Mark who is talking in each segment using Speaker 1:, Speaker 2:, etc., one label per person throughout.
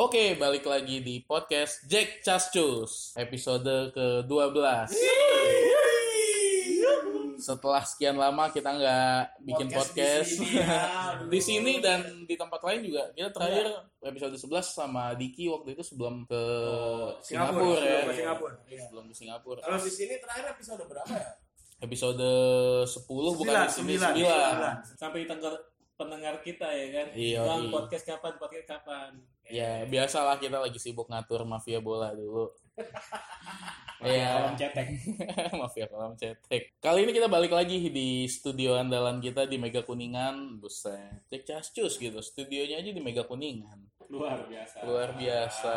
Speaker 1: Oke, balik lagi di podcast Jack Cascus, episode ke-12. Setelah sekian lama kita nggak bikin podcast, iya,
Speaker 2: Podcast di sini, aduh.
Speaker 1: di sini dan di tempat lain juga. Kita terakhir episode 11 sama Diki waktu itu sebelum ke Singapura,
Speaker 3: Oh,
Speaker 2: Singapura,
Speaker 1: ya.
Speaker 2: sebelum ke Singapura, iya.
Speaker 1: Sebelum ke Singapura.
Speaker 2: Kalau di sini terakhir episode berapa ya?
Speaker 1: Episode 10 bukan
Speaker 3: Sembilan,
Speaker 1: di sini
Speaker 3: sembilan.
Speaker 1: 9.
Speaker 4: sampai ditengkar pendengar kita ya kan
Speaker 1: Iya,
Speaker 4: bang
Speaker 1: iya.
Speaker 4: podcast kapan podcast kapan
Speaker 1: Ya, biasalah kita lagi sibuk ngatur mafia bola dulu.
Speaker 4: Kolam
Speaker 1: Iya,
Speaker 4: cetek
Speaker 1: mafia kolam cetek. Kali ini kita balik lagi di studio andalan kita di Mega Kuningan. Buset, cek cascus gitu. Studionya aja di Mega Kuningan.
Speaker 4: luar biasa
Speaker 1: Luar biasa.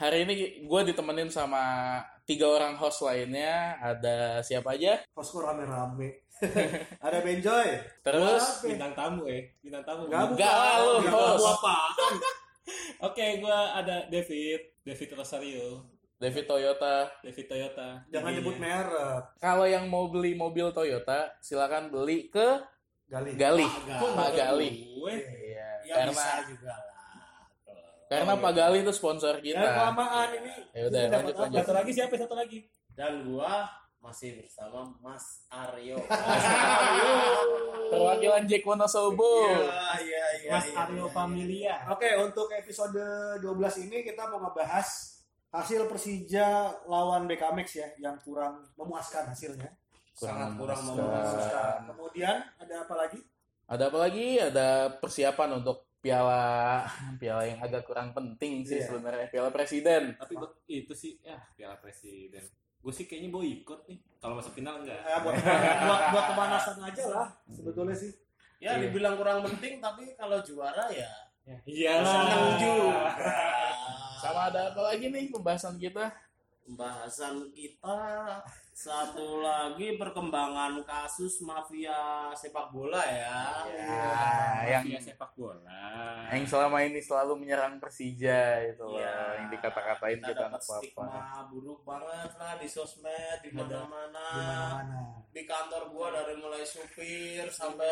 Speaker 1: Hari ini gue ditemenin sama tiga orang host lainnya. Ada siapa aja?
Speaker 3: Posko rame-rame. Ada Benjoy.
Speaker 1: Terus
Speaker 4: bintang tamu ya bintang tamu
Speaker 3: Nggak,
Speaker 4: Bintang-
Speaker 1: enggak lah lu
Speaker 3: Nggak
Speaker 1: host.
Speaker 3: apa.
Speaker 4: oke gua ada David David Rosario
Speaker 1: David Toyota.
Speaker 4: David Toyota
Speaker 3: Jangan
Speaker 4: Iya.
Speaker 3: nyebut merek.
Speaker 1: Kalau yang mau beli mobil Toyota, silakan beli ke
Speaker 3: Gali.
Speaker 1: Galih.
Speaker 4: Kok
Speaker 1: Pak
Speaker 4: nggak
Speaker 1: Gali.
Speaker 4: gue?
Speaker 1: Iya,
Speaker 2: Ya
Speaker 1: karena
Speaker 2: bisa juga lah.
Speaker 1: karena Pak Gali itu sponsor kita.
Speaker 3: Ya kelamaan ini.
Speaker 1: Ya udah,
Speaker 3: Ini dapat
Speaker 1: lanjut,
Speaker 3: apa?
Speaker 1: lanjut.
Speaker 4: satu lagi siapa satu lagi
Speaker 2: Dan gua masih bersama Mas Aryo.
Speaker 1: Perwakilan Jack Wonosobo.
Speaker 2: iya
Speaker 4: Mas Aryo Familia
Speaker 3: Oke, untuk episode 12 ini kita mau ngebahas hasil Persija lawan BK Max ya yang kurang memuaskan hasilnya.
Speaker 2: Sangat kurang
Speaker 1: memuaskan.
Speaker 2: memuaskan.
Speaker 3: Memuaskan. Kemudian ada apa lagi?
Speaker 1: Ada apa lagi? Ada persiapan untuk piala piala yang agak kurang penting sih
Speaker 3: Iya.
Speaker 1: sebenarnya piala presiden.
Speaker 4: tapi bet- itu sih ya piala presiden gue sih kayaknya boikot nih kalau masuk final enggak
Speaker 3: Eh, buat, buat buat pemanasan aja lah sebetulnya sih.
Speaker 2: Ya
Speaker 1: Iya.
Speaker 2: dibilang kurang penting tapi kalau juara ya
Speaker 4: iya
Speaker 2: senang juga.
Speaker 1: Sama ada apa lagi nih pembahasan kita?
Speaker 2: Pembahasan kita satu lagi perkembangan kasus mafia sepak bola ya.
Speaker 1: Iya, yang
Speaker 4: yang Ah, sepak bola
Speaker 1: yang selama ini selalu menyerang Persija itu
Speaker 2: Iya.
Speaker 1: loh, yang dikata-katain
Speaker 2: kita
Speaker 1: kita anak
Speaker 2: dapat
Speaker 1: apa.
Speaker 2: stigma buruk banget lah di sosmed
Speaker 3: Ada.
Speaker 2: di
Speaker 3: Di
Speaker 2: mana-mana
Speaker 3: mana-mana.
Speaker 2: di kantor gua dari mulai supir sampai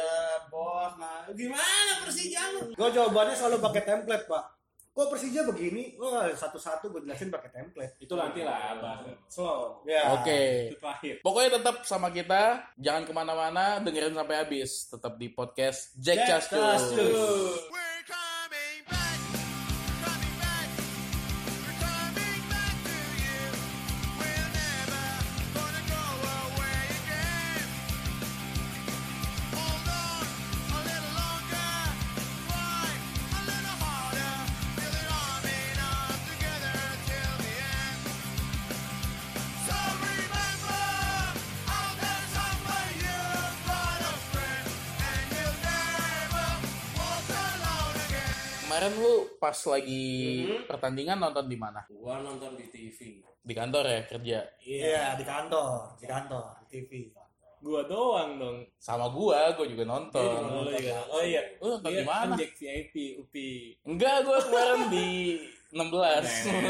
Speaker 2: bos nah gimana Persija lu
Speaker 3: Gue Ah, jawabannya selalu pakai template, Pak. Kok Persija begini? Wah, satu-satu gue jelasin pakai template.
Speaker 4: itu nanti lah bahas
Speaker 2: Oh.
Speaker 4: slow
Speaker 3: Ya.
Speaker 1: Oke.
Speaker 4: Nah, itu terakhir
Speaker 1: Pokoknya tetap sama kita, jangan kemana-mana, dengerin sampai habis. Tetap di podcast Jack,
Speaker 2: Jack
Speaker 1: Castus.
Speaker 2: Castus.
Speaker 5: We're coming back, coming back, we're coming back to you. We're never gonna go away again. Hold on a little longer, try a little harder, building arm in arm together till the end. So remember, I'll dance somewhere you've got a friend, and you'll never walk alone again.
Speaker 1: Kemarin lu pas lagi
Speaker 4: Mm-hmm.
Speaker 1: pertandingan nonton di mana?
Speaker 2: gua nonton di TV
Speaker 1: Di kantor ya kerja.
Speaker 3: Iya, di kantor, di kantor, di TV.
Speaker 4: gua doang dong
Speaker 1: Sama gua, gua juga
Speaker 4: Oh,
Speaker 1: nonton.
Speaker 4: lu juga. Oh iya.
Speaker 1: Lu nonton
Speaker 4: Iya,
Speaker 1: di mana?
Speaker 4: Injek VIP UPI.
Speaker 1: Enggak, gua kemarin di
Speaker 4: Nah.
Speaker 1: 16.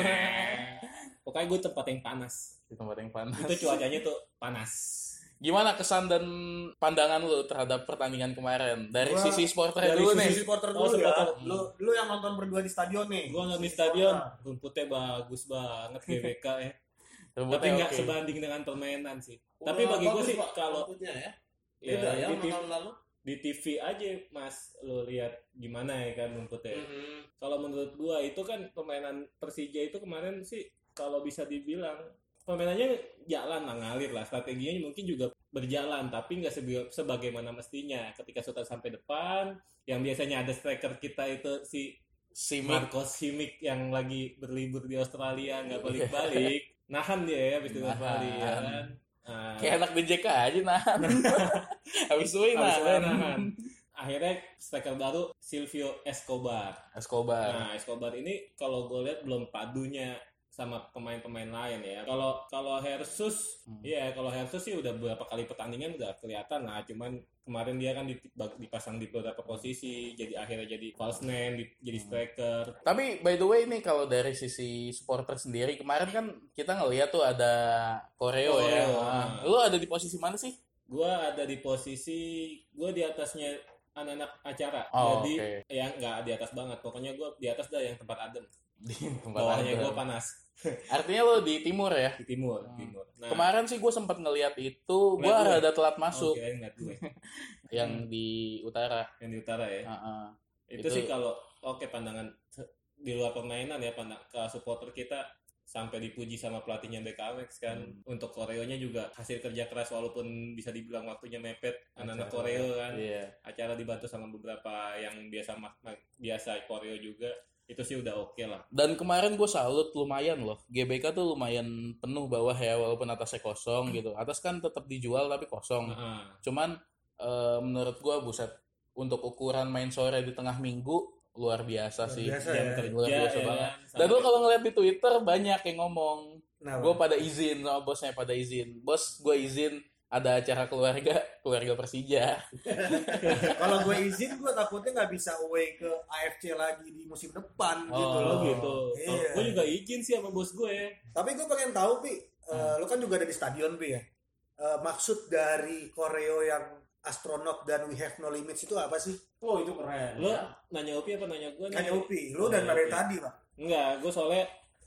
Speaker 4: Pokoknya gue tempat yang panas.
Speaker 1: di tempat yang panas.
Speaker 4: Itu cuacanya tuh panas.
Speaker 1: Gimana kesan dan pandangan lu terhadap pertandingan kemarin? Dari
Speaker 3: Gua-
Speaker 1: sisi supporter
Speaker 4: dari
Speaker 1: dulu nih.
Speaker 4: sisi
Speaker 3: supporter
Speaker 4: Oh,
Speaker 3: dulu ya.
Speaker 4: supporter.
Speaker 3: Lu,
Speaker 2: Hmm.
Speaker 3: lu yang nonton berdua di stadion nih.
Speaker 4: Gue nonton di stadion, rumputnya bagus banget GBK ya. Tapi
Speaker 1: Rumputnya
Speaker 4: nggak
Speaker 1: oke.
Speaker 4: sebanding dengan permainan sih. Tapi bagi gue sih kalau
Speaker 2: ya
Speaker 4: ya,
Speaker 2: beda ya
Speaker 4: di,
Speaker 2: sama
Speaker 4: TV,
Speaker 2: tahun lalu
Speaker 4: di TV aja Mas lu lihat gimana ya kan rumputnya.
Speaker 2: Mhm.
Speaker 1: Mm-hmm.
Speaker 4: Kalau menurut gua itu kan permainan Persija itu kemarin sih kalau bisa dibilang permainannya jalan lah ngalir lah strateginya mungkin juga berjalan tapi nggak sebi- sebagaimana mestinya ketika sudah sampai depan yang biasanya ada striker kita itu si
Speaker 1: Simik.
Speaker 4: Marcos Simic yang lagi berlibur di Australia nggak balik-balik nahan dia ya habis itu
Speaker 1: Nahan.
Speaker 4: balik ya kan Nah,
Speaker 1: Kayak anak DJK aja nahan. Habis win
Speaker 4: habis itu
Speaker 1: nahan.
Speaker 4: nahan. Nah, akhirnya striker baru Silvio Escobar
Speaker 1: Escobar.
Speaker 4: Nah, Escobar ini kalau gue lihat belum padunya sama pemain-pemain lain ya. Kalau kalau Hersus,
Speaker 1: Hmm.
Speaker 4: ya kalau Hersus sih udah beberapa kali pertandingan udah kelihatan lah. Cuman kemarin dia kan di- dipasang di beberapa posisi, jadi akhirnya jadi false nine, di- jadi
Speaker 1: Hmm.
Speaker 4: striker.
Speaker 1: Tapi by the way nih kalau dari sisi supporter sendiri kemarin kan kita ngeliat tuh ada Koreo, ya.
Speaker 4: Koreo.
Speaker 1: Nah, Lu ada di posisi mana sih?
Speaker 4: Gue ada di posisi gue di atasnya anak-anak acara,
Speaker 1: Oh,
Speaker 4: jadi
Speaker 1: oke.
Speaker 4: ya nggak di atas banget. Pokoknya gue di atas dah yang tempat adem.
Speaker 1: di tempat
Speaker 4: bawahnya
Speaker 1: Adam.
Speaker 4: gue panas
Speaker 1: Artinya lo di timur ya?
Speaker 4: di timur timur nah,
Speaker 1: Kemarin sih gue sempat Hmm. ngeliat itu, gue
Speaker 4: Ngeliat lu ya?
Speaker 1: rada telat
Speaker 4: oh,
Speaker 1: masuk
Speaker 4: kirain ngeliat gue
Speaker 1: yang di utara.
Speaker 4: yang di utara ya
Speaker 1: Heeh.
Speaker 4: itu,
Speaker 1: Nah, Itu-
Speaker 4: sih kalau oke pandangan di luar permainan ya pandang ke supporter kita sampai dipuji sama pelatihnya DKMX kan untuk koreonya juga hasil kerja keras walaupun bisa dibilang waktunya mepet anak-anak
Speaker 1: Acara.
Speaker 4: koreo kan
Speaker 1: Iya.
Speaker 4: acara dibantu sama beberapa yang biasa mak- mak- biasa koreo juga itu sih udah oke lah
Speaker 1: Dan kemarin gue salut lumayan loh. GBK tuh lumayan penuh bawah ya, walaupun atasnya kosong gitu. Atas kan tetap dijual tapi kosong.
Speaker 4: Heeh.
Speaker 1: Cuman eh, menurut gue buset untuk ukuran main sore di tengah minggu luar biasa sih. Iya,
Speaker 3: biasa
Speaker 4: jam
Speaker 3: ya.
Speaker 4: kerja
Speaker 1: Luar biasa
Speaker 4: ya
Speaker 1: banget. Nah,
Speaker 4: kan?
Speaker 1: Dan lo
Speaker 4: Sampai-
Speaker 1: kalau ngeliat di Twitter banyak yang ngomong,
Speaker 3: Nah,
Speaker 1: gue pada izin sama bosnya pada izin. Bos, gue izin ada acara keluarga, keluarga Persija.
Speaker 3: kalau gue izin gue takutnya nggak bisa away ke AFC lagi di musim depan gitu
Speaker 1: Oh,
Speaker 4: Kalau
Speaker 3: loh.
Speaker 4: gitu
Speaker 3: Iya.
Speaker 4: gue juga izin sih sama bos gue ya
Speaker 3: Tapi gue pengen tahu pi, lo kan juga ada di stadion pi ya. Eh, maksud dari koreo yang astronaut dan we have no limits itu apa sih? Kan
Speaker 2: Oh itu keren.
Speaker 4: lo nanya Opi apa nanya gue
Speaker 3: Hanya Upi, lo dan
Speaker 4: Oh,
Speaker 3: dari
Speaker 4: Upi.
Speaker 3: tadi pak.
Speaker 4: Enggak, gue soalnya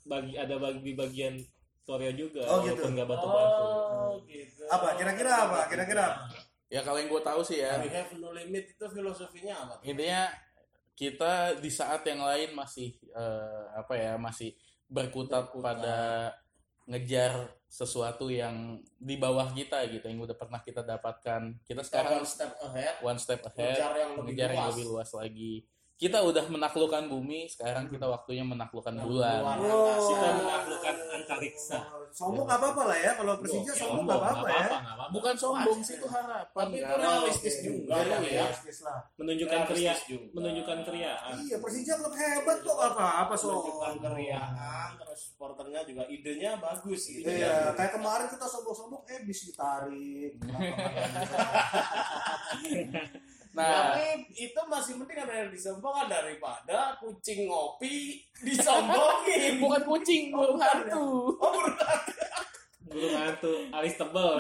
Speaker 4: bagi ada bagi di bagian Korea juga,
Speaker 3: Oh, gitu.
Speaker 4: walaupun nggak bantu-bantu.
Speaker 2: Oh gitu.
Speaker 3: Apa? Kira-kira apa? Kira-kira apa?
Speaker 1: Ya kalau yang gue tahu sih ya,
Speaker 2: We have no limit itu filosofinya apa?
Speaker 1: Iya. intinya kita di saat yang lain masih eh, apa ya masih berkutat pada ngejar sesuatu yang di bawah kita gitu yang udah pernah kita dapatkan kita sekarang
Speaker 2: Sekarang one step ahead.
Speaker 1: one step
Speaker 2: Ngejar
Speaker 1: ahead
Speaker 2: yang lebih
Speaker 1: ngejar yang
Speaker 2: luas.
Speaker 1: lebih luas lagi kita udah menaklukkan bumi sekarang
Speaker 2: Hmm.
Speaker 1: kita waktunya menaklukkan bulan
Speaker 4: Kita
Speaker 2: Kita
Speaker 4: menaklukkan antariksa.
Speaker 3: Oh. Sombong nggak apa-apa lah ya, kalau Persija sombong nggak apa-apa ya.
Speaker 4: nggak apa-apa.
Speaker 1: bukan sombong sih itu harapan
Speaker 2: Tapi itu
Speaker 1: kan?
Speaker 2: realistis
Speaker 3: Oke,
Speaker 2: juga
Speaker 3: iya,
Speaker 2: dong ya.
Speaker 3: realistis lah.
Speaker 4: Menunjukkan
Speaker 2: Realistis
Speaker 4: kriya,
Speaker 2: juga.
Speaker 4: menunjukkan kriaan.
Speaker 3: Iya, Persija klub hebat kok apa-apa
Speaker 2: Menunjukkan
Speaker 3: sombong.
Speaker 2: keriaan, terus supporternya juga idenya bagus gitu.
Speaker 3: Iya, kayak kemarin kita sombong-sombong, eh bis ditarik.
Speaker 1: nah
Speaker 2: Tapi itu masih mending ada yang disombongkan daripada kucing ngopi disombongin.
Speaker 1: bukan kucing burung hantu
Speaker 2: Oh, berat.
Speaker 4: Burung hantu, alis tebel.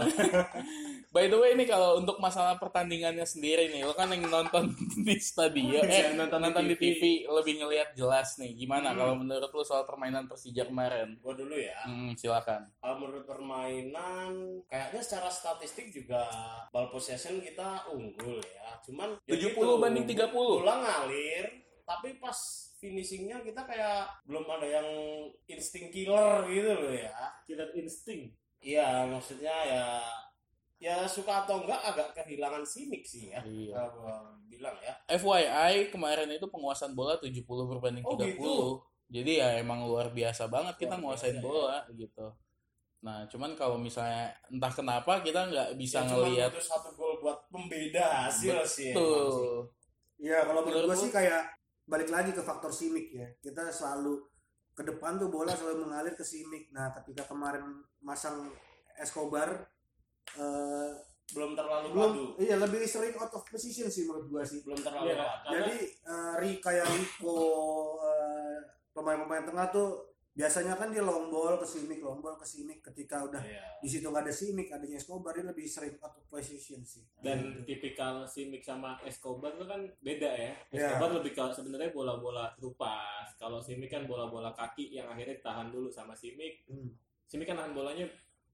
Speaker 1: By the way nih kalau untuk masalah pertandingannya sendiri nih, lo kan yang nonton di stadion, eh
Speaker 2: Iya,
Speaker 4: Yang
Speaker 1: nonton,
Speaker 4: nonton
Speaker 1: nonton
Speaker 4: di
Speaker 1: di
Speaker 4: TV.
Speaker 1: TV lebih ngelihat jelas nih. Gimana
Speaker 2: Hmm.
Speaker 1: kalau menurut lo soal permainan Persija kemarin?
Speaker 2: Gua dulu ya.
Speaker 1: Hmm, silakan.
Speaker 2: Kalau menurut permainan, kayaknya secara statistik juga ball possession kita unggul ya. Cuman ya
Speaker 1: 70
Speaker 2: gitu,
Speaker 1: banding 30.
Speaker 2: Bola ngalir, tapi pas finishingnya kita kayak belum ada yang insting killer gitu loh ya.
Speaker 4: Kilat insting.
Speaker 2: Iya, maksudnya ya ya suka atau enggak agak kehilangan simik sih ya.
Speaker 1: Iya.
Speaker 2: Kalau gua bilang ya.
Speaker 1: FYI kemarin itu penguasaan bola 70 berbanding 30.
Speaker 2: Oh, gitu.
Speaker 1: Jadi ya emang luar biasa banget kita
Speaker 2: Luar
Speaker 1: nguasain
Speaker 2: biasa, iya.
Speaker 1: bola gitu. Nah, cuman kalau misalnya entah kenapa kita nggak bisa
Speaker 2: Ya, cuman
Speaker 1: ngelihat
Speaker 2: butuh satu gol buat pembeda hasil sih. ya. emang sih.
Speaker 1: tuh.
Speaker 3: Iya, kalau
Speaker 1: Menurut
Speaker 3: menurut gue
Speaker 1: gua-
Speaker 3: sih kayak balik lagi ke faktor simik ya. Kita selalu ke depan tuh bola selalu mengalir ke simik. Nah, ketika kemarin masang Escobar eh,
Speaker 2: Belum terlalu
Speaker 3: belum
Speaker 2: padu.
Speaker 3: iya lebih sering out of position sih menurut gue sih. Ya,
Speaker 2: Belum terlalu
Speaker 4: Iya,
Speaker 2: padu.
Speaker 4: Karena-
Speaker 3: Jadi eh, Ri kayak Rico eh, pemain-pemain tengah tuh biasanya kan dia long ball ke simik, long ball ke simik. Ketika udah
Speaker 2: Iya.
Speaker 3: di situ nggak ada simik, adanya Escobar dia lebih sering out of position sih.
Speaker 4: Dan tipikal simik sama Escobar itu kan beda ya.
Speaker 3: Iya.
Speaker 4: Escobar lebih ke sebenarnya bola-bola terupas. Kalau simik kan bola-bola kaki yang akhirnya ditahan dulu sama simik.
Speaker 3: Hmm.
Speaker 4: Simi kan nahan bolanya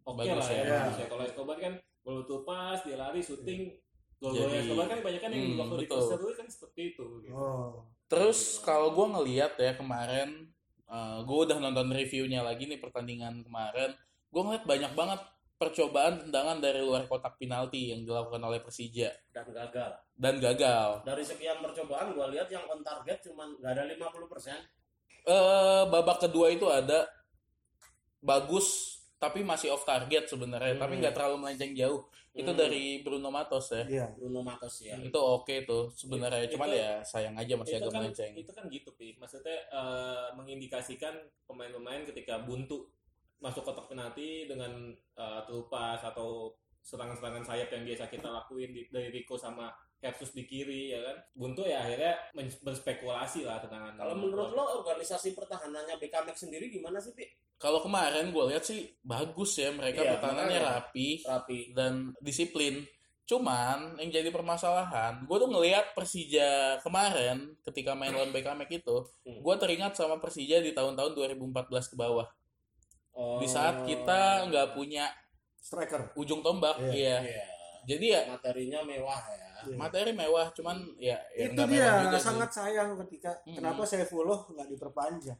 Speaker 4: oke
Speaker 1: Bagus
Speaker 4: lah ya.
Speaker 1: ya.
Speaker 4: bagus ya. Kalau Escobar kan bola tupas, dia lari, syuting. Gol-gol
Speaker 1: Jadi-
Speaker 4: Escobar kan banyak kan yang
Speaker 1: Hmm,
Speaker 4: waktu di
Speaker 1: betul.
Speaker 4: poster dulu kan seperti itu. Gitu.
Speaker 3: Oh.
Speaker 1: Terus kalau gue ngeliat ya kemarin, gue udah nonton reviewnya lagi nih pertandingan kemarin, gue ngeliat banyak banget percobaan tendangan dari luar kotak penalti yang dilakukan oleh Persija
Speaker 2: Dan gagal.
Speaker 1: dan gagal.
Speaker 2: dari sekian percobaan gua lihat yang on target cuman nggak ada 50 persen
Speaker 1: Eh babak kedua itu ada bagus tapi masih off target
Speaker 4: Hmm.
Speaker 1: sebenarnya, tapi nggak terlalu melenceng jauh. Itu
Speaker 2: Hmm.
Speaker 1: dari Hmm. Bruno Matos ya.
Speaker 3: Iya.
Speaker 2: Bruno Matos ya
Speaker 1: Itu oke tuh sebenarnya,
Speaker 4: Itu-
Speaker 1: cuman
Speaker 4: itu-
Speaker 1: ya sayang aja masih
Speaker 4: Itu
Speaker 1: agak
Speaker 4: kan,
Speaker 1: melenceng.
Speaker 4: itu kan gitu, Pi. Maksudnya eh, mengindikasikan pemain-pemain ketika buntu masuk kotak penalti dengan eh, terupas atau serangan-serangan sayap yang biasa kita lakuin di- dari Rico sama Hersus di kiri ya kan. Buntu ya akhirnya men- berspekulasi lah tentang
Speaker 2: kalau menurut lo organisasi pertahanannya BKMX sendiri gimana sih Pi?
Speaker 1: Kalau kemarin gue lihat sih bagus ya mereka
Speaker 2: Iya,
Speaker 1: pertahanannya
Speaker 2: makanya.
Speaker 1: rapi
Speaker 2: rapi
Speaker 1: dan disiplin. Cuman yang jadi permasalahan, gue tuh ngelihat Persija kemarin ketika main lawan Bekamek itu,
Speaker 2: Hmm.
Speaker 1: gue teringat sama Persija di tahun-tahun 2014 ke bawah.
Speaker 2: Oh.
Speaker 1: Di saat kita nggak punya
Speaker 3: striker
Speaker 1: ujung tombak,
Speaker 3: Iya.
Speaker 1: iya.
Speaker 2: Iya.
Speaker 1: Jadi ya
Speaker 2: Materinya mewah ya.
Speaker 3: Iya.
Speaker 1: materi mewah, cuman ya, ya
Speaker 3: itu
Speaker 1: nggak
Speaker 3: dia
Speaker 1: mewah juga sih.
Speaker 3: sangat sayang ketika
Speaker 1: Mm-mm.
Speaker 3: kenapa Saifullah nggak diperpanjang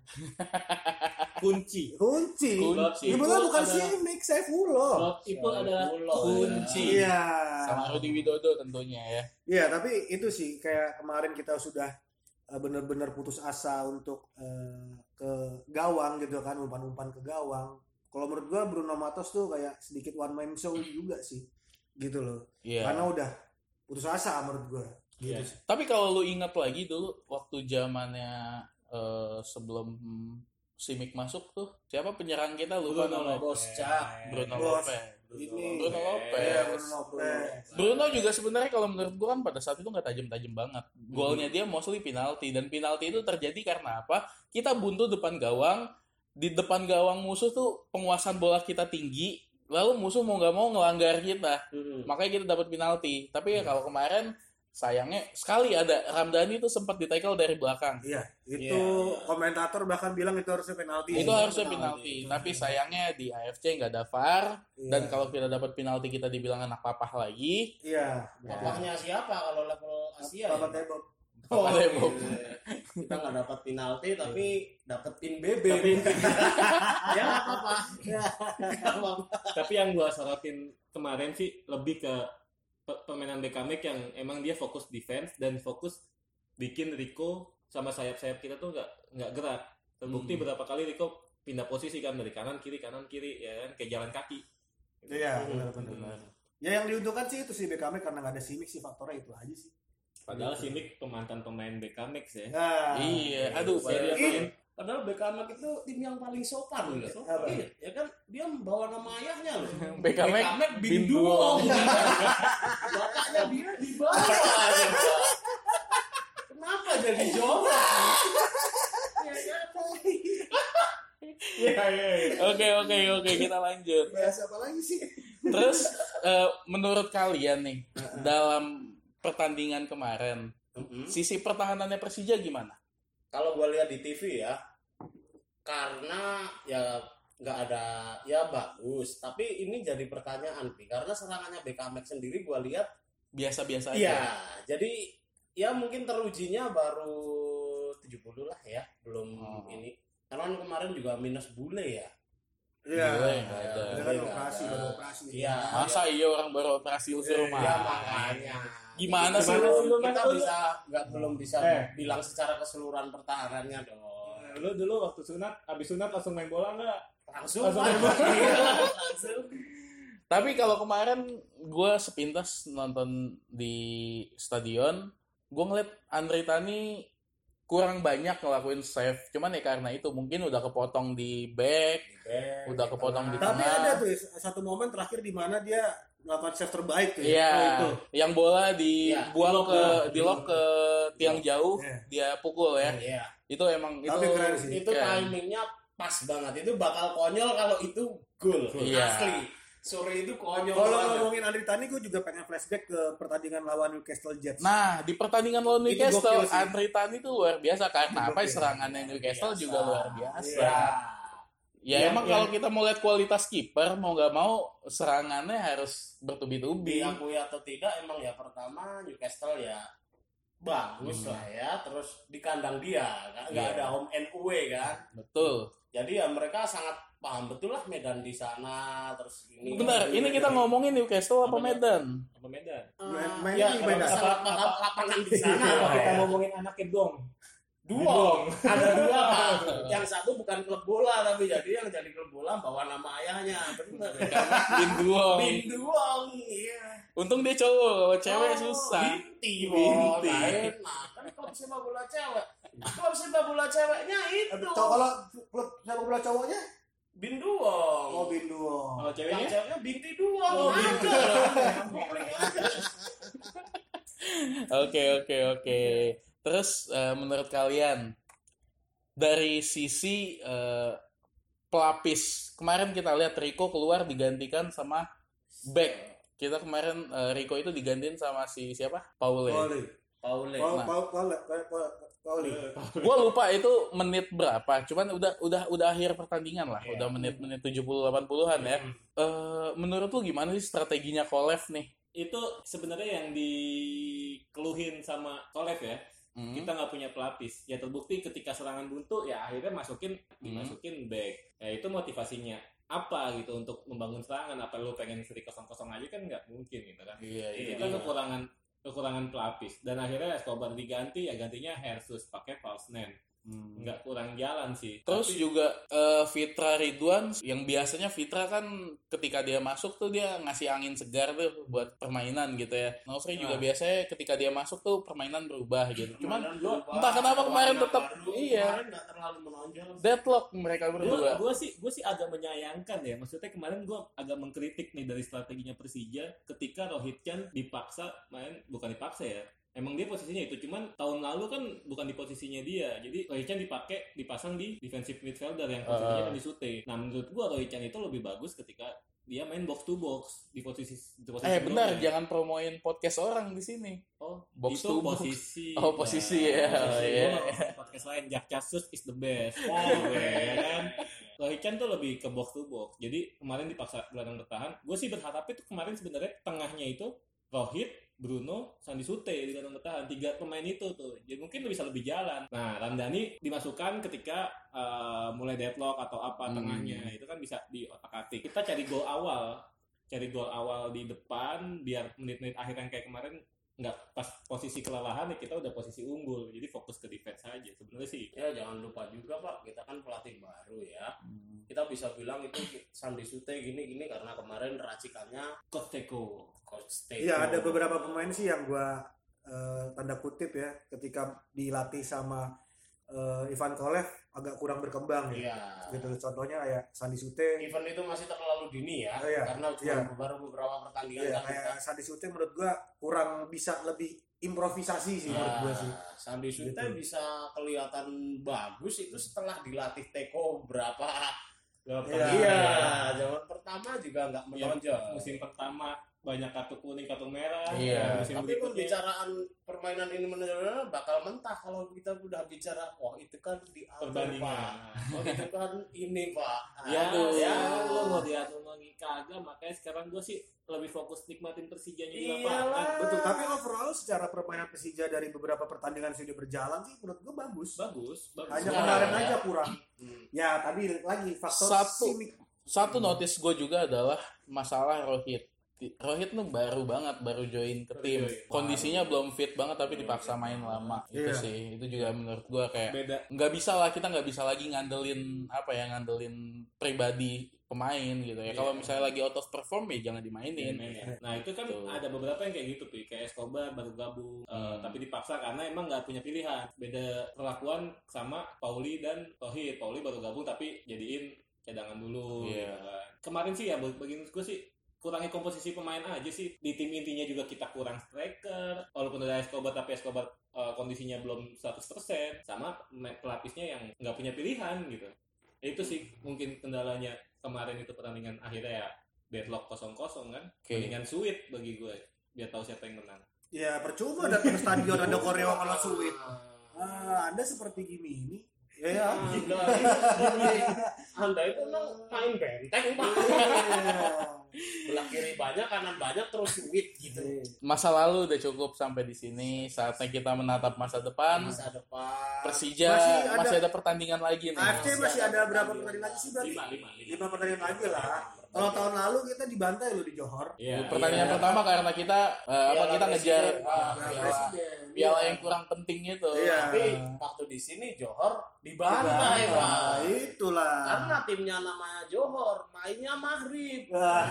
Speaker 4: kunci
Speaker 3: kunci
Speaker 1: Kunci. Oh,
Speaker 3: ibu kan bukan
Speaker 4: Ada-
Speaker 3: simik Saifullah
Speaker 4: Rob itu adalah
Speaker 2: Saifullah,
Speaker 4: kunci
Speaker 3: iya
Speaker 1: sama Rudi Widodo tentunya ya.
Speaker 3: iya tapi itu sih kayak kemarin kita sudah eh, benar-benar putus asa untuk eh, ke gawang gitu kan umpan-umpan ke gawang kalau menurut gua Bruno Matos tuh kayak sedikit one man show juga sih gitu loh
Speaker 1: Mm. Iya.
Speaker 3: karena udah putus asa menurut gua gitu
Speaker 4: Iya.
Speaker 3: sih.
Speaker 1: Tapi kalau lu ingat lagi dulu waktu zamannya eh, sebelum Simic masuk tuh, siapa penyerang kita lupa
Speaker 4: Bruno
Speaker 1: namanya?
Speaker 2: Bos Cak.
Speaker 1: Bruno
Speaker 3: Bos.
Speaker 1: Lopez.
Speaker 3: Ini-
Speaker 1: Bruno Lopez.
Speaker 3: Iya, Bruno Lopez.
Speaker 1: Bruno juga sebenarnya kalau menurut gue kan pada saat itu nggak tajam-tajam banget.
Speaker 2: Mm-hmm.
Speaker 1: Golnya dia mostly penalti dan penalti itu terjadi karena apa? Kita buntu depan gawang, di depan gawang musuh tuh penguasaan bola kita tinggi, lalu musuh mau nggak mau ngelanggar kita,
Speaker 2: Hmm.
Speaker 1: makanya kita dapat penalti. Tapi ya
Speaker 2: Mm-hmm.
Speaker 1: kalau kemarin sayangnya sekali ada Ramdhani itu sempat ditackle dari belakang.
Speaker 3: Iya, itu
Speaker 2: Iya.
Speaker 3: komentator bahkan bilang itu harusnya penalti.
Speaker 1: itu
Speaker 2: Iya,
Speaker 1: harusnya
Speaker 2: penalti.
Speaker 1: penalti, tapi sayangnya di AFC nggak ada VAR
Speaker 3: Iya.
Speaker 1: dan kalau kita dapat penalti kita dibilang anak papah lagi.
Speaker 3: iya,
Speaker 2: Papahnya ya. siapa kalau level Asia?
Speaker 3: Bapak
Speaker 2: ya?
Speaker 3: tembok.
Speaker 1: Papa Tebok.
Speaker 2: iya. Kita nggak dapat penalti tapi
Speaker 1: Iya.
Speaker 2: dapetin BB. ya nggak apa-apa. Nggak apa-apa.
Speaker 4: tapi yang gua sorotin kemarin sih lebih ke pe- permainan Bekamek yang emang dia fokus defense dan fokus bikin Rico sama sayap-sayap kita tuh nggak nggak gerak terbukti
Speaker 1: Hmm.
Speaker 4: berapa kali Rico pindah posisi kan dari kanan kiri kanan kiri ya kan kayak jalan kaki
Speaker 3: Iya, benar-benar. Ya yang diuntungkan sih itu sih BKM karena nggak ada simik sih faktornya itu aja sih.
Speaker 4: padahal si Mick pemantan pemain Bekamek ya
Speaker 3: Nah,
Speaker 1: Iya, aduh, padahal-
Speaker 4: Seri apa ya?
Speaker 2: Padahal Bekamek itu tim yang paling sopan loh.
Speaker 3: Sopan.
Speaker 2: Iya, ya kan dia membawa nama ayahnya loh.
Speaker 1: Bekamek
Speaker 2: bin
Speaker 1: Binduong.
Speaker 2: Duong. Bapaknya dia di bawah. Kenapa jadi jorok? Ya, ya,
Speaker 4: iya iya iya
Speaker 1: Oke oke oke kita lanjut.
Speaker 3: bahas apa lagi sih?
Speaker 1: Terus eh, menurut kalian nih dalam pertandingan kemarin
Speaker 2: Mm-mm.
Speaker 1: sisi pertahanannya Persija gimana?
Speaker 2: Kalau gua lihat di TV ya, karena ya nggak ada ya bagus. Tapi ini jadi pertanyaan Pi. karena serangannya Bekamek sendiri gua lihat
Speaker 1: Biasa-biasa
Speaker 2: Iya,
Speaker 1: aja.
Speaker 2: jadi ya mungkin terujinya baru 70 lah ya, belum
Speaker 1: Oh.
Speaker 2: ini. Karena kan kemarin juga minus bule ya.
Speaker 3: Iya.
Speaker 1: Bule nggak ada.
Speaker 3: Dia kan operasi, baru operasi.
Speaker 2: Iya.
Speaker 1: Masa iya orang baru operasi usir
Speaker 3: Iya,
Speaker 1: rumah?
Speaker 2: Ya makanya.
Speaker 1: Gimana sih
Speaker 2: Jadi,
Speaker 1: lu?
Speaker 2: belum-
Speaker 4: Gimana
Speaker 2: Kita
Speaker 4: lu?
Speaker 2: bisa nggak belum bisa
Speaker 4: Eh.
Speaker 2: bilang secara keseluruhan pertahanannya dong.
Speaker 4: lu dulu waktu sunat abis sunat langsung main bola nggak
Speaker 2: Langsung
Speaker 4: Langsung.
Speaker 2: Pak. Iya, langsung.
Speaker 1: Tapi kalau kemarin gue sepintas nonton di stadion, gue ngeliat Andre Tani kurang banyak ngelakuin save. Cuman ya karena itu mungkin udah kepotong di back,
Speaker 2: Eh,
Speaker 1: Udah kepotong di
Speaker 3: Tapi
Speaker 1: Nah.
Speaker 3: ada tuh satu momen terakhir di mana dia melakukan save terbaik tuh.
Speaker 1: Iya,
Speaker 3: Oh, itu.
Speaker 1: yang bola
Speaker 2: Iya,
Speaker 1: dibuang
Speaker 4: di lob
Speaker 1: ke
Speaker 4: lah.
Speaker 1: di lob ke tiang jauh,
Speaker 3: Iya.
Speaker 1: dia pukul ya.
Speaker 2: Iya.
Speaker 1: Itu emang itu
Speaker 3: Tapi keren sih.
Speaker 2: itu
Speaker 1: Keren.
Speaker 2: timingnya pas banget. Itu bakal konyol kalau itu gol.
Speaker 1: Iya.
Speaker 2: Asli. Sore itu konyol.
Speaker 3: Kalau
Speaker 2: banget.
Speaker 3: ngomongin Andri Tani, gue juga pengen flashback ke pertandingan lawan Newcastle Jets.
Speaker 1: Nah, di pertandingan lawan
Speaker 3: Itu
Speaker 1: Newcastle,
Speaker 3: gokil sih.
Speaker 1: Andre Tani itu luar biasa karena
Speaker 3: Itu
Speaker 1: apa
Speaker 3: gokil.
Speaker 1: serangannya Newcastle juga luar biasa.
Speaker 2: Iya.
Speaker 1: Ya
Speaker 4: Iya,
Speaker 1: emang
Speaker 4: iya.
Speaker 1: kalau kita mau lihat kualitas kiper mau nggak mau serangannya harus bertubi-tubi.
Speaker 3: Iya.
Speaker 2: Diakui atau tidak emang ya pertama Newcastle ya bagus lah ya terus di kandang dia kan?
Speaker 1: Hmm.
Speaker 2: nggak
Speaker 1: Iya.
Speaker 2: ada home and away kan
Speaker 1: Betul.
Speaker 2: jadi ya mereka sangat paham betul lah medan di sana terus
Speaker 3: Iya,
Speaker 2: ini
Speaker 1: Bentar, ini kita ngomongin Newcastle apa
Speaker 4: Apa
Speaker 1: Medan?
Speaker 4: apa Medan
Speaker 2: Eh,
Speaker 3: Main-
Speaker 2: ya,
Speaker 3: mainnya di
Speaker 2: kalau
Speaker 3: Medan.
Speaker 2: sangat paham lapangan di sana
Speaker 4: Kalau
Speaker 2: Pak,
Speaker 4: kita
Speaker 2: ya.
Speaker 4: ngomongin anaknya dong
Speaker 2: dua
Speaker 4: Dong.
Speaker 2: ada dua pak yang satu bukan klub bola tapi jadi yang jadi klub bola bawa nama ayahnya benar
Speaker 1: Iya. Binduong.
Speaker 2: Binduong iya
Speaker 1: Untung dia cowok, cewek
Speaker 2: Oh, gitu. Nah,
Speaker 1: susah. Gitu.
Speaker 2: Binti,
Speaker 1: Binti.
Speaker 2: binti. Kan klub sepak bola cewek. Klub sepak bola ceweknya itu.
Speaker 3: Aduh, Kalau klub sepak bola cowoknya,
Speaker 2: Binduong.
Speaker 3: oh Binduo.
Speaker 4: kalau
Speaker 2: Yang
Speaker 4: ceweknya
Speaker 2: ceweknya binti duong.
Speaker 4: Oh, Binti.
Speaker 2: binti.
Speaker 1: Oke oke oke. Terus eh, menurut kalian dari sisi eh, pelapis kemarin kita lihat Rico keluar digantikan sama back Kita kemarin eh, Rico itu digantiin sama si siapa? Paul ya.
Speaker 3: Pauli.
Speaker 2: Paule.
Speaker 3: Paul,
Speaker 1: Nah.
Speaker 3: Paul, Paul, Paul- Paul- Pauli.
Speaker 1: Gua lupa itu menit berapa, cuman udah udah udah akhir pertandingan lah, udah menit-menit 70-80-an
Speaker 4: Iya.
Speaker 1: ya. Eh, menurut lu gimana sih strateginya Kolev nih?
Speaker 4: itu sebenarnya yang dikeluhin sama Kolev ya
Speaker 1: Hmm.
Speaker 4: kita nggak punya pelapis ya terbukti ketika serangan buntu ya akhirnya masukin
Speaker 1: Hmm.
Speaker 4: dimasukin back ya itu motivasinya apa gitu untuk membangun serangan apa lu pengen seri kosong kosong aja kan nggak mungkin gitu kan
Speaker 1: Iya,
Speaker 4: itu
Speaker 1: iya.
Speaker 4: kan kekurangan kekurangan pelapis dan akhirnya Escobar diganti ya gantinya Hersus pakai false nine
Speaker 1: Hmm.
Speaker 4: nggak kurang jalan sih
Speaker 1: Terus
Speaker 4: Tapi-
Speaker 1: juga eh, Fitra Ridwan yang biasanya Fitra kan ketika dia masuk tuh dia ngasih angin segar tuh buat permainan gitu ya. Nosri juga biasanya ketika dia masuk tuh permainan berubah gitu. Cuman entah kenapa kemarin tetap iya
Speaker 2: Kemarin nggak terlalu menonjol.
Speaker 1: deadlock mereka
Speaker 4: gue
Speaker 1: berdua.
Speaker 4: sih gue sih agak menyayangkan ya maksudnya kemarin gue agak mengkritik nih dari strateginya Persija ketika Rohit Chan dipaksa main bukan dipaksa ya Emang dia posisinya itu, cuman tahun lalu kan bukan di posisinya dia. Jadi Rohit Chan dipakai, dipasang di defensive midfielder yang posisinya
Speaker 1: Ah.
Speaker 4: kan di Sute. Nah menurut gua Rohit Chan itu lebih bagus ketika dia main box to box di posisi di posisi
Speaker 1: Eh benar
Speaker 4: sebelumnya.
Speaker 1: jangan promoin podcast orang di sini.
Speaker 4: Oh,
Speaker 1: Box
Speaker 4: itu
Speaker 1: to box.
Speaker 4: posisi.
Speaker 1: Oh, posisi, ya.
Speaker 4: posisi.
Speaker 1: Iya.
Speaker 4: Gua nggak nonton podcast lain Jak Casus is the best. Oh, ya kan. Rohit Chan tuh lebih ke box to box. Jadi kemarin dipaksa gelandang bertahan. Gue sih berharap itu kemarin sebenarnya tengahnya itu Rohit, Bruno, Sandi Sute di gelandang bertahan. Tiga pemain itu tuh. Jadi mungkin bisa lebih jalan. Nah, Ramdhani dimasukkan ketika eh, mulai deadlock atau apa
Speaker 1: Hmm.
Speaker 4: tengahnya. Itu kan bisa di otak-atik. Kita cari gol awal cari gol awal di depan biar menit-menit akhir yang kayak kemarin nggak pas posisi kelelahan ya kita udah posisi unggul jadi fokus ke defense aja sebenarnya sih
Speaker 2: Ya jangan lupa juga Pak, kita kan pelatih baru ya. Kita bisa bilang itu Sandi Sute gini-gini karena kemarin racikannya
Speaker 4: coach Teko
Speaker 2: coach Teko.
Speaker 3: Iya ada beberapa pemain sih yang gua eh, tanda kutip ya ketika dilatih sama eh, Ivan Kolev agak kurang berkembang ya.
Speaker 2: Iya.
Speaker 3: Gitu contohnya kayak Sandi Sute.
Speaker 2: Event itu masih terlalu dini ya,
Speaker 3: Oh, iya.
Speaker 2: karena cuma
Speaker 3: Iya.
Speaker 2: baru beberapa pertandingan
Speaker 3: Iya,
Speaker 2: kan kita.
Speaker 3: kayak Sandi Sute menurut gua kurang bisa lebih improvisasi sih menurut gua sih.
Speaker 2: Nah, Sandi Sute
Speaker 3: Gitu.
Speaker 2: bisa kelihatan bagus itu setelah dilatih Teko berapa
Speaker 3: Iya.
Speaker 4: Gol pertama.
Speaker 2: Iya, zaman pertama juga nggak
Speaker 4: Yang
Speaker 2: menonjol.
Speaker 4: musim pertama banyak kartu kuning kartu merah
Speaker 1: Iya.
Speaker 4: Nah, musim
Speaker 2: Tapi
Speaker 4: berikutnya
Speaker 2: pembicaraan permainan ini menonjol bakal mentah kalau kita udah bicara, wah itu kan di awal,
Speaker 4: perbandingan
Speaker 2: Pak. Oh itu kan ini Pak. Ah,
Speaker 4: ya
Speaker 2: ya.
Speaker 4: ya lo mau diatur lagi kagak makanya sekarang gue sih lebih fokus nikmatin Persijanya di lapangan
Speaker 2: Iyalah.
Speaker 3: Betul, tapi overall secara permainan Persija dari beberapa pertandingan sudah berjalan sih menurut gua bagus. Iya.
Speaker 4: bagus bagus
Speaker 3: Hanya
Speaker 2: Nah,
Speaker 3: kemarin
Speaker 2: ya.
Speaker 3: aja kurang.
Speaker 2: Hmm.
Speaker 3: Ya, tadi lagi faktor
Speaker 1: Satu.
Speaker 3: simik.
Speaker 1: Satu notice gue juga adalah masalah Rohit. Di- Rohit tuh baru banget baru join ke tim.
Speaker 4: join.
Speaker 1: Kondisinya belum fit banget tapi dipaksa main lama. Itu
Speaker 3: Iya.
Speaker 1: sih. Itu juga menurut gua kayak
Speaker 4: beda
Speaker 1: nggak bisa lah kita nggak bisa lagi ngandelin apa ya ngandelin pribadi pemain gitu ya
Speaker 4: Iya.
Speaker 1: kalau misalnya lagi out of perform ya jangan dimainin
Speaker 4: Iya. Nah itu kan
Speaker 1: Betul.
Speaker 4: ada beberapa yang kayak gitu Pi. kayak Escobar baru gabung eh,
Speaker 1: Hmm.
Speaker 4: tapi dipaksa karena emang nggak punya pilihan. Beda perlakuan sama Pauli dan Rohit. Pauli baru gabung tapi jadiin cadangan dulu.
Speaker 1: Iya.
Speaker 4: gitu kan. Kemarin sih ya bag- bagi gue sih kurangi komposisi pemain aja sih di tim intinya juga kita kurang striker walaupun ada Escobar tapi Escobar eh, kondisinya belum 100% sama me- pelapisnya yang nggak punya pilihan gitu itu sih mungkin kendalanya kemarin itu pertandingan akhirnya ya deadlock 0-0 kan
Speaker 1: Oke.
Speaker 4: Mendingan suit bagi gue biar tahu siapa yang menang.
Speaker 3: Ya, percuma datang ke stadion ada koreo kalau sulit.
Speaker 2: Ah.
Speaker 3: Ah, Anda seperti gini ini. Ya, ya.
Speaker 2: Anda, Anda itu emang main benteng Pak. Belah kiri banyak, kanan banyak, terus duit gitu.
Speaker 3: Iya.
Speaker 1: masa lalu udah cukup sampai di sini saatnya kita menatap masa depan
Speaker 2: Masa depan.
Speaker 1: Persija
Speaker 3: Masih
Speaker 1: masih
Speaker 3: ada-
Speaker 1: ada, pertandingan lagi nih Iya.
Speaker 3: AFC masih ada berapa pertandingan lagi sih berarti?
Speaker 4: Lima, lima, lima.
Speaker 3: Lima pertandingan lagi lah. Kalau tahun lalu kita dibantai loh di Johor.
Speaker 4: Iya.
Speaker 1: pertandingan pertama karena kita eh, apa
Speaker 2: Piala
Speaker 1: kita ngejar
Speaker 2: Presiden, Pak.
Speaker 1: ah,
Speaker 3: Piala
Speaker 1: piala,
Speaker 3: Nah, Presiden.
Speaker 1: piala
Speaker 2: Iya.
Speaker 1: yang kurang penting itu
Speaker 3: Iya.
Speaker 2: Tapi waktu di sini Johor
Speaker 3: Dibantai,
Speaker 2: dibantai Pak.
Speaker 3: Nah, Itulah.
Speaker 2: Karena timnya namanya Johor, mainnya Maghrib.
Speaker 3: Wah.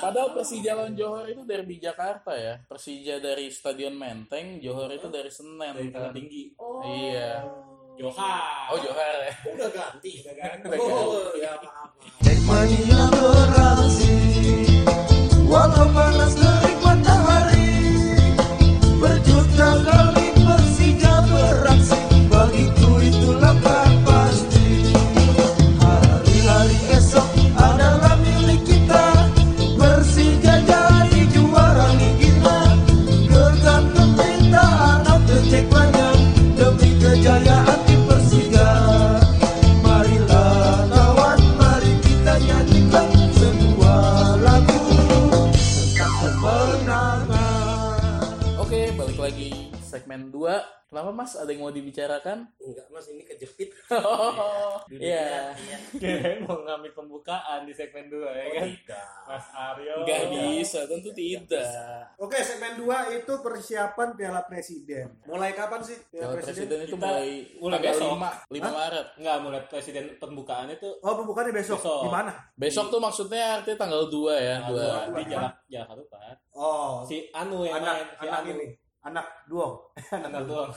Speaker 1: Padahal Persija lawan Johor itu derby Jakarta ya. Persija dari Stadion Menteng, Johor itu dari Senen.
Speaker 4: Dari
Speaker 1: kan?
Speaker 4: tanah tinggi.
Speaker 2: Oh.
Speaker 1: Iya.
Speaker 4: Johar.
Speaker 1: Oh Johor ya.
Speaker 2: Udah ganti. Udah ganti.
Speaker 1: Udah
Speaker 2: Oh, ya maaf. maaf.
Speaker 6: Mania beraksi Walau panas terik matahari Berjuta kali Persija beraksi Bagiku itulah kan pasti Hari-hari esok adalah milik kita Persija
Speaker 1: Mas? Ada yang mau dibicarakan?
Speaker 2: Enggak mas ini kejepit.
Speaker 1: Iya.
Speaker 4: Kirain mau ngambil pembukaan di segmen 2 ya
Speaker 2: Oh,
Speaker 4: kan?
Speaker 2: tidak.
Speaker 4: Mas Aryo.
Speaker 1: Nggak bisa, tentu tidak.
Speaker 3: Oke, segmen 2 itu persiapan Piala Presiden. Mulai kapan sih Piala
Speaker 1: Kalau
Speaker 3: Presiden?
Speaker 1: presiden itu
Speaker 4: kita
Speaker 1: mulai
Speaker 4: mulai
Speaker 1: tanggal
Speaker 4: besok.
Speaker 1: 5, 5 Maret.
Speaker 4: Oh, Enggak, mulai presiden pembukaannya tuh
Speaker 3: Oh, pembukaannya besok.
Speaker 4: Besok.
Speaker 3: Di mana?
Speaker 1: Besok tuh maksudnya artinya tanggal 2 ya,
Speaker 4: nah,
Speaker 1: dua.
Speaker 4: gua- di jalan jalan lupa.
Speaker 3: Oh,
Speaker 4: Si Anu yang
Speaker 3: anak
Speaker 4: main, si
Speaker 3: anak
Speaker 4: Anu.
Speaker 3: ini. Anak duo.
Speaker 4: Anak doang.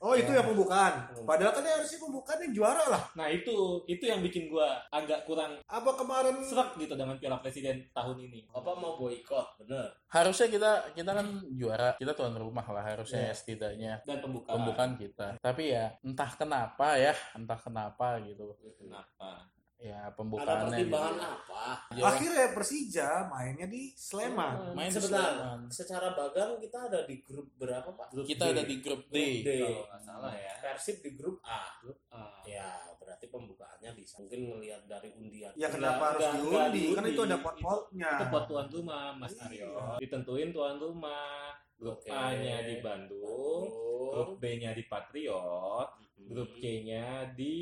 Speaker 3: Oh, itu yang pembukaan. Padahal kan ya harusnya pembukaan yang juara lah.
Speaker 4: Nah, itu itu yang bikin gua agak kurang
Speaker 3: Apa kemarin
Speaker 4: serak gitu dengan Piala Presiden tahun ini.
Speaker 2: Apa mau boykot bener?
Speaker 1: Harusnya kita kita kan juara, kita tuan rumah lah harusnya ya setidaknya
Speaker 4: Dan pembukaan.
Speaker 1: pembukaan kita. Tapi ya entah kenapa ya, entah kenapa gitu.
Speaker 4: Kenapa?
Speaker 1: Ya
Speaker 2: Ada
Speaker 1: pembukaannya.
Speaker 2: pertimbangan
Speaker 1: gitu.
Speaker 2: apa?
Speaker 1: Jawa-
Speaker 3: akhirnya Persija mainnya di Sleman.
Speaker 1: Main di
Speaker 2: Sebentar.
Speaker 1: Sleman.
Speaker 2: Secara bagan kita ada di grup berapa pak? Grup
Speaker 1: Kita
Speaker 2: D.
Speaker 1: ada di grup D.
Speaker 2: Grup D.
Speaker 4: Kalau nggak salah ya.
Speaker 2: Persib di grup A.
Speaker 4: Ah.
Speaker 2: Ya berarti pembukaannya bisa. Mungkin melihat dari undian.
Speaker 3: Ya
Speaker 4: Enggak,
Speaker 3: kenapa harus
Speaker 4: enggak, enggak
Speaker 3: diundi? Kan
Speaker 4: diundi.
Speaker 3: itu ada
Speaker 4: Itu-
Speaker 3: pot-potnya.
Speaker 4: Ah. Itu buat tuan rumah, Mas Aryo. Ditentuin tuan rumah. Grup
Speaker 2: Oke.
Speaker 4: A-nya di Bandung, grup
Speaker 2: Grup
Speaker 4: B-nya di Patriot,
Speaker 2: Hmm.
Speaker 4: grup C-nya di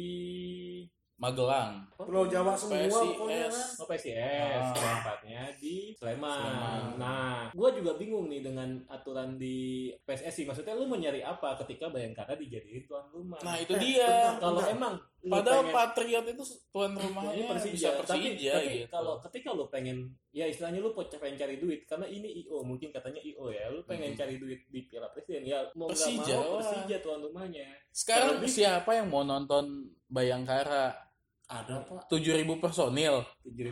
Speaker 1: Magelang.
Speaker 3: Pulau Jawa semua
Speaker 1: PSIS.
Speaker 3: pokoknya kan.
Speaker 4: Oh, PCS,
Speaker 1: Ah.
Speaker 4: grup empatnya di Sleman.
Speaker 1: Sleman.
Speaker 4: Nah, gue juga bingung nih dengan aturan di PSSI. Maksudnya lu mau nyari apa ketika Bayangkara dijadiin tuan rumah?
Speaker 1: Nah, itu
Speaker 3: Eh,
Speaker 1: dia.
Speaker 3: bentar.
Speaker 4: kalau emang lu
Speaker 1: Padahal
Speaker 4: pengen-
Speaker 1: Patriot itu tuan
Speaker 4: ini
Speaker 1: rumahnya
Speaker 4: Persija,
Speaker 1: bisa
Speaker 4: tapi,
Speaker 1: Persija
Speaker 4: tapi
Speaker 1: gitu.
Speaker 4: kalau ketika lu pengen ya istilahnya lu pocah pengen cari duit karena ini IO mungkin katanya IO ya lu pengen
Speaker 1: Mhm.
Speaker 4: cari duit di Piala Presiden ya mau nggak
Speaker 1: Persija,
Speaker 4: mau
Speaker 1: wah.
Speaker 4: Persija tuan rumahnya
Speaker 1: Sekarang
Speaker 4: Terlebih-
Speaker 1: siapa yang mau nonton Bayangkara?
Speaker 2: Ada pak.
Speaker 1: 7000 personil.
Speaker 4: tujuh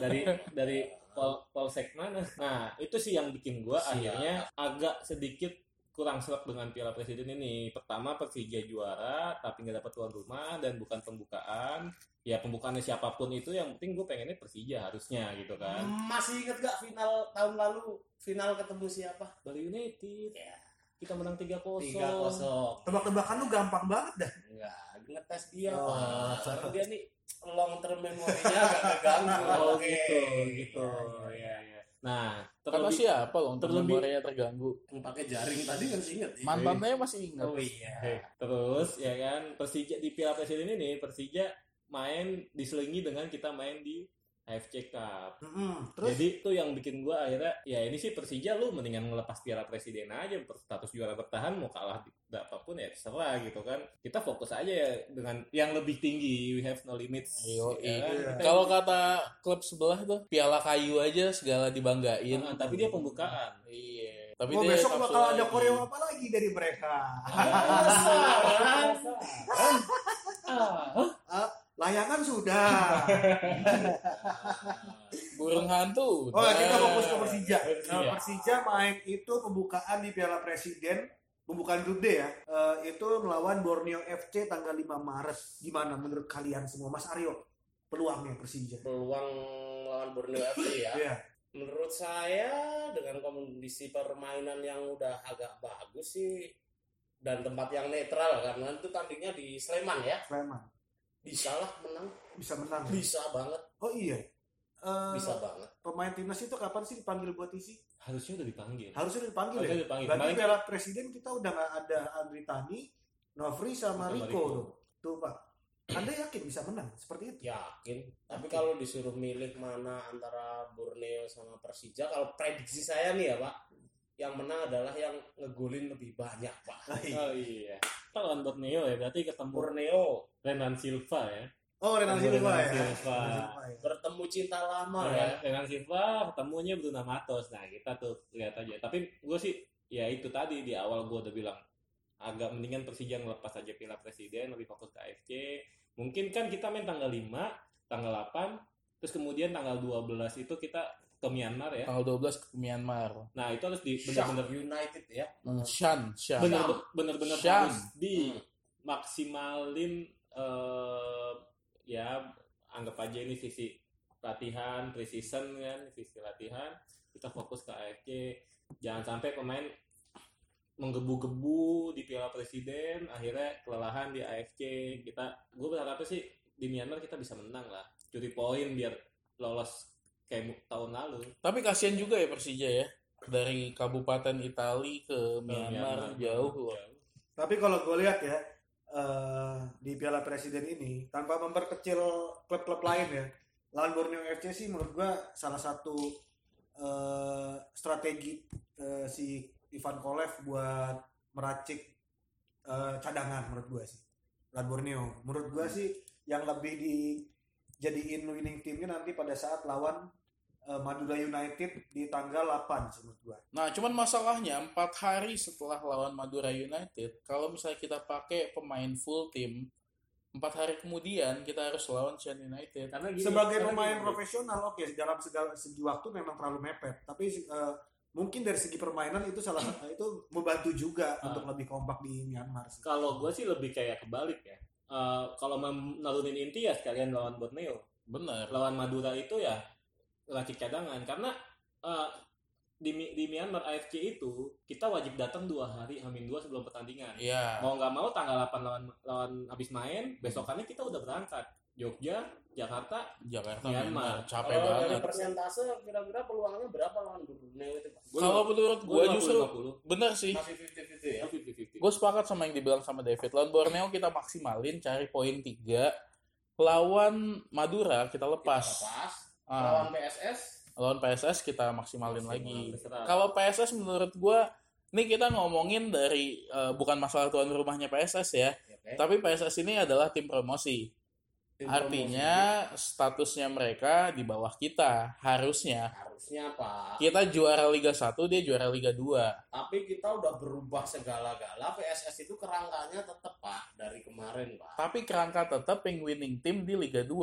Speaker 4: dari dari pol polsek mana nah itu sih yang bikin gua
Speaker 2: Siap.
Speaker 4: akhirnya agak sedikit kurang serak dengan Piala Presiden ini pertama Persija juara tapi nggak dapat tuan rumah dan bukan pembukaan ya pembukaannya siapapun itu yang penting gue pengennya Persija harusnya gitu kan
Speaker 2: Masih inget gak final tahun lalu final ketemu siapa?
Speaker 4: Bali United.
Speaker 2: Hmm. Ya.
Speaker 4: Kita menang 3-0.
Speaker 2: Tiga kosong.
Speaker 3: Tebak-tebakan lu gampang banget dah.
Speaker 2: Enggak, ngetes dia
Speaker 3: Oh.
Speaker 2: pak. Karena dia nih long term memorinya agak keganggu. Iya,
Speaker 4: Oh
Speaker 2: Oke.
Speaker 4: gitu, gitu. Ya, ya. Nah,
Speaker 1: Karena
Speaker 4: terlebih
Speaker 1: siapa loh untuk
Speaker 4: terlebih- Eh.
Speaker 1: memorinya terganggu?
Speaker 2: Yang pakai jaring tadi kan sih inget.
Speaker 1: Mantannya masih ingat.
Speaker 2: Oh iya.
Speaker 4: Hei, terus ya kan Persija di Piala Presiden ini Persija main diselingi dengan kita main di AFC Cup.
Speaker 3: Mm-mm. Terus
Speaker 4: Jadi itu yang bikin gua akhirnya ya ini sih Persija lu mendingan ngelepas Piala Presiden aja status juara bertahan mau kalah di- apapun ya terserah gitu kan. Kita fokus aja ya dengan yang lebih tinggi we have no limits.
Speaker 1: Ayo,
Speaker 4: ya kan?
Speaker 3: iya.
Speaker 4: Kita-
Speaker 1: Kalau kata klub sebelah tuh, piala kayu aja segala dibanggain.
Speaker 4: Ah, tapi dia pembukaan.
Speaker 1: Iya. Tapi
Speaker 3: mau
Speaker 1: dia
Speaker 3: oh, besok
Speaker 1: kapsul
Speaker 3: bakal ada
Speaker 1: lagi.
Speaker 3: koreo apa lagi dari mereka?
Speaker 4: ya kan?
Speaker 3: Layangan sudah.
Speaker 1: Burung hantu.
Speaker 3: Oh,
Speaker 1: udah.
Speaker 3: kita fokus ke Persija.
Speaker 4: Persija.
Speaker 3: Nah, Persija main itu pembukaan di Piala Presiden, pembukaan grup D ya. Eh, itu melawan Borneo FC tanggal 5 Maret. Gimana menurut kalian semua, Mas Aryo? Peluangnya Persija.
Speaker 2: Peluang lawan Borneo FC ya.
Speaker 3: Iya.
Speaker 2: Menurut saya dengan kondisi permainan yang udah agak bagus sih dan tempat yang netral karena itu tandingnya di Sleman ya.
Speaker 3: Sleman
Speaker 2: Bisa lah menang.
Speaker 3: bisa menang.
Speaker 2: Bisa banget,
Speaker 3: Oh iya. Eh,
Speaker 2: bisa banget.
Speaker 3: pemain timnas itu kapan sih dipanggil buat isi?
Speaker 4: harusnya udah dipanggil.
Speaker 3: Harusnya udah dipanggil ya.
Speaker 4: Harusnya dipanggil.
Speaker 3: Berarti
Speaker 4: Kemarin
Speaker 3: Piala Presiden kita udah nggak ada Andri Tani, Novri sama
Speaker 4: Sama
Speaker 3: Rico.
Speaker 4: Rico.
Speaker 3: tuh. Tuh Pak. Anda yakin bisa menang seperti itu?
Speaker 2: Yakin. Tapi kalau disuruh milih mana antara Borneo sama Persija, kalau prediksi saya nih ya Pak, yang menang adalah yang ngegolin lebih banyak Pak.
Speaker 4: Oh iya. Kita lawan Borneo ya, berarti ketemu
Speaker 2: Borneo
Speaker 4: Renan Silva ya.
Speaker 3: Oh Renan
Speaker 4: Ketemu
Speaker 3: Silva ya.
Speaker 4: Renan Silva.
Speaker 3: Renan Silva ya.
Speaker 2: bertemu cinta lama ya.
Speaker 4: Renan, Renan Silva ketemunya Bruno Matos. Nah, kita tuh lihat aja. Tapi gue sih ya itu tadi di awal gue udah bilang agak mendingan Persija ngelepas aja Piala Presiden lebih fokus ke AFC. Mungkin kan kita main tanggal 5, tanggal 8, terus kemudian tanggal 12 itu kita ke Myanmar ya.
Speaker 1: Tanggal 12 ke Myanmar.
Speaker 4: Nah, itu harus di
Speaker 2: Benar-benar
Speaker 4: benar-benar
Speaker 2: United ya.
Speaker 1: Hmm, Shan, Shan.
Speaker 4: bener bener-bener
Speaker 1: Syam.
Speaker 4: harus dimaksimalin eh, ya anggap aja ini sisi latihan precision kan sisi latihan kita fokus ke AFC jangan sampai pemain menggebu-gebu di Piala Presiden akhirnya kelelahan di AFC kita gue berharap sih di Myanmar kita bisa menang lah curi poin biar lolos kayak mu- tahun lalu
Speaker 1: Tapi kasihan juga ya Persija ya. Dari Kabupaten Itali ke
Speaker 4: Ke
Speaker 1: Myanmar jauh. loh.
Speaker 3: Tapi kalau gue lihat ya eh, di Piala Presiden ini tanpa memperkecil klub-klub lain ya, lawan Borneo FC sih menurut gue salah satu eh, strategi eh, si Ivan Kolev buat meracik eh, cadangan menurut gue sih. Lawan Borneo, menurut gue sih yang lebih dijadiin winning teamnya nanti pada saat lawan eh, Madura United di tanggal 8 sih menurut gue.
Speaker 1: Nah, cuman masalahnya empat hari setelah lawan Madura United, kalau misalnya kita pakai pemain full team, empat hari kemudian kita harus lawan Shan United.
Speaker 2: Karena
Speaker 4: Iya,
Speaker 2: gini,
Speaker 3: sebagai
Speaker 2: karena
Speaker 3: pemain
Speaker 4: gitu.
Speaker 2: gini,
Speaker 3: profesional oke dalam segala segi waktu memang terlalu mepet tapi eh, mungkin dari segi permainan itu salah satu itu membantu juga
Speaker 4: Hmm. Ah.
Speaker 3: untuk lebih kompak di Myanmar sih.
Speaker 4: Kalau gue sih lebih kayak kebalik ya. Eh, kalau mau narunin inti ya sekalian lawan Borneo.
Speaker 1: Bener.
Speaker 4: Lawan Madura itu ya lacik cadangan karena eh, di, Mi- di Myanmar AFC itu kita wajib datang dua hari hamin dua sebelum pertandingan.
Speaker 1: Iya.
Speaker 4: mau nggak mau tanggal 8 lawan lawan habis main besokannya kita udah berangkat Jogja Jakarta
Speaker 1: Jakarta Myanmar
Speaker 4: Myanmar.
Speaker 1: capek
Speaker 2: Kalau dari
Speaker 1: Iya, banget.
Speaker 2: persentase kira-kira peluangnya berapa lawan Borneo itu Pak?
Speaker 4: Gua
Speaker 1: Kalau
Speaker 4: lima-
Speaker 1: menurut
Speaker 4: gua
Speaker 1: gue
Speaker 4: 50,
Speaker 1: justru
Speaker 4: 50.
Speaker 1: bener sih.
Speaker 2: Masih 50-50 ya.
Speaker 4: Gua 50-50.
Speaker 1: Gue sepakat sama yang dibilang sama David. Lawan Borneo kita maksimalin cari poin 3. Lawan Madura kita lepas.
Speaker 2: Pas.
Speaker 1: Ah.
Speaker 2: Lawan PSS
Speaker 1: Lawan PSS kita maksimalin lagi.
Speaker 4: Terserah.
Speaker 1: Kalau PSS menurut gue ini kita ngomongin dari eh, bukan masalah tuan rumahnya PSS ya,
Speaker 2: oke.
Speaker 1: tapi PSS ini adalah tim promosi.
Speaker 2: Tim
Speaker 1: Artinya statusnya mereka di bawah kita harusnya.
Speaker 2: promosi. harusnya Pak.
Speaker 1: Kita juara Liga 1, dia juara Liga 2.
Speaker 2: Tapi kita udah berubah segala-gala. PSS itu kerangkanya tetap Pak dari kemarin Pak.
Speaker 1: Tapi kerangka tetap yang winning team di Liga 2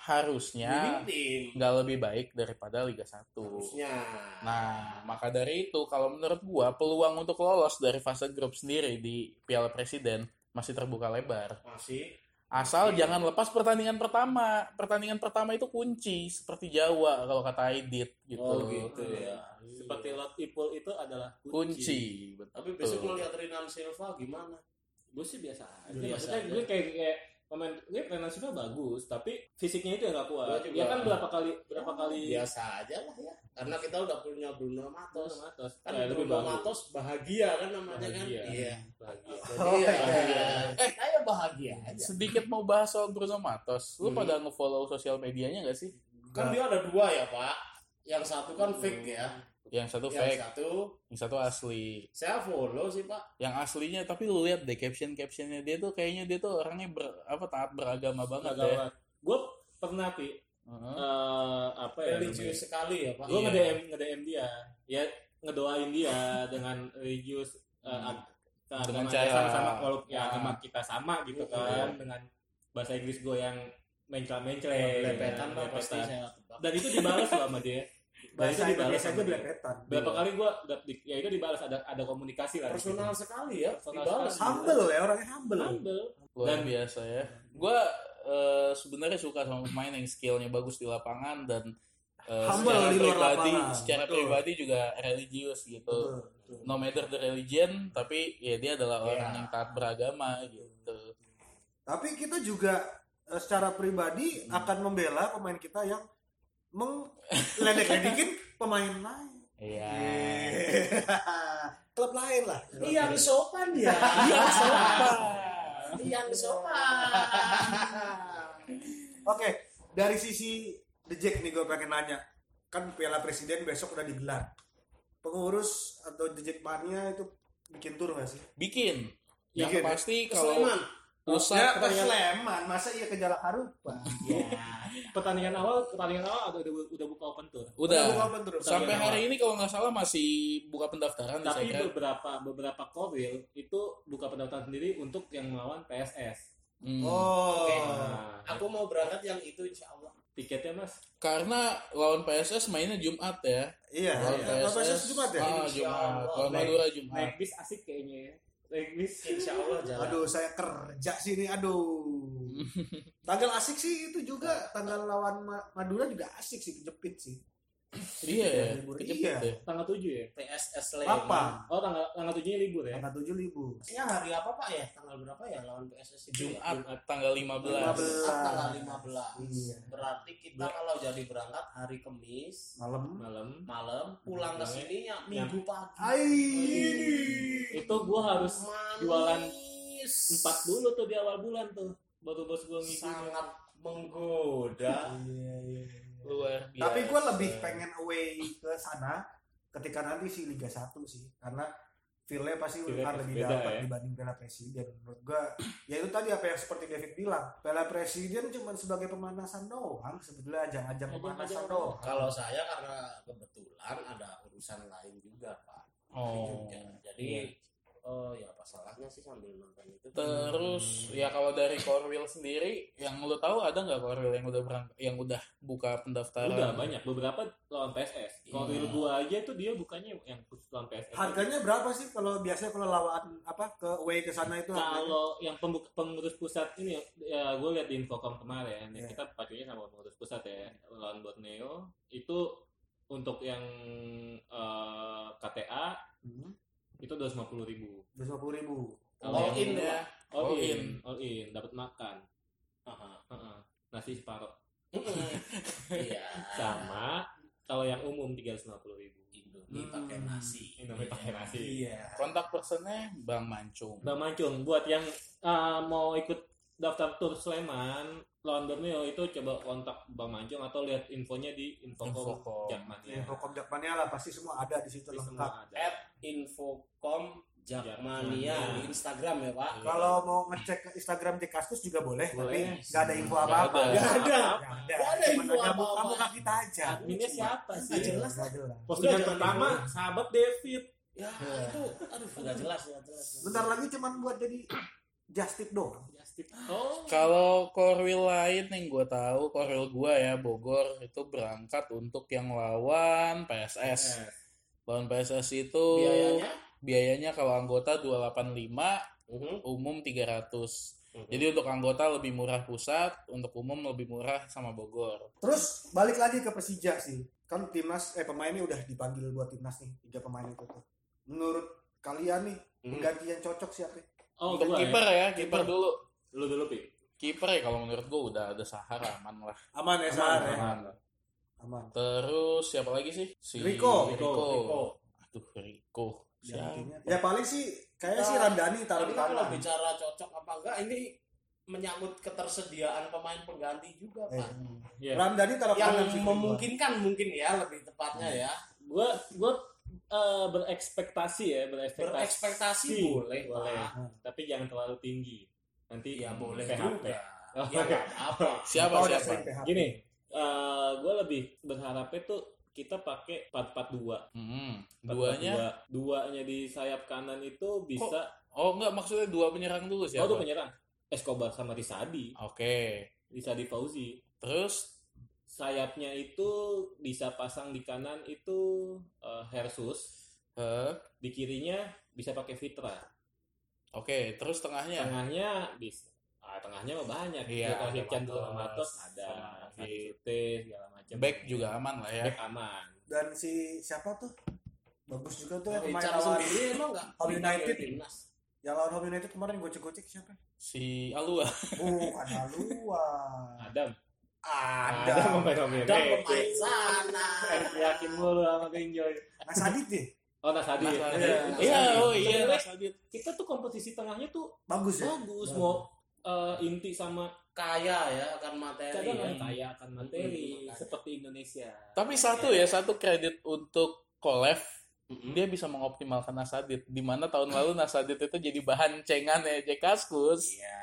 Speaker 1: harusnya
Speaker 2: Winning tim
Speaker 1: nggak lebih baik daripada Liga 1.
Speaker 2: harusnya.
Speaker 1: Nah, maka dari itu kalau menurut gua peluang untuk lolos dari fase grup sendiri di Piala Presiden masih terbuka lebar.
Speaker 2: masih
Speaker 1: Asal jangan lepas pertandingan pertama. Pertandingan pertama itu kunci seperti Jawa kalau kata Aidit gitu.
Speaker 4: Oh, gitu ya.
Speaker 2: Iya.
Speaker 4: seperti lot people itu adalah kunci,
Speaker 1: Kunci.
Speaker 2: Tapi besok
Speaker 1: Betul.
Speaker 2: melihat Rinan Silva gimana?
Speaker 4: gue sih biasa aja
Speaker 1: Biasa
Speaker 4: maksudnya
Speaker 1: aja.
Speaker 4: gue kayak kayak pemain gue pemain nasional bagus tapi fisiknya itu yang gak kuat
Speaker 2: Gua juga.
Speaker 4: dia kan berapa kali berapa kali
Speaker 2: Biasa aja lah ya. Karena kita udah punya Bruno
Speaker 4: terus
Speaker 2: Matos.
Speaker 4: atas Kayak
Speaker 2: Kan
Speaker 4: Nah, lebih
Speaker 2: Bruno
Speaker 4: bagus.
Speaker 2: Matos bahagia kan namanya
Speaker 4: Bahagia.
Speaker 2: kan? Iya.
Speaker 4: Bahagia.
Speaker 3: Oh,
Speaker 2: Iya.
Speaker 3: iya.
Speaker 2: Eh, saya bahagia aja.
Speaker 1: Sedikit mau bahas soal Bruno Matos. Lu
Speaker 2: Hmm.
Speaker 1: pada nge-follow sosial medianya gak sih?
Speaker 2: Kan dia ada dua ya, Pak. Yang satu kan fake ya.
Speaker 1: Yang satu
Speaker 2: Yang
Speaker 1: fake,
Speaker 2: satu
Speaker 1: yang satu asli.
Speaker 2: saya follow sih, Pak.
Speaker 1: Yang aslinya tapi lu lihat deh caption-captionnya dia tuh kayaknya dia tuh orangnya ber- apa taat beragama banget ya.
Speaker 4: gue pernah pi
Speaker 1: Heeh.
Speaker 4: eh, apa ya namanya?
Speaker 2: Religius sekali ya, Pak.
Speaker 4: gue
Speaker 1: Iya.
Speaker 4: nge-DM nge-DM dia ya ngedoain dia dengan religius eh, ag-
Speaker 1: Dengan
Speaker 4: agama
Speaker 1: cara-
Speaker 4: dia sama walaupun ya
Speaker 2: Nah.
Speaker 4: agama kita sama gitu
Speaker 2: Iya.
Speaker 4: kan dengan bahasa Inggris gue yang mencela-mencela
Speaker 2: Eh, Lepetan Pak Ya, pasti saya tebak.
Speaker 4: kan, dan itu dibalas loh sama dia dan itu
Speaker 3: bahasa
Speaker 4: dibalas
Speaker 3: Indonesia
Speaker 4: sama
Speaker 3: nya
Speaker 4: dia
Speaker 3: belepetan
Speaker 4: ya?
Speaker 3: Iya.
Speaker 4: berapa kali gue ya itu dibalas ada ada komunikasi lah di situ.
Speaker 2: Personal sekali ya,
Speaker 4: Personal
Speaker 2: dibalas.
Speaker 4: sekali.
Speaker 3: humble ya orangnya humble
Speaker 4: Humble.
Speaker 1: luar
Speaker 4: Dan-
Speaker 1: biasa ya. Gua eh, sebenarnya suka sama pemain yang skillnya bagus di lapangan dan eh,
Speaker 3: Humble
Speaker 1: secara
Speaker 3: di luar
Speaker 1: pribadi,
Speaker 3: lapangan.
Speaker 1: secara
Speaker 3: Betul.
Speaker 1: pribadi juga religius gitu.
Speaker 3: Betul, betul.
Speaker 1: No matter the religion, tapi ya dia adalah
Speaker 2: Iya.
Speaker 1: orang yang taat beragama gitu.
Speaker 3: tapi kita juga eh, secara pribadi
Speaker 4: Hmm.
Speaker 3: akan membela pemain kita yang meledek-ledekin pemain lain
Speaker 1: Iya.
Speaker 3: klub lain lah
Speaker 2: Yang sopan Iya, ya.
Speaker 4: Iya,
Speaker 2: Yang sopan. Yang sopan.
Speaker 3: Oke, dari sisi The Jack nih gue pengen nanya. Kan Piala Presiden besok udah digelar. Pengurus atau The Jack Mania itu bikin tur gak sih?
Speaker 1: Bikin. Yang
Speaker 3: Bikin, ya?
Speaker 1: pasti kalau Ya,
Speaker 2: Sleman.
Speaker 1: rusak
Speaker 3: ke Sleman, masa iya ke Jalak Harupa?
Speaker 4: pertandingan awal pertandingan awal ada udah, udah buka open tour
Speaker 1: udah.
Speaker 3: Bukan open tour.
Speaker 1: Sampai
Speaker 4: Pertandingan
Speaker 1: hari ini kalau nggak salah masih buka pendaftaran di
Speaker 4: tapi
Speaker 1: Sekret.
Speaker 4: beberapa beberapa koril itu buka pendaftaran sendiri untuk yang melawan PSS
Speaker 1: Hmm.
Speaker 3: Oh,
Speaker 2: Oke.
Speaker 4: Nah,
Speaker 2: Aku mau berangkat yang itu insya Allah.
Speaker 4: tiketnya mas
Speaker 1: Karena lawan PSS mainnya Jumat ya.
Speaker 3: iya.
Speaker 1: Lawan
Speaker 3: iya. Apa sih Jumat ya?
Speaker 1: Ah,
Speaker 2: Insya
Speaker 1: Jumat.
Speaker 2: Allah.
Speaker 1: Lawan
Speaker 4: Naik-
Speaker 1: Madura Jumat.
Speaker 4: naik bis asik kayaknya ya naik bis
Speaker 2: Insya Allah jalan.
Speaker 3: Iya. Aduh, saya kerja sini, aduh. Tanggal asik sih itu juga, tanggal lawan Ma- Madura juga asik sih, kejepit sih.
Speaker 1: Iya,
Speaker 3: Tiga hari libur.
Speaker 1: kejepit
Speaker 3: Iya.
Speaker 1: deh.
Speaker 4: Tanggal 7 ya?
Speaker 2: PSS
Speaker 3: Apa?
Speaker 4: Oh tanggal tanggal 7 nya libur
Speaker 1: Iya.
Speaker 4: ya?
Speaker 3: Tanggal tujuh libur.
Speaker 2: Maksudnya hari apa Pak ya? Tanggal berapa ya lawan PSS itu? ya?
Speaker 1: Jumat tanggal 15.
Speaker 3: 15.
Speaker 2: tanggal 15.
Speaker 3: Iya.
Speaker 2: Berarti kita kalau jadi berangkat hari Kamis
Speaker 3: Malam.
Speaker 4: Malam.
Speaker 2: malam pulang ke sini ya minggu pagi.
Speaker 3: Ai.
Speaker 4: Itu gua harus
Speaker 2: Manis.
Speaker 4: jualan empat dulu tuh di awal bulan tuh baru bos gua ngisi
Speaker 2: sangat menggoda.
Speaker 3: Iya, iya.
Speaker 1: Luar biasa.
Speaker 3: Tapi gue lebih pengen away ke sana ketika nanti si Liga 1 sih karena feel-nya pasti akan
Speaker 4: Feel-nya pasti
Speaker 3: lebih
Speaker 4: beda
Speaker 3: dapat
Speaker 4: ya.
Speaker 3: dibanding Piala Presiden menurut gue ya itu tadi apa yang seperti David bilang Piala Presiden cuma sebagai pemanasan doang sebetulnya ajang-ajang pemanasan doang
Speaker 2: Kalau saya karena kebetulan ada urusan lain juga Pak.
Speaker 1: Oh.
Speaker 2: Jadi
Speaker 4: Iya.
Speaker 2: eh, ya apa salahnya sih sambil nonton itu.
Speaker 1: Terus ya kalau dari Korwil sendiri yang lu tahu ada nggak Korwil yang udah berang yang udah buka pendaftaran?
Speaker 4: udah banyak beberapa lawan PSS kalau
Speaker 2: Iya.
Speaker 4: real gua aja tuh dia bukannya yang khusus lawan PSS
Speaker 3: harganya berapa sih kalau biasanya kalau lawan apa ke away ke sana itu harganya?
Speaker 4: kalau yang pembu- pengurus pusat ini ya gue lihat di infokom kemarin ya
Speaker 3: Iya.
Speaker 4: kita pacunya sama pengurus pusat ya lawan Borneo itu untuk yang eh, KTA
Speaker 3: hmm,
Speaker 4: itu dua ribu
Speaker 3: 250 ribu
Speaker 2: All in
Speaker 4: Iya.
Speaker 1: ya.
Speaker 2: ya.
Speaker 4: all,
Speaker 1: All
Speaker 4: in.
Speaker 1: in.
Speaker 4: all in dapat makan Heeh. nasi separuh
Speaker 2: Iya.
Speaker 4: sama kalau yang umum tiga ratus ribu
Speaker 2: Indomie pakai
Speaker 3: Hmm.
Speaker 2: nasi.
Speaker 4: Indomie pakai nasi
Speaker 3: iya
Speaker 1: Kontak personnya Bang Mancung.
Speaker 4: Bang Mancung buat yang uh, mau ikut daftar tur Sleman lawan Borneo itu coba kontak Bang Mancung atau lihat infonya di Infocom
Speaker 1: Infocom.
Speaker 4: Jakman ya.
Speaker 3: info komjakmania lah pasti semua ada di situ
Speaker 4: Di
Speaker 3: lengkap
Speaker 4: semua ada.
Speaker 2: At Infocom Jakmania di Instagram ya Pak.
Speaker 3: Kalau mau ngecek Instagram di Kaskus juga boleh,
Speaker 4: Boleh.
Speaker 3: tapi nggak ada info apa-apa.
Speaker 1: Nggak
Speaker 2: ada.
Speaker 3: Nggak
Speaker 2: Nggak ada
Speaker 3: Cuma
Speaker 2: info
Speaker 3: nanya,
Speaker 2: apa-apa.
Speaker 3: Kamu kaki kita aja.
Speaker 4: Adminnya siapa
Speaker 3: Nggak
Speaker 4: sih?
Speaker 3: jelas, nggak jelas.
Speaker 4: Postingan
Speaker 2: Udah, jangan
Speaker 4: pertama
Speaker 2: dulu.
Speaker 4: sahabat David.
Speaker 2: Ya, itu aduh nggak jelas ya jelas.
Speaker 3: Bentar lagi cuman buat jadi justip doang.
Speaker 4: Justin. Oh.
Speaker 1: Kalau Korwil lain yang gue tahu, Korwil gue ya Bogor itu berangkat untuk yang lawan
Speaker 4: Eh.
Speaker 1: PSS. Lawan PSS itu
Speaker 2: Biayanya?
Speaker 1: biayanya kalau anggota 285, umum 300. Jadi untuk anggota lebih murah pusat, untuk umum lebih murah sama Bogor.
Speaker 3: Terus balik lagi ke Persija sih. Kan timnas eh pemainnya udah dipanggil buat timnas nih, tiga pemain itu tuh. Menurut kalian nih pengganti yang cocok siapa?
Speaker 4: Oh,
Speaker 1: untuk
Speaker 4: gua ya.
Speaker 1: kiper ya, kiper
Speaker 4: Kiper.
Speaker 1: dulu.
Speaker 4: Lu dulu, Pi.
Speaker 1: Kiper ya kalau menurut gue udah ada Sahar aman lah.
Speaker 3: Aman ya, Sar ya?
Speaker 1: Aman.
Speaker 3: Aman.
Speaker 1: Terus siapa lagi sih? Si
Speaker 3: Rico.
Speaker 1: Rico.
Speaker 4: Rico.
Speaker 1: Aduh Rico. Siapa?
Speaker 3: Gantinya. Ya paling sih kayaknya sih Ramdhani taruh di
Speaker 2: Tapi kalau
Speaker 3: kanan.
Speaker 2: bicara cocok apa enggak ini menyangkut ketersediaan pemain pengganti juga
Speaker 3: Eh,
Speaker 2: Pak.
Speaker 4: Iya.
Speaker 3: Ramdhani taruh
Speaker 2: Yang
Speaker 3: kanan sih.
Speaker 2: memungkinkan mungkin ya lebih tepatnya ya.
Speaker 4: Gua gua eh, berekspektasi ya, berekspektasi.
Speaker 2: Berekspektasi boleh,
Speaker 4: boleh.
Speaker 2: Pak.
Speaker 4: Tapi jangan terlalu tinggi. Nanti
Speaker 2: Ya boleh
Speaker 4: PHP.
Speaker 2: juga.
Speaker 4: Oh,
Speaker 2: Ya nggak apa-apa.
Speaker 1: Siapa
Speaker 3: Kalau udah
Speaker 1: siapa?
Speaker 3: sering PHP.
Speaker 4: Gini, eh gue lebih berharapnya tuh kita pakai 442.
Speaker 1: Hmm, duanya.
Speaker 4: 4-4-2. duanya di sayap kanan itu bisa
Speaker 1: Oh enggak maksudnya dua penyerang dulu
Speaker 4: oh
Speaker 1: siapa?
Speaker 4: tuh penyerang Escobar sama Risadi,
Speaker 1: Oke.
Speaker 4: Risadi Fauzi.
Speaker 1: Terus
Speaker 4: Sayapnya itu bisa pasang di kanan itu eh, Hersus,
Speaker 1: eh,
Speaker 4: di kirinya bisa pakai Fitra.
Speaker 1: oke, terus tengahnya.
Speaker 4: Tengahnya bisa ah, tengahnya mah banyak.
Speaker 1: Iya,
Speaker 4: Joko
Speaker 1: ada
Speaker 4: Hicam dulu
Speaker 1: Matos,
Speaker 4: sama Matos ada
Speaker 1: sama
Speaker 4: Sute segala macam.
Speaker 1: Back juga aman lah ya.
Speaker 4: Back aman.
Speaker 3: dan si siapa tuh bagus juga
Speaker 2: Oh,
Speaker 3: tuh yang pemain
Speaker 2: Bicara
Speaker 3: lawan
Speaker 2: sendiri emang enggak.
Speaker 3: Home United.
Speaker 2: Timnas.
Speaker 3: yang lawan Home United kemarin gocek-gocek siapa
Speaker 1: Si Alua.
Speaker 3: bukan haluan
Speaker 4: Adam.
Speaker 3: ada
Speaker 4: pemain-pemain.
Speaker 2: Dan pemain sana.
Speaker 4: Yakin mulu sama Benjoy.
Speaker 3: Mas Adit deh
Speaker 4: Oh Nasadi.
Speaker 1: Mas Adit.
Speaker 4: Iya.
Speaker 1: Iya, oh iya.
Speaker 4: Sebenarnya
Speaker 1: Mas Adit.
Speaker 4: Kita tuh komposisi tengahnya tuh
Speaker 3: bagus ya
Speaker 4: bagus. Mau eh, inti sama
Speaker 2: Kaya ya akan materi.
Speaker 4: kadang
Speaker 2: ya.
Speaker 4: yang kaya akan materi
Speaker 2: Hmm.
Speaker 4: seperti Indonesia.
Speaker 1: Tapi satu ya, satu kredit untuk Kolev
Speaker 2: Mm-mm.
Speaker 1: dia bisa mengoptimalkan Nasadit di mana tahun lalu Nasadit itu jadi bahan cengan ya Jekaskus
Speaker 2: Iya.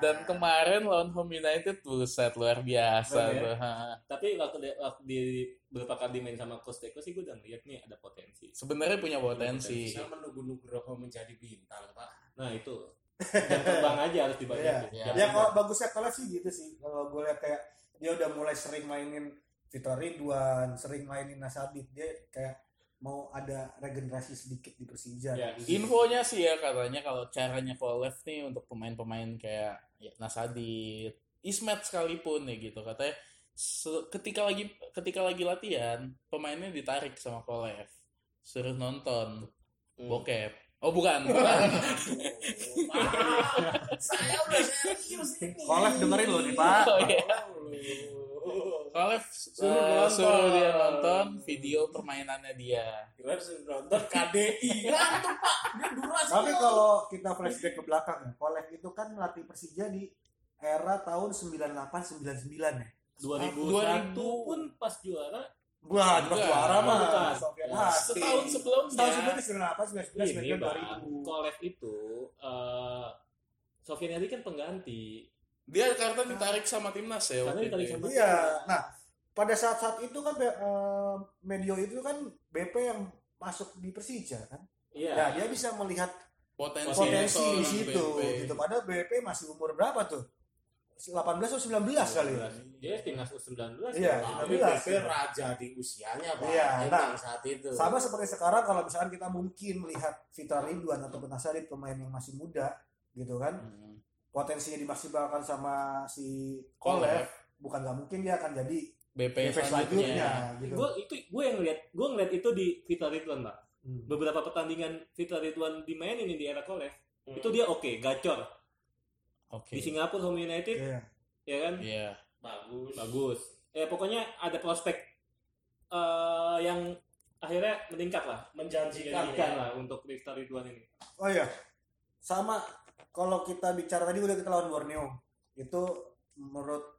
Speaker 1: dan kemarin lawan Home United buset luar biasa
Speaker 4: Bener ya?
Speaker 1: tuh ha.
Speaker 4: Tapi waktu di, waktu di- berapa kali main sama Coach Teko sih gue udah ngeliat nih ada potensi.
Speaker 1: sebenarnya punya potensi
Speaker 2: Saya menunggu Nugroho menjadi bintang, Pak.
Speaker 4: Nah itu jam terbang aja harus dibanyakin.
Speaker 1: Iya.
Speaker 4: Jam
Speaker 3: ya
Speaker 4: terbang.
Speaker 3: kalau bagusnya kalau sih gitu sih kalau gue lihat kayak dia udah mulai sering mainin Victor Ridwan sering mainin Mas Adit dia kayak mau ada regenerasi sedikit di Persija
Speaker 4: Ya.
Speaker 1: infonya sih ya katanya kalau caranya Kolev nih untuk pemain-pemain kayak ya, Nasadit Ismet sekalipun ya gitu katanya se- ketika lagi ketika lagi latihan pemainnya ditarik sama Kolev suruh nonton
Speaker 2: Hmm.
Speaker 1: bokep oh bukan, bukan.
Speaker 2: Pak, saya udah serius ini.
Speaker 7: Kolef dengerin loh nih Pak.
Speaker 1: Oh, iya.
Speaker 2: Lu-
Speaker 1: Kolev
Speaker 2: Suruh
Speaker 1: eh,
Speaker 2: nonton.
Speaker 1: suruh hmm. dia nonton video permainannya dia
Speaker 2: Kira suruh nonton KDI. Ngantuk, Pak. Dia durasi.
Speaker 3: Tapi kalau kita flashback ke belakang ya, Kolek itu kan melatih Persija di era tahun 98 99 ya.
Speaker 1: 2001
Speaker 4: pun pas juara Nah,
Speaker 3: Wah, di
Speaker 1: Enggak,
Speaker 3: juara mah.
Speaker 4: bukan.
Speaker 3: Soviet
Speaker 4: Iya.
Speaker 2: Ya,
Speaker 3: Hasti.
Speaker 1: setahun sebelumnya
Speaker 3: Setahun sebelumnya 98
Speaker 4: ini
Speaker 3: 99
Speaker 4: bang
Speaker 3: 2000.
Speaker 4: Kolev itu eh Sofian Hadi kan pengganti
Speaker 1: dia karena ditarik sama timnas ya
Speaker 4: Karena
Speaker 1: waktu
Speaker 4: ditarik
Speaker 1: itu ya.
Speaker 4: sama-
Speaker 3: Iya. Nah, pada saat-saat itu kan eh, medio itu kan BP yang masuk di Persija kan.
Speaker 4: iya
Speaker 3: Nah, dia bisa melihat
Speaker 1: potensi,
Speaker 3: potensi di
Speaker 1: seorang
Speaker 3: situ
Speaker 1: BP.
Speaker 3: gitu. Padahal BP masih umur berapa tuh? 18 atau 19 kali ya.
Speaker 4: dia timnas U19
Speaker 3: Iya,
Speaker 4: Pak.
Speaker 2: Tapi
Speaker 3: Jelas.
Speaker 2: Pepe raja di usianya, Pak.
Speaker 3: Iya, nah.
Speaker 2: Emang saat itu.
Speaker 3: Sama seperti sekarang kalau misalkan kita mungkin melihat Vita Ridwan atau Benasari pemain yang masih muda gitu kan.
Speaker 1: Hmm.
Speaker 3: Potensinya dimaksimalkan sama si
Speaker 1: Kolev.
Speaker 3: Kolev, bukan nggak mungkin dia akan jadi
Speaker 1: BP
Speaker 3: DP selanjutnya
Speaker 1: selanjutnya
Speaker 3: gitu.
Speaker 4: gue itu gue yang ngeliat gue ngeliat itu di Fitra Ridwan pak
Speaker 3: Hmm.
Speaker 4: beberapa pertandingan Fitra Ridwan dimainin di era Kolev
Speaker 2: Hmm.
Speaker 4: itu dia oke gacor
Speaker 1: oke
Speaker 4: di Singapura Home United
Speaker 3: Iya.
Speaker 4: ya kan
Speaker 1: Iya.
Speaker 2: bagus.
Speaker 4: bagus eh pokoknya ada prospek eh yang akhirnya meningkat lah
Speaker 2: Menjanjikan.
Speaker 4: menjanjikan
Speaker 2: ya.
Speaker 4: lah untuk Fitra Ridwan ini
Speaker 3: Oh iya. Sama kalau kita bicara tadi udah kita lawan Borneo. Itu menurut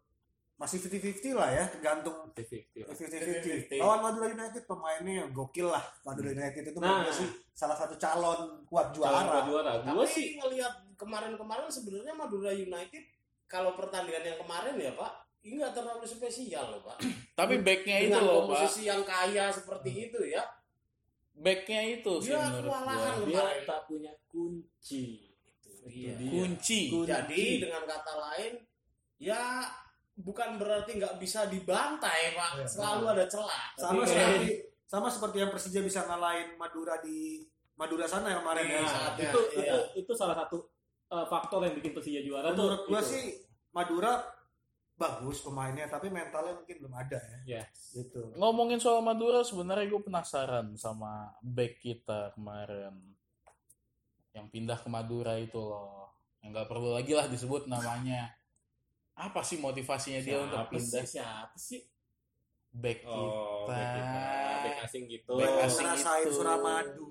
Speaker 3: masih 50-50 lah ya, tergantung
Speaker 4: ya.
Speaker 3: 50-50.
Speaker 2: 50-50.
Speaker 3: Lawan Madura Oh, United pemainnya yang gokil lah. Madura United itu
Speaker 4: Nah.
Speaker 3: menurut gue sih salah satu calon kuat
Speaker 4: juara
Speaker 3: juara.
Speaker 4: juara
Speaker 2: Tapi
Speaker 4: gue sih
Speaker 2: ngelihat kemarin-kemarin sebenarnya Madura United kalau pertandingan yang kemarin ya, Pak, ini nggak terlalu spesial loh, Pak.
Speaker 1: tapi backnya itu
Speaker 2: Dengan
Speaker 1: loh pak
Speaker 2: komposisi yang kaya seperti itu ya.
Speaker 1: backnya itu sih
Speaker 2: Dia
Speaker 1: menurut
Speaker 2: kewalahan
Speaker 1: gua
Speaker 4: dia
Speaker 2: kemarin.
Speaker 4: tak punya kunci
Speaker 2: Iya.
Speaker 4: dia.
Speaker 1: kunci
Speaker 2: Jadi dengan kata lain, ya bukan berarti nggak bisa dibantai, Pak.
Speaker 3: Iya.
Speaker 2: Selalu ada celah.
Speaker 3: Sama
Speaker 4: Tapi-
Speaker 3: seperti sama seperti yang Persija bisa ngalahin Madura di Madura sana yang kemarin
Speaker 2: Iya,
Speaker 3: ya.
Speaker 2: saatnya.
Speaker 4: itu,
Speaker 2: Iya.
Speaker 4: itu itu salah satu eh, faktor yang bikin Persija juara tuh
Speaker 3: Menurut gua
Speaker 4: itu.
Speaker 3: sih Madura bagus pemainnya tapi mentalnya mungkin belum ada ya.
Speaker 4: Iya.
Speaker 3: Gitu.
Speaker 1: ngomongin soal Madura sebenarnya gue penasaran sama back kita kemarin yang pindah ke Madura itu loh yang nggak perlu lagi lah disebut namanya apa sih motivasinya dia untuk
Speaker 4: Siapa
Speaker 1: pindah
Speaker 4: sih? siapa sih
Speaker 1: back gitu? kita
Speaker 4: oh back kita back asing gitu
Speaker 1: Back
Speaker 3: Oh,
Speaker 1: asing
Speaker 3: ngerasain
Speaker 1: itu.
Speaker 3: Suramadu.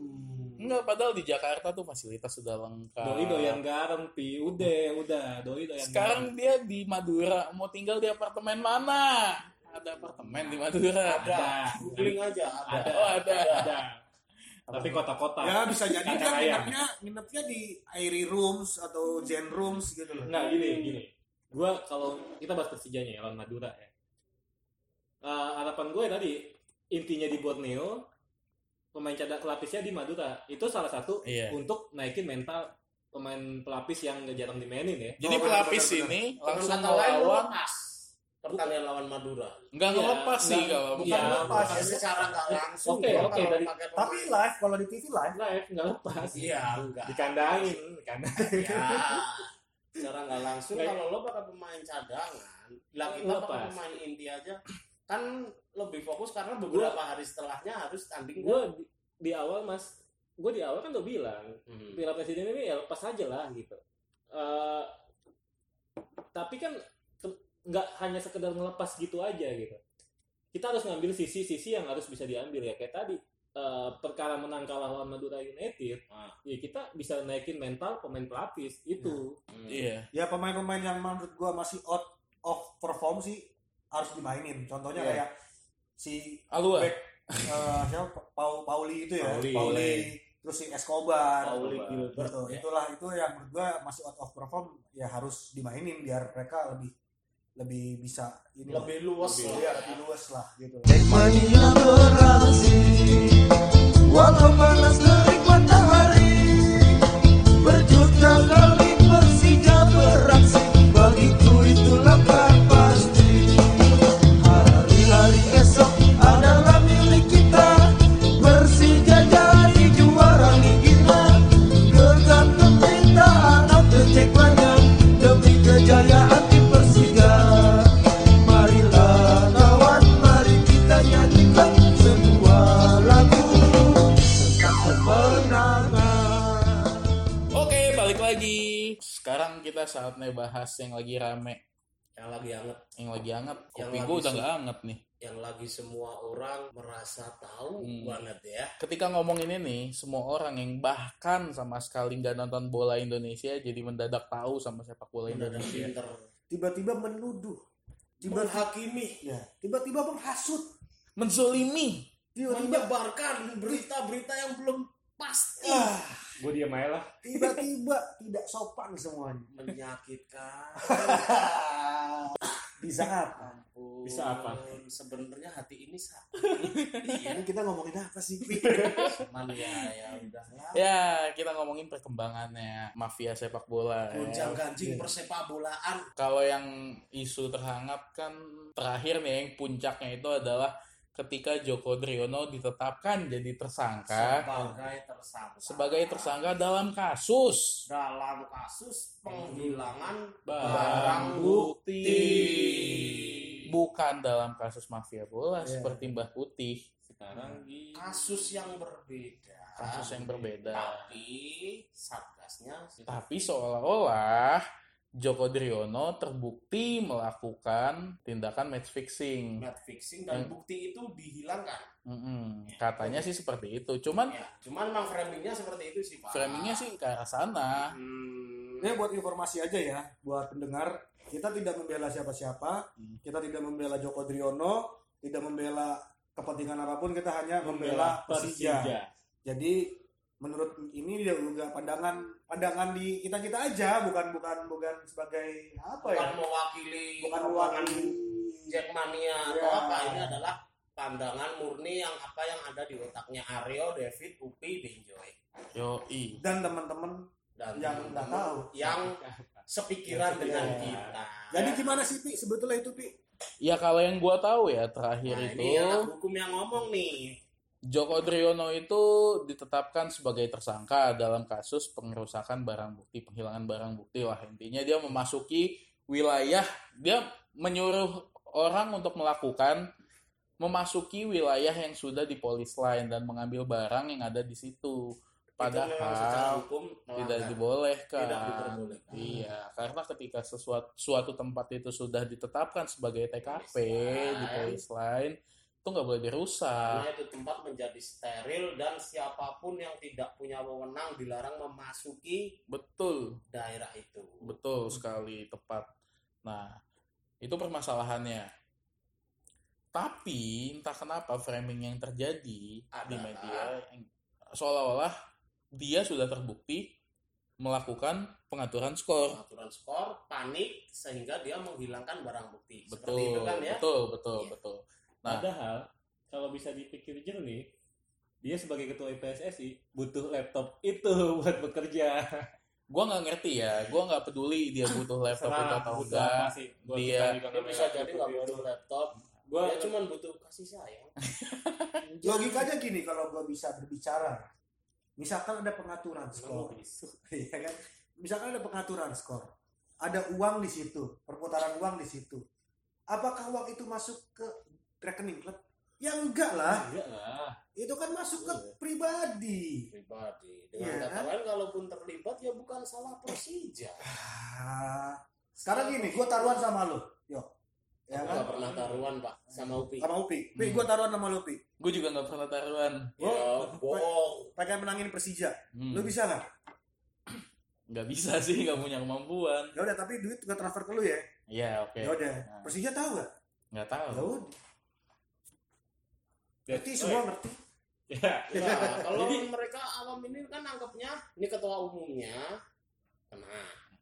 Speaker 1: Enggak, padahal di Jakarta tuh fasilitas sudah lengkap.
Speaker 4: doi doyan garam pi udah udah doi doyan
Speaker 1: Sekarang dia di Madura, mau tinggal di apartemen mana? Ada apartemen di Madura.
Speaker 4: garam.
Speaker 2: Googling aja
Speaker 4: ada ada
Speaker 2: ada.
Speaker 1: Oh, ada.
Speaker 4: ada. tapi kota-kota
Speaker 3: Ya bisa jadi kan
Speaker 4: Kacang Hmm. ayam.
Speaker 3: nginepnya nginepnya di Airy Rooms atau Zen Rooms gitu loh.
Speaker 4: Nah gini gini, gue kalau kita bahas Persijanya ya lawan Madura ya. Eh, harapan gue tadi intinya di Borneo pemain cadak pelapisnya di Madura itu salah satu
Speaker 1: Iya.
Speaker 4: untuk naikin mental pemain pelapis yang nggak jarang dimainin ya.
Speaker 1: Jadi
Speaker 3: Oh,
Speaker 1: pelapis
Speaker 3: benar, benar,
Speaker 1: ini
Speaker 2: Dengan
Speaker 1: langsung
Speaker 2: kata lain
Speaker 1: melawan,
Speaker 2: lepas pertandingan lawan Madura.
Speaker 1: nggak
Speaker 4: Iya,
Speaker 1: ngelepas sih
Speaker 4: nggak-
Speaker 1: kalau
Speaker 4: iya,
Speaker 1: bukan.
Speaker 3: lepas.
Speaker 2: Bukan secara nggak langsung.
Speaker 4: Oke,
Speaker 2: ya,
Speaker 4: oke,
Speaker 2: kalau
Speaker 4: dari-
Speaker 2: pakai pemain.
Speaker 3: Tapi live kalau di TV live
Speaker 4: Live nggak lepas.
Speaker 2: Iya, enggak.
Speaker 4: Dikandangin, dikandangin.
Speaker 2: Ya. Secara nggak langsung
Speaker 4: Baik.
Speaker 2: kalau lo pakai pemain cadangan, lah kita
Speaker 4: Lepas.
Speaker 2: pakai pemain inti aja kan lebih fokus karena beberapa hari setelahnya harus tanding
Speaker 4: Gue di, di awal mas, gue di awal kan udah bilang
Speaker 2: Hmm.
Speaker 4: Piala Presiden ini ya lepas aja lah gitu. Eh, tapi kan te- nggak hanya sekedar melepas gitu aja gitu. Kita harus ngambil sisi-sisi yang harus bisa diambil ya kayak tadi eh, perkara menang kalah lawan Madura United.
Speaker 2: Ah.
Speaker 4: Ya kita bisa naikin mental pemain pelapis itu.
Speaker 1: Iya.
Speaker 3: ya pemain-pemain yang menurut gua masih out of perform sih harus dimainin. Contohnya
Speaker 2: Iya.
Speaker 3: kayak si
Speaker 1: Alua.
Speaker 3: Back. eh, siapa Pau- Pauli itu ya,
Speaker 4: Pauli.
Speaker 3: terus si Escobar.
Speaker 2: Pauli
Speaker 4: Coba.
Speaker 2: Gilbert.
Speaker 3: Gitu. Itulah itu yang menurut gua masih out of perform ya harus dimainin biar mereka lebih lebih bisa ini lah.
Speaker 2: Lebih luas.
Speaker 3: Lebih-
Speaker 2: lah.
Speaker 3: iya, lebih luas lah gitu.
Speaker 6: Menyinap berasi Walau panas terik matahari Berjuta kali Persija beraksi Bagiku itulah kan pasti Hari-hari esok adalah milik kita Persija jadi juara Ligina Gegap kepintaan atau ceklannya Demi kejayaan tim Persija Marilah
Speaker 1: saatnya bahas yang lagi rame,
Speaker 2: yang lagi hangat
Speaker 1: yang lagi anget.
Speaker 2: Yang
Speaker 1: Kopi
Speaker 2: lagi
Speaker 1: gue udah
Speaker 2: su-
Speaker 1: nggak anget nih.
Speaker 2: yang lagi semua orang merasa tahu
Speaker 1: Hmm.
Speaker 2: banget ya
Speaker 1: Ketika ngomong ini nih, semua orang yang bahkan sama sekali nggak nonton bola Indonesia jadi mendadak tahu sama sepak bola
Speaker 2: mendadak iya.
Speaker 1: Indonesia.
Speaker 2: pinter
Speaker 3: tiba-tiba menuduh tiba
Speaker 2: menghakimi
Speaker 3: ya tiba-tiba menghasut
Speaker 1: Menzolimi.
Speaker 3: Iya, tiba-tiba
Speaker 2: menyebarkan berita-berita yang belum pasti
Speaker 3: ah,
Speaker 4: Gue diam aja lah.
Speaker 3: tiba-tiba tidak sopan semuanya
Speaker 2: menyakitkan
Speaker 3: bisa apa
Speaker 2: Ampun,
Speaker 4: Bisa apa?
Speaker 2: sebenarnya hati ini sakit Iya,
Speaker 3: ini kita ngomongin apa sih
Speaker 2: cuman ya ya udah lah
Speaker 1: Ya, kita ngomongin perkembangannya mafia sepak bola. ya.
Speaker 2: gonjang ganjing
Speaker 3: Iya.
Speaker 2: persepak bolaan
Speaker 1: Kalau yang isu terhangat kan terakhir nih yang puncaknya itu adalah ketika Joko Driono ditetapkan jadi tersangka
Speaker 2: sebagai tersangka
Speaker 1: sebagai tersangka dalam kasus
Speaker 2: dalam kasus penghilangan
Speaker 4: Barang
Speaker 2: barang
Speaker 1: bukti.
Speaker 2: bukti
Speaker 1: bukan dalam kasus mafia bola
Speaker 3: Iya.
Speaker 1: seperti Mbah Putih
Speaker 4: Sekarang di
Speaker 2: kasus yang berbeda
Speaker 1: kasus yang berbeda
Speaker 2: tapi satgasnya
Speaker 1: tapi seolah-olah Joko Driono terbukti melakukan tindakan match fixing
Speaker 2: net fixing dan
Speaker 1: Yang-
Speaker 2: bukti itu dihilangkan
Speaker 1: Mm-mm. katanya sih seperti itu cuman
Speaker 2: ya cuman memang framingnya seperti itu sih pak
Speaker 1: framingnya sih ya. ke arah sana
Speaker 2: Hmm.
Speaker 3: Ini buat informasi aja ya, buat pendengar. Kita tidak membela siapa-siapa,
Speaker 1: Hmm.
Speaker 3: kita tidak membela Joko Driono, tidak membela kepentingan apapun, kita hanya membela,
Speaker 4: membela
Speaker 3: Persija.
Speaker 4: Persija.
Speaker 3: Jadi menurut ini dia juga pandangan pandangan di kita kita aja, bukan bukan bukan sebagai apa ya?
Speaker 2: bukan mewakili
Speaker 3: Bukan
Speaker 2: omongan
Speaker 3: ruangan
Speaker 2: Jackmania atau
Speaker 3: Ya.
Speaker 2: apa ini adalah pandangan murni yang apa yang ada di otaknya Aryo, David, Upi, Benjoy
Speaker 1: yoi
Speaker 3: dan teman-teman
Speaker 2: dan
Speaker 3: yang nggak tahu.
Speaker 2: yang
Speaker 3: Ya.
Speaker 2: sepikiran dengan kita.
Speaker 3: Jadi gimana sih Pi sebetulnya itu Pi?
Speaker 1: ya kalau yang gua tahu ya terakhir
Speaker 2: nah,
Speaker 1: itu
Speaker 2: ini anak hukum yang ngomong nih.
Speaker 1: Joko Driono itu ditetapkan sebagai tersangka dalam kasus pengerusakan barang bukti, penghilangan barang bukti lah intinya dia memasuki wilayah, dia menyuruh orang untuk melakukan memasuki wilayah yang sudah di polis lain dan mengambil barang yang ada di situ.
Speaker 2: itu memang secara
Speaker 1: Padahal
Speaker 2: hukum
Speaker 1: tidak
Speaker 2: melanggar.
Speaker 1: dibolehkan.
Speaker 2: Nah, Tidak diperbolehkan.
Speaker 1: Iya, karena ketika sesuatu suatu tempat itu sudah ditetapkan sebagai TKP di polis lain, itu nggak boleh dirusak.
Speaker 2: Karena itu tempat menjadi steril dan siapapun yang tidak punya wewenang dilarang memasuki
Speaker 1: Betul.
Speaker 2: daerah itu. Hmm.
Speaker 1: Betul sekali, tepat. Nah, itu permasalahannya. Tapi entah kenapa framing yang terjadi di
Speaker 2: Adalah-
Speaker 1: media yang- seolah-olah dia sudah terbukti melakukan pengaturan skor.
Speaker 2: Pengaturan skor, panik sehingga dia menghilangkan barang bukti. Seperti
Speaker 1: Betul,
Speaker 2: itu kan ya?
Speaker 1: betul, betul,
Speaker 2: Iya.
Speaker 1: betul. Nah.
Speaker 4: Padahal kalau bisa dipikir jernih, dia sebagai ketua PSSI butuh laptop itu buat bekerja.
Speaker 1: Gua nggak ngerti ya, gua nggak peduli
Speaker 2: Ah,
Speaker 1: dia butuh laptop itu atau enggak. dia-
Speaker 2: Dia bisa jadi nggak butuh laptop.
Speaker 4: Gua
Speaker 2: dia cuma butuh kasih sayang.
Speaker 3: Logikanya gini kalau gua bisa berbicara. Misalkan ada pengaturan skor. Iya kan? Misalkan ada pengaturan skor, ada uang di situ, perputaran uang di situ. Apakah uang itu masuk ke rekening klub? Ya enggak lah,
Speaker 4: enggak lah.
Speaker 3: itu kan masuk ke
Speaker 2: Iya.
Speaker 3: pribadi.
Speaker 2: pribadi. Dengan
Speaker 3: Iya,
Speaker 2: kata
Speaker 3: kan?
Speaker 2: lain, kalaupun terlibat ya bukan salah Persija.
Speaker 3: Ah, sekarang gini, gue taruhan sama lo, yo, ya
Speaker 2: Gak
Speaker 3: kan?
Speaker 2: pernah taruhan pak sama Upi.
Speaker 3: Sama Upi, Pi,
Speaker 1: Hmm.
Speaker 3: gue taruhan sama lo, Pi.
Speaker 1: Gue juga nggak pernah taruhan.
Speaker 2: Ya, bohong.
Speaker 3: Pengen menangin Persija,
Speaker 1: Hmm,
Speaker 3: lo bisa nggak?
Speaker 1: Nggak bisa sih, nggak punya kemampuan.
Speaker 3: Ya udah, tapi duit gue transfer ke lo ya.
Speaker 1: Iya, oke.
Speaker 3: Ya udah, Persija tahu nggak?
Speaker 1: Nggak
Speaker 3: Ya
Speaker 1: tahu.
Speaker 3: udah, ngerti semua ngerti.
Speaker 4: Ya,
Speaker 2: Ya, kalau
Speaker 4: Jadi-
Speaker 2: mereka awam ini kan anggapnya ini ketua umumnya kena,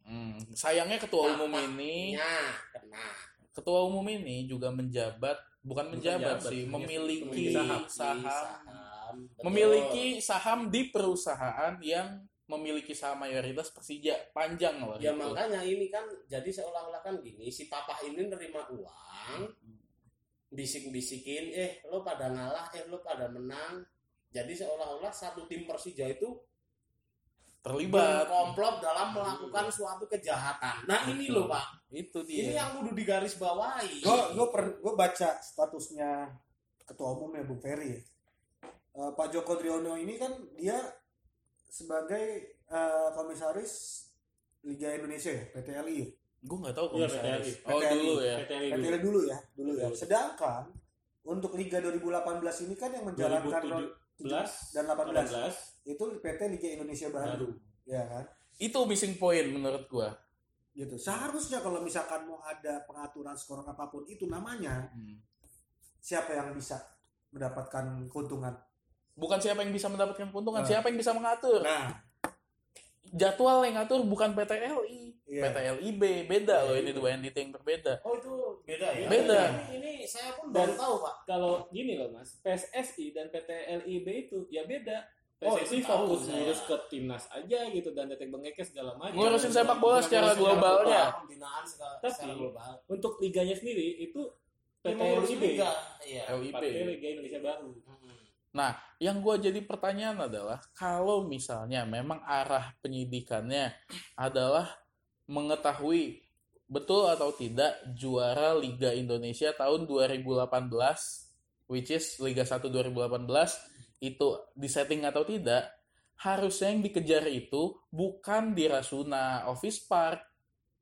Speaker 1: Hmm, Sayangnya ketua umum
Speaker 2: Tampaknya.
Speaker 1: ini
Speaker 2: nya kena.
Speaker 1: ketua umum ini juga menjabat bukan menjabat
Speaker 4: menjabat,
Speaker 1: sih
Speaker 4: hanya
Speaker 1: memiliki
Speaker 4: memiliki
Speaker 1: saham,
Speaker 2: Betul.
Speaker 1: memiliki saham di perusahaan yang memiliki saham mayoritas Persija panjang loh Gitu. itu.
Speaker 2: Ya makanya ini kan jadi seolah-olah kan gini si papa ini nerima uang bisik-bisikin eh lo pada ngalah eh lo pada menang jadi seolah-olah satu tim Persija itu
Speaker 1: terlibat
Speaker 2: berkomplot dalam melakukan suatu kejahatan. Nah ini
Speaker 1: Betul.
Speaker 2: loh pak,
Speaker 1: itu
Speaker 2: ini
Speaker 1: dia
Speaker 2: yang kudu digaris bawahi.
Speaker 3: gue gue baca statusnya ketua umumnya Bung Ferry ya. Eh, Pak Joko Driono ini kan dia sebagai eh, komisaris Liga Indonesia ya, PTLI ya?
Speaker 1: Gue nggak tahu
Speaker 4: Iya,
Speaker 1: komisaris.
Speaker 4: PTRI.
Speaker 1: Oh
Speaker 3: PTRI.
Speaker 1: dulu ya.
Speaker 4: PTRI Iya, dulu. Iya.
Speaker 3: PTLI dulu ya, dulu ya.
Speaker 4: Dulu.
Speaker 3: Sedangkan untuk Liga 2018 ini kan yang menjalankan road
Speaker 4: 2017
Speaker 3: dan 18
Speaker 4: 18
Speaker 3: itu PT Liga Indonesia Baru,
Speaker 4: Baru.
Speaker 3: ya kan?
Speaker 1: Itu missing point menurut gue.
Speaker 3: Gitu. Seharusnya kalau misalkan mau ada pengaturan skor apapun itu namanya
Speaker 1: Hmm.
Speaker 3: siapa yang bisa mendapatkan keuntungan.
Speaker 1: Bukan siapa yang bisa mendapatkan keuntungan,
Speaker 3: Nah.
Speaker 1: siapa yang bisa mengatur.
Speaker 3: Nah,
Speaker 1: Jadwal yang ngatur bukan PTLI,
Speaker 3: Iya.
Speaker 1: PTLIB beda loh ini dua entity yang berbeda.
Speaker 2: Oh itu beda
Speaker 3: Iya.
Speaker 2: ya?
Speaker 1: Beda.
Speaker 2: Ini, ini saya pun
Speaker 4: Dan-
Speaker 2: baru tahu pak.
Speaker 4: kalau gini loh mas PSSI dan PT LIB itu ya beda
Speaker 2: Oh,
Speaker 4: PSSI
Speaker 2: itu tahu
Speaker 4: fokus
Speaker 2: saya.
Speaker 4: ngurus ke timnas aja gitu dan detik bengeknya segala macam
Speaker 1: Ngurusin
Speaker 4: Dan-
Speaker 1: sepak bola secara
Speaker 4: Ngurusin sepak
Speaker 1: globalnya.
Speaker 4: bola.
Speaker 2: Pembinaan secara,
Speaker 4: Tapi-
Speaker 2: secara global.
Speaker 4: untuk liganya sendiri itu PT
Speaker 2: Memang harus
Speaker 4: LIB
Speaker 2: liga, Iya.
Speaker 1: LIB.
Speaker 4: Partai ya? Liga Indonesia Baru
Speaker 2: Mm-mm.
Speaker 1: Yang gue jadi pertanyaan adalah kalau misalnya memang arah penyidikannya adalah mengetahui betul atau tidak juara Liga Indonesia tahun 2018 which is Liga 1 2018 itu disetting atau tidak harusnya yang dikejar itu bukan di Rasuna Office Park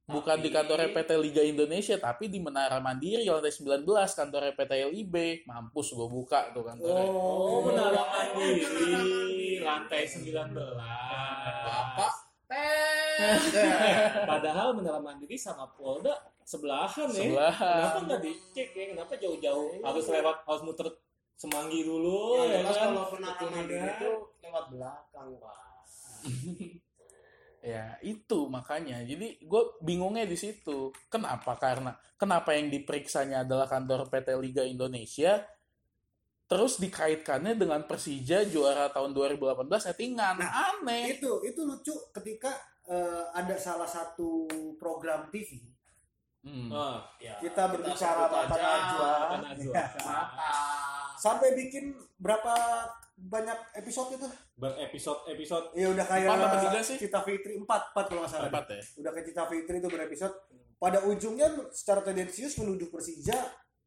Speaker 1: bukan
Speaker 2: Tapi-
Speaker 1: di kantor PT Liga Indonesia tapi di Menara Mandiri lantai 19 kantor PT LIB mampus gue buka tuh kantornya
Speaker 4: oh
Speaker 3: menara
Speaker 4: menara mandiri lantai 19
Speaker 2: Bapak.
Speaker 4: padahal menara mandiri sama Polda sebelahan ya
Speaker 1: sebelah
Speaker 4: Kenapa nggak dicek ya? Kenapa jauh-jauh harus lewat harus muter semanggi dulu
Speaker 2: Yang
Speaker 4: ya,
Speaker 2: jelas
Speaker 4: kan?
Speaker 2: Iya, kalau penanganan mandiri
Speaker 4: Kemudian-
Speaker 2: itu lewat belakang pak.
Speaker 1: Ya, itu makanya. Jadi gue bingungnya di situ. Kenapa? Karena kenapa yang diperiksanya adalah kantor PT Liga Indonesia, terus dikaitkannya dengan Persija juara tahun 2018 settingan.
Speaker 3: Nah.
Speaker 1: Aneh.
Speaker 3: itu itu lucu ketika eh, ada salah satu program TV
Speaker 1: Hmm.
Speaker 3: Oh.
Speaker 4: Ah,
Speaker 2: Ya,
Speaker 3: kita berbicara
Speaker 2: sebut
Speaker 3: Bapak
Speaker 2: aja
Speaker 3: Najwa.
Speaker 4: Bapak
Speaker 1: Nah.
Speaker 4: Najwa.
Speaker 2: Mata.
Speaker 3: sampai bikin berapa banyak episode itu?
Speaker 4: Berepisode-episode
Speaker 3: Ya udah kayak
Speaker 1: Empat apa tiga sih?
Speaker 3: Cita Fitri 4 4 kalau nggak salah.
Speaker 1: Tepat ya.
Speaker 3: Udah kayak Cita Fitri itu berepisode. Pada ujungnya secara tendensius menuduh Persija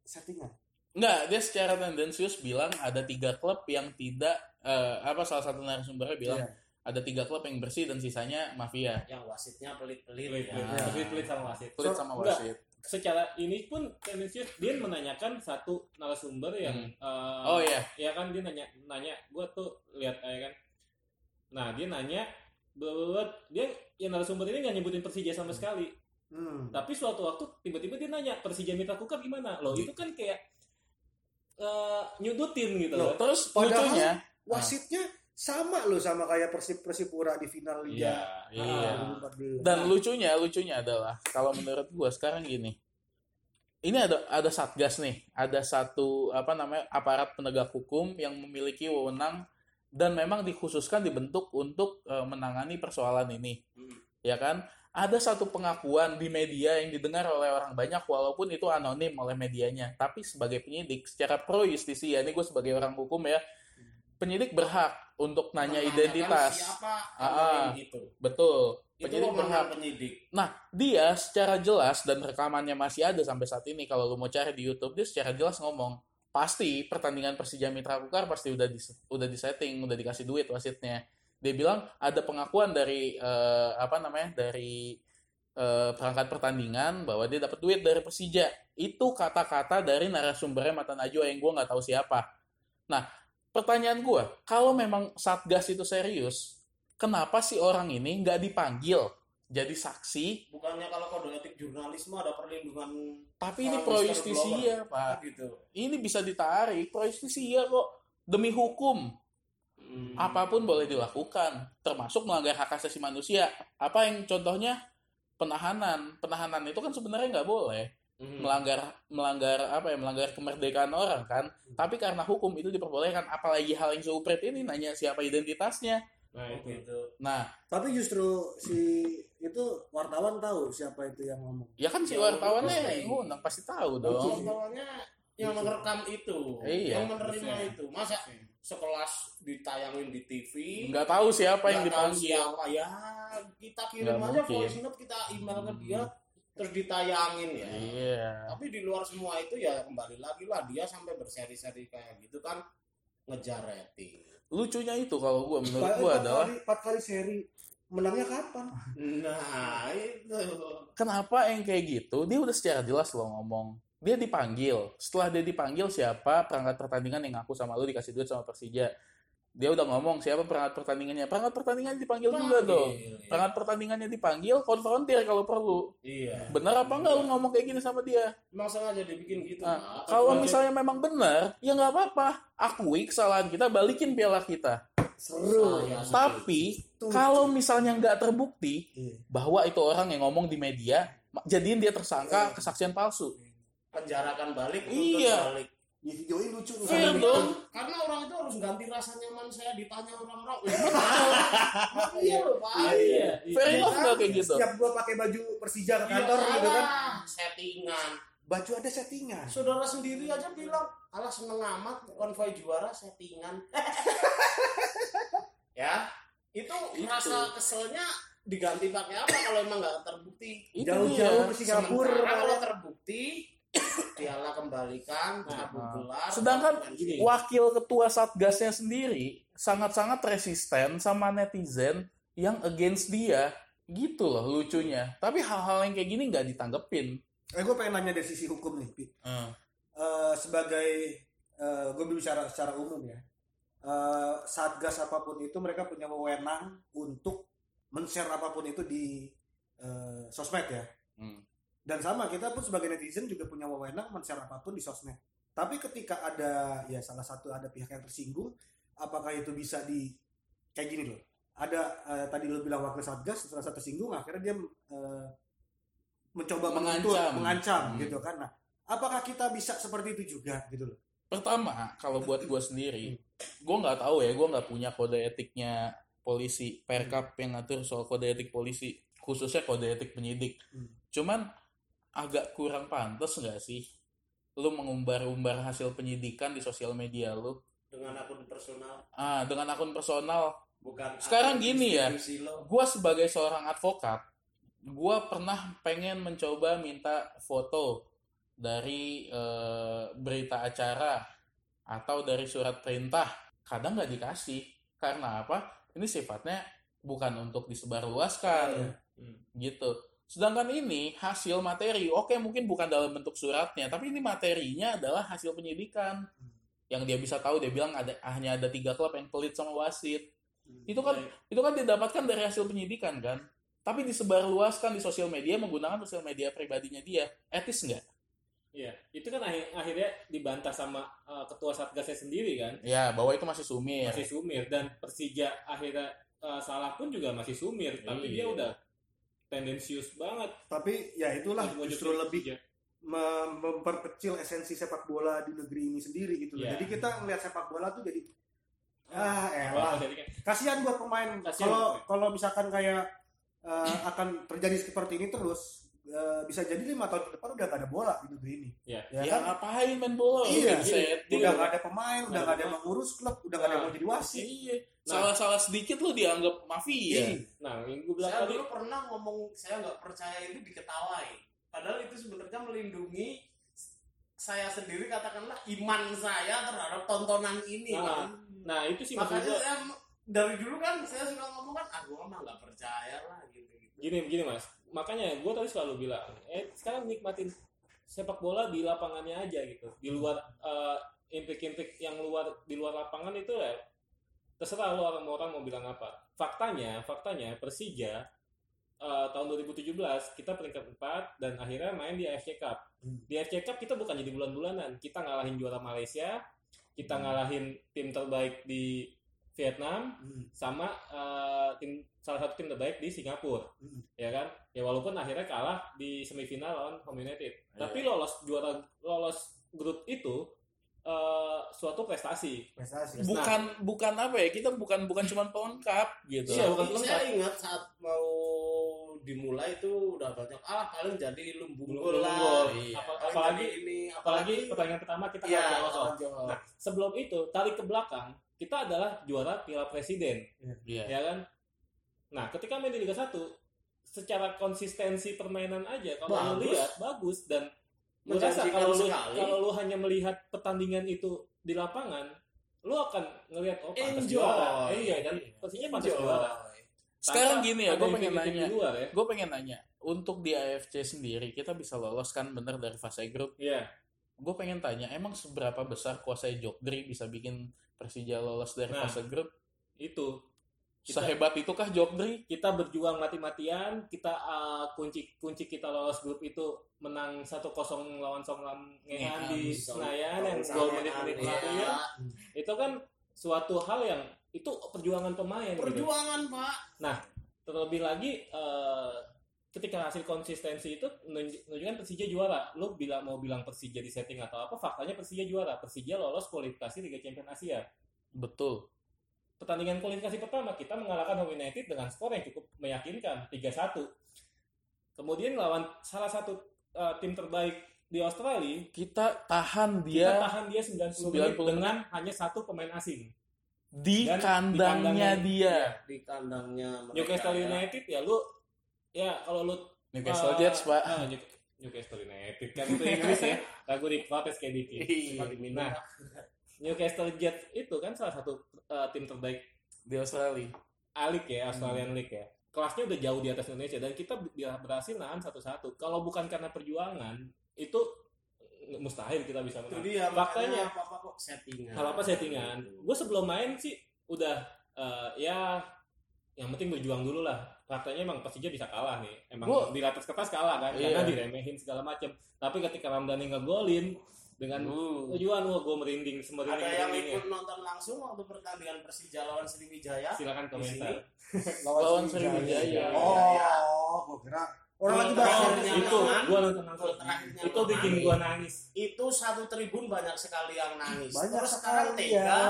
Speaker 3: settingan.
Speaker 1: Enggak, dia secara tendensius bilang ada tiga klub yang tidak eh, apa salah satu narasumbernya bilang
Speaker 3: Iya.
Speaker 1: ada tiga klub yang bersih dan sisanya mafia.
Speaker 2: Yang wasitnya
Speaker 4: pelit,
Speaker 2: pelit-pelit.
Speaker 1: Pelit-pelit.
Speaker 2: Ya.
Speaker 4: pelit, pelit sama wasit.
Speaker 1: Kulit
Speaker 3: So,
Speaker 1: sama
Speaker 4: enggak.
Speaker 1: wasit.
Speaker 4: Secara ini pun tendensius dia menanyakan satu narasumber yang eh,
Speaker 1: Oh iya,
Speaker 4: ya kan dia nanya nanya gue tuh lihat aja kan nah dia nanya blablabla. dia yang narasumber ini nggak nyebutin Persija sama sekali
Speaker 3: Hmm.
Speaker 1: Nah.
Speaker 4: Tapi suatu waktu tiba-tiba dia nanya Persija Mitra Kukar gimana? Loh itu kan kayak eh, nyudutin gitu
Speaker 3: Loh,
Speaker 4: loh.
Speaker 1: terus
Speaker 3: Padahal-
Speaker 1: lucunya
Speaker 3: Wasitnya sama loh sama kayak Persib Persipura di final Liga
Speaker 1: Iya.
Speaker 3: Ah. 2014.
Speaker 1: Dan lucunya, lucunya adalah kalau menurut gua sekarang gini. Ini ada ada satgas nih, ada satu apa namanya aparat penegak hukum yang memiliki wewenang dan memang dikhususkan dibentuk untuk eh, menangani persoalan ini.
Speaker 2: Hmm.
Speaker 1: Ya kan? Ada satu pengakuan di media yang didengar oleh orang banyak walaupun itu anonim oleh medianya, tapi sebagai penyidik secara pro justisi ya, ini gue sebagai orang hukum ya. Penyidik berhak untuk nanya
Speaker 2: Menanyakan
Speaker 1: identitas.
Speaker 2: Siapa?
Speaker 1: Ah,
Speaker 2: yang
Speaker 1: ah.
Speaker 2: gitu.
Speaker 1: Betul.
Speaker 2: Itu
Speaker 1: Penyidik berhak
Speaker 2: pemenang penyidik.
Speaker 1: Nah, dia secara jelas dan rekamannya masih ada sampai saat ini kalau lu mau cari di YouTube, dia secara jelas ngomong, pasti pertandingan Persija Mitra Kukar pasti udah di udah disetting, udah dikasih duit wasitnya. Dia bilang ada pengakuan dari eh, apa namanya? dari eh, perangkat pertandingan bahwa dia dapat duit dari Persija. Itu kata-kata dari narasumbernya Mata Najwa yang gua nggak tahu siapa. Nah, pertanyaan gua, kalau memang Satgas itu serius, kenapa sih orang ini nggak dipanggil jadi saksi
Speaker 2: Bukannya kalau kode etik jurnalisme ada perlindungan
Speaker 1: Tapi ini
Speaker 2: Orang
Speaker 1: pro
Speaker 2: Mister
Speaker 1: justisia, Pak.
Speaker 2: gitu.
Speaker 1: Ini bisa ditarik, pro justisia kok. Demi hukum,
Speaker 2: Hmm.
Speaker 1: apapun boleh dilakukan, termasuk melanggar hak asasi manusia. Apa yang contohnya penahanan? Penahanan itu kan sebenarnya nggak boleh
Speaker 2: Hmm.
Speaker 1: melanggar melanggar apa ya melanggar kemerdekaan orang kan.
Speaker 2: Hmm.
Speaker 1: Tapi karena hukum itu diperbolehkan, apalagi hal yang seupret ini nanya siapa identitasnya.
Speaker 4: Nah
Speaker 2: Oh,
Speaker 4: itu.
Speaker 2: gitu.
Speaker 1: Nah,
Speaker 3: Tapi justru si itu wartawan tahu siapa itu yang ngomong.
Speaker 1: ya kan si
Speaker 2: Ya,
Speaker 1: wartawannya
Speaker 2: betul.
Speaker 1: yang ngundang pasti tahu
Speaker 2: Itu
Speaker 1: dong.
Speaker 2: awalnya yang merekam itu,
Speaker 1: Iya.
Speaker 2: yang menerima
Speaker 4: Iya.
Speaker 2: itu. Masa sekelas ditayangin di TV,
Speaker 1: Nggak tahu siapa yang
Speaker 2: nggak tahu
Speaker 1: dipanggil.
Speaker 2: siapa. ya kita kirim
Speaker 1: Nggak
Speaker 2: aja
Speaker 1: mungkin.
Speaker 2: voice note kita email ke
Speaker 1: Hmm.
Speaker 2: dia terus ditayangin ya
Speaker 1: Iya.
Speaker 2: tapi di luar semua itu ya kembali lagi lah dia sampai berseri-seri kayak gitu kan ngejar rating
Speaker 1: Lucunya itu kalau gua menurut
Speaker 3: Padahal
Speaker 1: gua
Speaker 3: empat
Speaker 1: adalah
Speaker 3: kali- empat kali seri menangnya kapan?
Speaker 2: Nah, itu.
Speaker 1: Kenapa yang kayak gitu? Dia udah secara jelas loh ngomong. Dia dipanggil. Setelah dia dipanggil siapa perangkat pertandingan yang ngaku sama lu dikasih duit sama Persija. Dia udah ngomong siapa perangkat pertandingannya. Perangkat pertandingannya dipanggil juga dong. Perangkat pertandingannya dipanggil, konfrontir kalau perlu.
Speaker 2: Iya.
Speaker 1: Bener apa enggak lu ngomong kayak gini sama dia?
Speaker 2: Emang sengaja dibikin gitu.
Speaker 1: Nah,
Speaker 2: Pak.
Speaker 1: kalau
Speaker 2: Sengaja-
Speaker 1: misalnya memang benar, ya nggak apa-apa. Akui kesalahan kita, balikin piala kita.
Speaker 3: Seru.
Speaker 2: Saya setuju.
Speaker 1: Tapi kalau misalnya nggak terbukti
Speaker 3: Iya.
Speaker 1: bahwa itu orang yang ngomong di media, ma- jadiin dia tersangka kesaksian palsu.
Speaker 2: penjarakan balik, tuntut
Speaker 1: Iya.
Speaker 2: balik.
Speaker 3: Di videoin lucu Iya. tuh.
Speaker 1: Fair dong.
Speaker 2: Karena orang itu harus ganti rasa nyaman saya ditanya orang-orang. Lah, Iya loh, Pak.
Speaker 4: Ah,
Speaker 2: Iya.
Speaker 1: Fair enough nggak kayak gitu?
Speaker 3: Setiap gua pakai baju Persija ke kantor
Speaker 2: Iya,
Speaker 3: gitu kan,
Speaker 2: alah, Settingan.
Speaker 3: baju ada settingan.
Speaker 2: Saudara sendiri aja bilang, alah seneng amat konvoy juara settingan. ya, Gitu. itu, rasa keselnya diganti pakai apa kalau emang nggak terbukti?
Speaker 1: Itu
Speaker 3: Jauh-jauh
Speaker 1: dia.
Speaker 3: ke Singapura.
Speaker 2: Sementara kalau terbukti piala kembalikan cabut gelar
Speaker 1: Sedangkan
Speaker 2: dan gini.
Speaker 1: Wakil ketua satgasnya sendiri sangat-sangat resisten sama netizen yang against dia. Gitu loh lucunya. Tapi hal-hal yang kayak gini nggak ditanggepin.
Speaker 3: Eh gue pengen nanya dari sisi hukum nih, Pi. Eh, sebagai gue bicara secara umum ya. Eh, satgas apapun itu mereka punya wewenang untuk men-share apapun itu di eh, sosmed ya.
Speaker 1: Hmm.
Speaker 3: Dan sama kita pun sebagai netizen juga punya wewenang men-share apapun di sosmed. Tapi ketika ada ya salah satu ada pihak yang tersinggung, apakah itu bisa di kayak gini loh. Ada eh, tadi lu bilang wakil satgas terasa tersinggung akhirnya dia eh, mencoba menuntut,
Speaker 1: Mengancam.
Speaker 3: mengancam
Speaker 1: Hmm.
Speaker 3: gitu kan. Nah, apakah kita bisa seperti itu juga gitu loh.
Speaker 1: pertama kalau buat gue sendiri gue nggak tahu ya gue nggak punya kode etiknya polisi perkap yang ngatur soal kode etik polisi khususnya kode etik penyidik
Speaker 3: Hmm.
Speaker 1: cuman agak kurang pantas nggak sih lu mengumbar-umbar hasil penyidikan di sosial media lu
Speaker 2: dengan akun personal
Speaker 1: ah dengan akun personal
Speaker 2: bukan
Speaker 1: Sekarang gini ya.
Speaker 2: institusi lo.
Speaker 1: gue sebagai seorang advokat gue pernah pengen mencoba minta foto dari eh, berita acara atau dari surat perintah kadang nggak dikasih karena apa ini sifatnya bukan untuk disebarluaskan gitu sedangkan ini hasil materi oke mungkin bukan dalam bentuk suratnya tapi ini materinya adalah hasil penyidikan yang dia bisa tahu dia bilang ada hanya ada tiga klub yang pelit sama wasit itu
Speaker 4: Iya.
Speaker 1: kan itu kan didapatkan dari hasil penyidikan kan tapi disebarluaskan di sosial media menggunakan sosial media pribadinya dia etis nggak
Speaker 4: Iya, itu kan akhir- akhirnya dibantah sama eh, ketua satgasnya sendiri kan,
Speaker 1: ya bahwa itu masih sumir
Speaker 4: masih Sumir dan Persija akhirnya eh, salah pun juga masih Sumir, tapi dia
Speaker 1: Iya.
Speaker 4: udah tendensius banget.
Speaker 3: Tapi ya itulah
Speaker 4: Untuk
Speaker 3: justru
Speaker 4: wujudin
Speaker 3: lebih
Speaker 4: Persija.
Speaker 3: mem- memperkecil esensi sepak bola di negeri ini sendiri gitu loh.
Speaker 4: Iya.
Speaker 3: Jadi kita ngelihat sepak bola tuh jadi ah elah
Speaker 4: Kalau jadi kan,
Speaker 3: kasihan buat pemain
Speaker 4: Kasihan.
Speaker 3: kalau kalau misalkan kayak eh, akan terjadi seperti ini terus eh, bisa jadi lima tahun ke depan udah gak ada bola di negeri ini
Speaker 4: Iya.
Speaker 3: ya
Speaker 1: ya
Speaker 3: kan
Speaker 1: ngapain main bola
Speaker 3: Iya.
Speaker 1: Buset,
Speaker 3: udah
Speaker 1: dia.
Speaker 3: gak ada pemain udah
Speaker 4: Nggak
Speaker 3: gak
Speaker 4: ada
Speaker 3: ada yang mengurus klub udah gak ada yang mau jadi wasit
Speaker 1: Iya. Salah-salah sedikit lu dianggap
Speaker 3: Iya.
Speaker 1: mafia.
Speaker 4: nah yang gue bilang
Speaker 2: saya
Speaker 4: tadi,
Speaker 2: dulu pernah ngomong saya nggak percaya itu diketawain padahal itu sebenarnya melindungi saya sendiri katakanlah iman saya terhadap tontonan ini
Speaker 4: Ah,
Speaker 2: kan
Speaker 4: nah itu sih maksud
Speaker 2: makanya
Speaker 4: gue
Speaker 2: saya dari dulu kan saya suka ngomong kan aku mah nggak percaya lah gitu gitu
Speaker 4: gini gini mas, makanya gue tadi selalu bilang, eh sekarang nikmatin sepak bola di lapangannya aja gitu, di luar eh, intrik-intrik yang luar di luar lapangan itu ya terserah lo orang-orang mau bilang apa. Faktanya, faktanya Persija eh, tahun 2017 kita peringkat 4 dan akhirnya main di AFC Cup.
Speaker 3: Hmm.
Speaker 4: Di AFC Cup kita bukan jadi bulan-bulanan, kita ngalahin juara Malaysia, kita ngalahin tim terbaik di Vietnam
Speaker 3: Hmm.
Speaker 4: sama eh, tim salah satu tim terbaik di Singapura.
Speaker 3: Hmm.
Speaker 4: Ya kan? Ya walaupun akhirnya kalah di semifinal lawan Home United. Tapi lolos juara lolos grup itu eh, suatu prestasi.
Speaker 3: prestasi
Speaker 1: Bukan bukan apa ya? Kita bukan bukan cuma pelengkap gitu.
Speaker 4: Iya, bukan
Speaker 2: Tapi saya ingat saat mau dimulai itu udah banyak alah paling jadi lumbung
Speaker 4: Belum-
Speaker 2: gol
Speaker 4: belum
Speaker 2: lah
Speaker 4: gol.
Speaker 1: Iya.
Speaker 4: Apa-
Speaker 2: Paling
Speaker 4: apalagi
Speaker 2: jadi ini
Speaker 4: apalagi pertandingan pertama kita
Speaker 2: ya
Speaker 4: kalah lawan Hong Kong.
Speaker 2: Jawa.
Speaker 4: Nah, sebelum itu tarik ke belakang, kita adalah juara Piala Presiden,
Speaker 1: Iya.
Speaker 4: ya kan? Nah, ketika main di Liga 1 secara konsistensi permainan aja kalau lu
Speaker 2: Bagus.
Speaker 4: lihat bagus dan Gua rasa
Speaker 2: Menjanjikan
Speaker 4: kalau lu
Speaker 2: sekali.
Speaker 4: kalau lu hanya melihat pertandingan itu di lapangan, lu akan ngelihat oh pantas
Speaker 2: Enjoy.
Speaker 4: juara. Eh, iya kan, pastinya pantas
Speaker 2: Enjoy.
Speaker 4: juara.
Speaker 1: Sekarang gini ya,
Speaker 4: ada
Speaker 1: gue pengen
Speaker 4: infinity
Speaker 1: nanya.
Speaker 4: Di luar ya.
Speaker 1: Gue pengen nanya, untuk di AFC sendiri kita bisa lolos kan bener dari fase grup.
Speaker 4: Iya.
Speaker 1: Gue pengen tanya, emang seberapa besar kuasa Jokdri bisa bikin Persija lolos dari
Speaker 4: Nah,
Speaker 1: fase grup?
Speaker 4: Itu kita-
Speaker 1: Sehebat itukah Jokdri?
Speaker 4: kita berjuang mati-matian kita uh, kunci kunci kita lolos grup itu menang 1-0 lawan Songlam Ngehan di
Speaker 2: Ngehan,
Speaker 4: Senayan yang gol
Speaker 2: Songlam Ngehan,
Speaker 4: menit-menit
Speaker 2: iya.
Speaker 4: lalu ya. itu kan suatu hal yang itu perjuangan pemain gitu.
Speaker 2: Perjuangan Pak.
Speaker 4: terlebih lagi eh, ketika hasil konsistensi itu menunj- menunjukkan Persija juara lu bilang mau bilang Persija di setting atau apa faktanya Persija juara Persija lolos kualifikasi Liga Champions Asia
Speaker 1: Betul.
Speaker 4: pertandingan kualifikasi pertama kita mengalahkan Home United dengan skor yang cukup meyakinkan 3-1. Kemudian lawan salah satu eh, tim terbaik di Australia,
Speaker 1: Kita tahan
Speaker 4: kita
Speaker 1: dia
Speaker 4: tahan dia 90 menit
Speaker 1: 90
Speaker 4: dengan hanya satu pemain asing.
Speaker 1: di
Speaker 4: dan di
Speaker 1: kandangnya
Speaker 4: kandangnya
Speaker 1: dia.
Speaker 2: Di kandangnya mereka.
Speaker 4: Newcastle
Speaker 2: ya.
Speaker 4: United ya lu ya kalau lu
Speaker 1: Newcastle
Speaker 4: eh,
Speaker 1: Jets, Pak.
Speaker 4: eh, New- Newcastle United kan itu Inggris ya. Lagu di protes kayak dikit.
Speaker 1: Iya.
Speaker 4: Nah, Newcastle Jets itu kan salah satu eh, tim terbaik
Speaker 1: Di Australia.
Speaker 4: Alik ya, Australian
Speaker 1: Hmm.
Speaker 4: League ya. Kelasnya udah jauh di atas Indonesia dan kita bi- berhasil nahan satu-satu. Kalau bukan karena perjuangan, itu eh, mustahil kita bisa
Speaker 2: Itu
Speaker 4: menang.
Speaker 2: dia
Speaker 4: Faktanya.
Speaker 2: makanya apa-apa kok settingan. Gitu.
Speaker 4: Hal apa settingan? Gue sebelum main sih udah eh, ya yang penting berjuang dulu lah. Faktanya emang Persija bisa kalah nih. Emang
Speaker 1: Gua-
Speaker 4: di atas kertas kalah kan,
Speaker 1: Iya.
Speaker 4: karena diremehin segala macam. Tapi ketika Ramdhani ngegolin dengan
Speaker 1: Uh,
Speaker 4: tujuan wah gue merinding, semerinding
Speaker 2: Ada yang
Speaker 4: merinding
Speaker 2: ikut nonton langsung waktu pertandingan Persija lawan Sriwijaya.
Speaker 4: Silakan Iya, komentar.
Speaker 1: Lawan
Speaker 3: Sriwijaya.
Speaker 1: Sriwijaya.
Speaker 3: Iya, Oh, gua kira orang lagi bahas
Speaker 2: Oh,
Speaker 3: Persija.
Speaker 2: yang
Speaker 4: itu
Speaker 2: lawan.
Speaker 4: gue nonton langsung.
Speaker 2: Gol terakhirnya
Speaker 4: Itu
Speaker 2: lawan
Speaker 4: bikin
Speaker 2: Mane.
Speaker 4: gue nangis.
Speaker 2: Itu satu tribun banyak sekali yang nangis.
Speaker 3: banyak
Speaker 2: Terus sekarang
Speaker 3: sekali
Speaker 2: tega Nah.
Speaker 3: ya.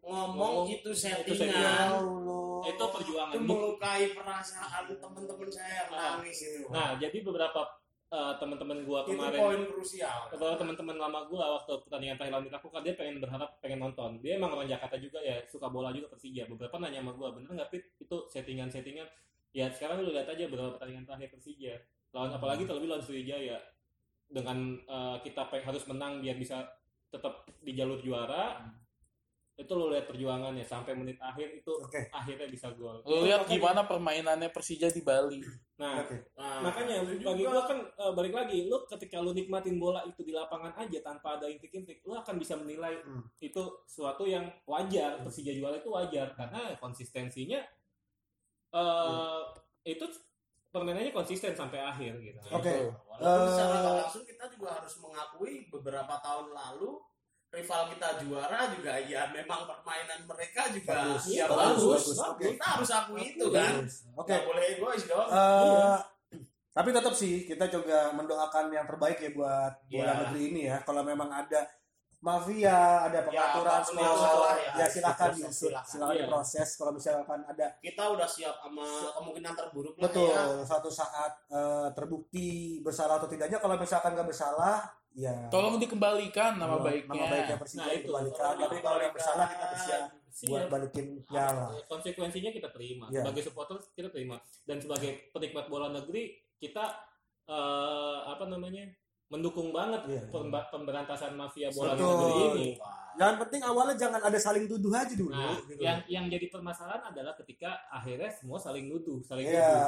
Speaker 2: ngomong
Speaker 4: iya. Ngomong,
Speaker 2: itu
Speaker 3: Ya
Speaker 2: settingan.
Speaker 4: settingan.
Speaker 3: Allah.
Speaker 4: itu perjuangan
Speaker 2: Oh. Itu melukai perasaan teman-teman saya yang
Speaker 4: Ah.
Speaker 2: nangis itu.
Speaker 4: nah jadi beberapa eh, teman-teman gua
Speaker 2: itu
Speaker 4: kemarin
Speaker 2: poin krusial.
Speaker 4: beberapa teman-teman lama gua waktu pertandingan Thailand dilakukan kan, dia pengen berharap pengen nonton dia emang orang Jakarta juga ya suka bola juga Persija beberapa nanya sama gua bener nggak Pit itu settingan settingan ya sekarang lu lihat aja beberapa pertandingan terakhir Persija lawan apalagi
Speaker 1: Hmm.
Speaker 4: terlebih lawan Sriwijaya dengan eh, kita pe- harus menang biar bisa tetap di jalur juara
Speaker 1: Hmm.
Speaker 4: itu lu lihat perjuangannya sampai menit akhir itu
Speaker 3: Oke,
Speaker 4: akhirnya bisa gol
Speaker 3: Iya,
Speaker 1: Lu lihat gimana permainannya Persija di Bali.
Speaker 4: nah
Speaker 3: oke.
Speaker 2: Nah,
Speaker 4: makanya
Speaker 2: itu
Speaker 4: bagi gua
Speaker 2: juga.
Speaker 4: kan eh, balik lagi lu ketika lu nikmatin bola itu di lapangan aja tanpa ada intik-intik lu akan bisa menilai
Speaker 3: Hmm.
Speaker 4: itu suatu yang wajar Persija juara itu wajar karena konsistensinya eh itu permainannya konsisten sampai akhir gitu
Speaker 3: Oke.
Speaker 1: Gitu.
Speaker 2: Walaupun
Speaker 3: Eh,
Speaker 2: secara nggak langsung kita juga harus mengakui beberapa tahun lalu rival kita juara juga ya memang permainan mereka juga
Speaker 3: Bagus.
Speaker 2: ya
Speaker 4: Bagus,
Speaker 2: bagus.
Speaker 3: bagus. Oke.
Speaker 2: Kita harus akui itu kan.
Speaker 3: Oke.
Speaker 2: Nggak boleh egois dong.
Speaker 3: Eh, tapi tetap sih kita juga mendoakan yang terbaik ya buat bola
Speaker 2: Iya.
Speaker 3: negeri ini ya. Kalau memang ada mafia, ada pengaturan
Speaker 2: apapun
Speaker 3: semua
Speaker 2: yang salah ya,
Speaker 3: ya, silakan
Speaker 2: diproses,
Speaker 3: diusut,
Speaker 2: silakan.
Speaker 3: silakan
Speaker 4: Iya.
Speaker 3: diproses. Kalau misalkan ada
Speaker 2: Kita udah siap sama kemungkinan terburuk lah
Speaker 3: betul
Speaker 2: ya.
Speaker 3: suatu saat eh, terbukti bersalah atau tidaknya, kalau misalkan nggak bersalah, ya
Speaker 1: Tolong dikembalikan nama baiknya.
Speaker 3: Iya, nama baiknya Persija
Speaker 4: Nah, itu.
Speaker 3: dikembalikan. Tapi kalau yang bersalah kita
Speaker 4: Iya.
Speaker 3: bersiap buat
Speaker 4: Siap.
Speaker 3: balikin piala.
Speaker 4: konsekuensinya kita terima
Speaker 3: Iya.
Speaker 4: sebagai supporter kita terima dan sebagai penikmat bola negeri kita eh, apa namanya mendukung banget
Speaker 3: Iya.
Speaker 4: pemba- pemberantasan mafia bola
Speaker 3: Betul.
Speaker 4: negeri ini
Speaker 3: Yang penting awalnya jangan ada saling tuduh aja dulu.
Speaker 4: Nah,
Speaker 3: gitu.
Speaker 4: yang yang jadi permasalahan adalah ketika akhirnya semua saling nuduh, saling
Speaker 3: Iya.
Speaker 4: nuduh.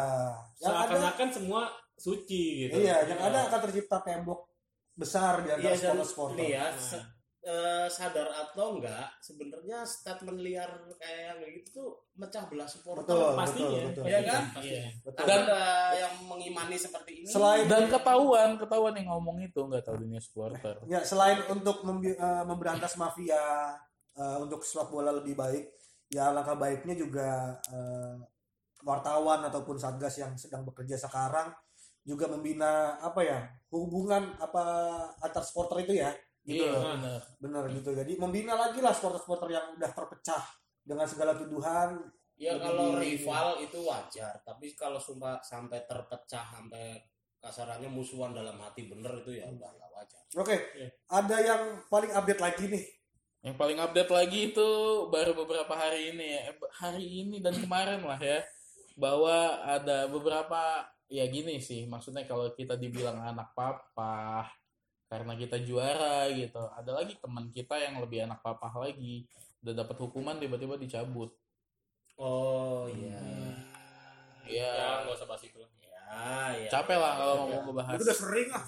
Speaker 3: Yang ada
Speaker 4: Seakan-akan semua suci gitu.
Speaker 3: Iya, yang
Speaker 4: Nah,
Speaker 3: ada akan tercipta tembok besar di
Speaker 2: Iya
Speaker 3: antara
Speaker 2: dan
Speaker 3: supporter-supporter.
Speaker 2: nih ya
Speaker 4: Nah.
Speaker 2: se- eh, sadar atau enggak sebenarnya statement liar kayak gitu tuh mecah belah supporter.
Speaker 3: Betul,
Speaker 4: pastinya.
Speaker 3: betul, betul.
Speaker 2: Iya kan?
Speaker 4: Pastinya.
Speaker 3: Betul.
Speaker 2: Dan ada yang mengimani seperti ini.
Speaker 3: Selain-
Speaker 1: Dan ketahuan, ketahuan yang ngomong itu nggak tahu dunia supporter.
Speaker 3: Ya, selain untuk membi- eh, memberantas mafia eh, untuk sepak bola lebih baik, ya langkah baiknya juga eh, wartawan ataupun satgas yang sedang bekerja sekarang juga membina apa ya hubungan apa antar supporter itu ya gitu
Speaker 1: Iya,
Speaker 3: loh.
Speaker 4: Nah,
Speaker 1: benar.
Speaker 3: benar gitu jadi membina lagi lah supporter-supporter yang udah terpecah dengan segala tuduhan
Speaker 2: Ya
Speaker 3: Lebih
Speaker 2: kalau
Speaker 3: di-
Speaker 2: rival itu wajar, tapi kalau sumpah sampai terpecah sampai kasarannya musuhan dalam hati bener itu ya udah nggak wajar.
Speaker 3: oke
Speaker 4: Iya.
Speaker 3: ada yang paling update lagi nih
Speaker 1: Yang paling update lagi itu baru beberapa hari ini ya. Eh, Hari ini dan kemarin lah ya. Bahwa ada beberapa ya gini sih, maksudnya kalau kita dibilang anak papa karena kita juara gitu. Ada lagi teman kita yang lebih anak papa lagi, udah dapat hukuman tiba-tiba dicabut.
Speaker 2: Oh iya.
Speaker 1: Iya.
Speaker 4: Ya, nggak usah bahas itu.
Speaker 2: Ya, ya.
Speaker 1: Capek lah kalau ngomong ngebahas.
Speaker 3: itu udah sering lah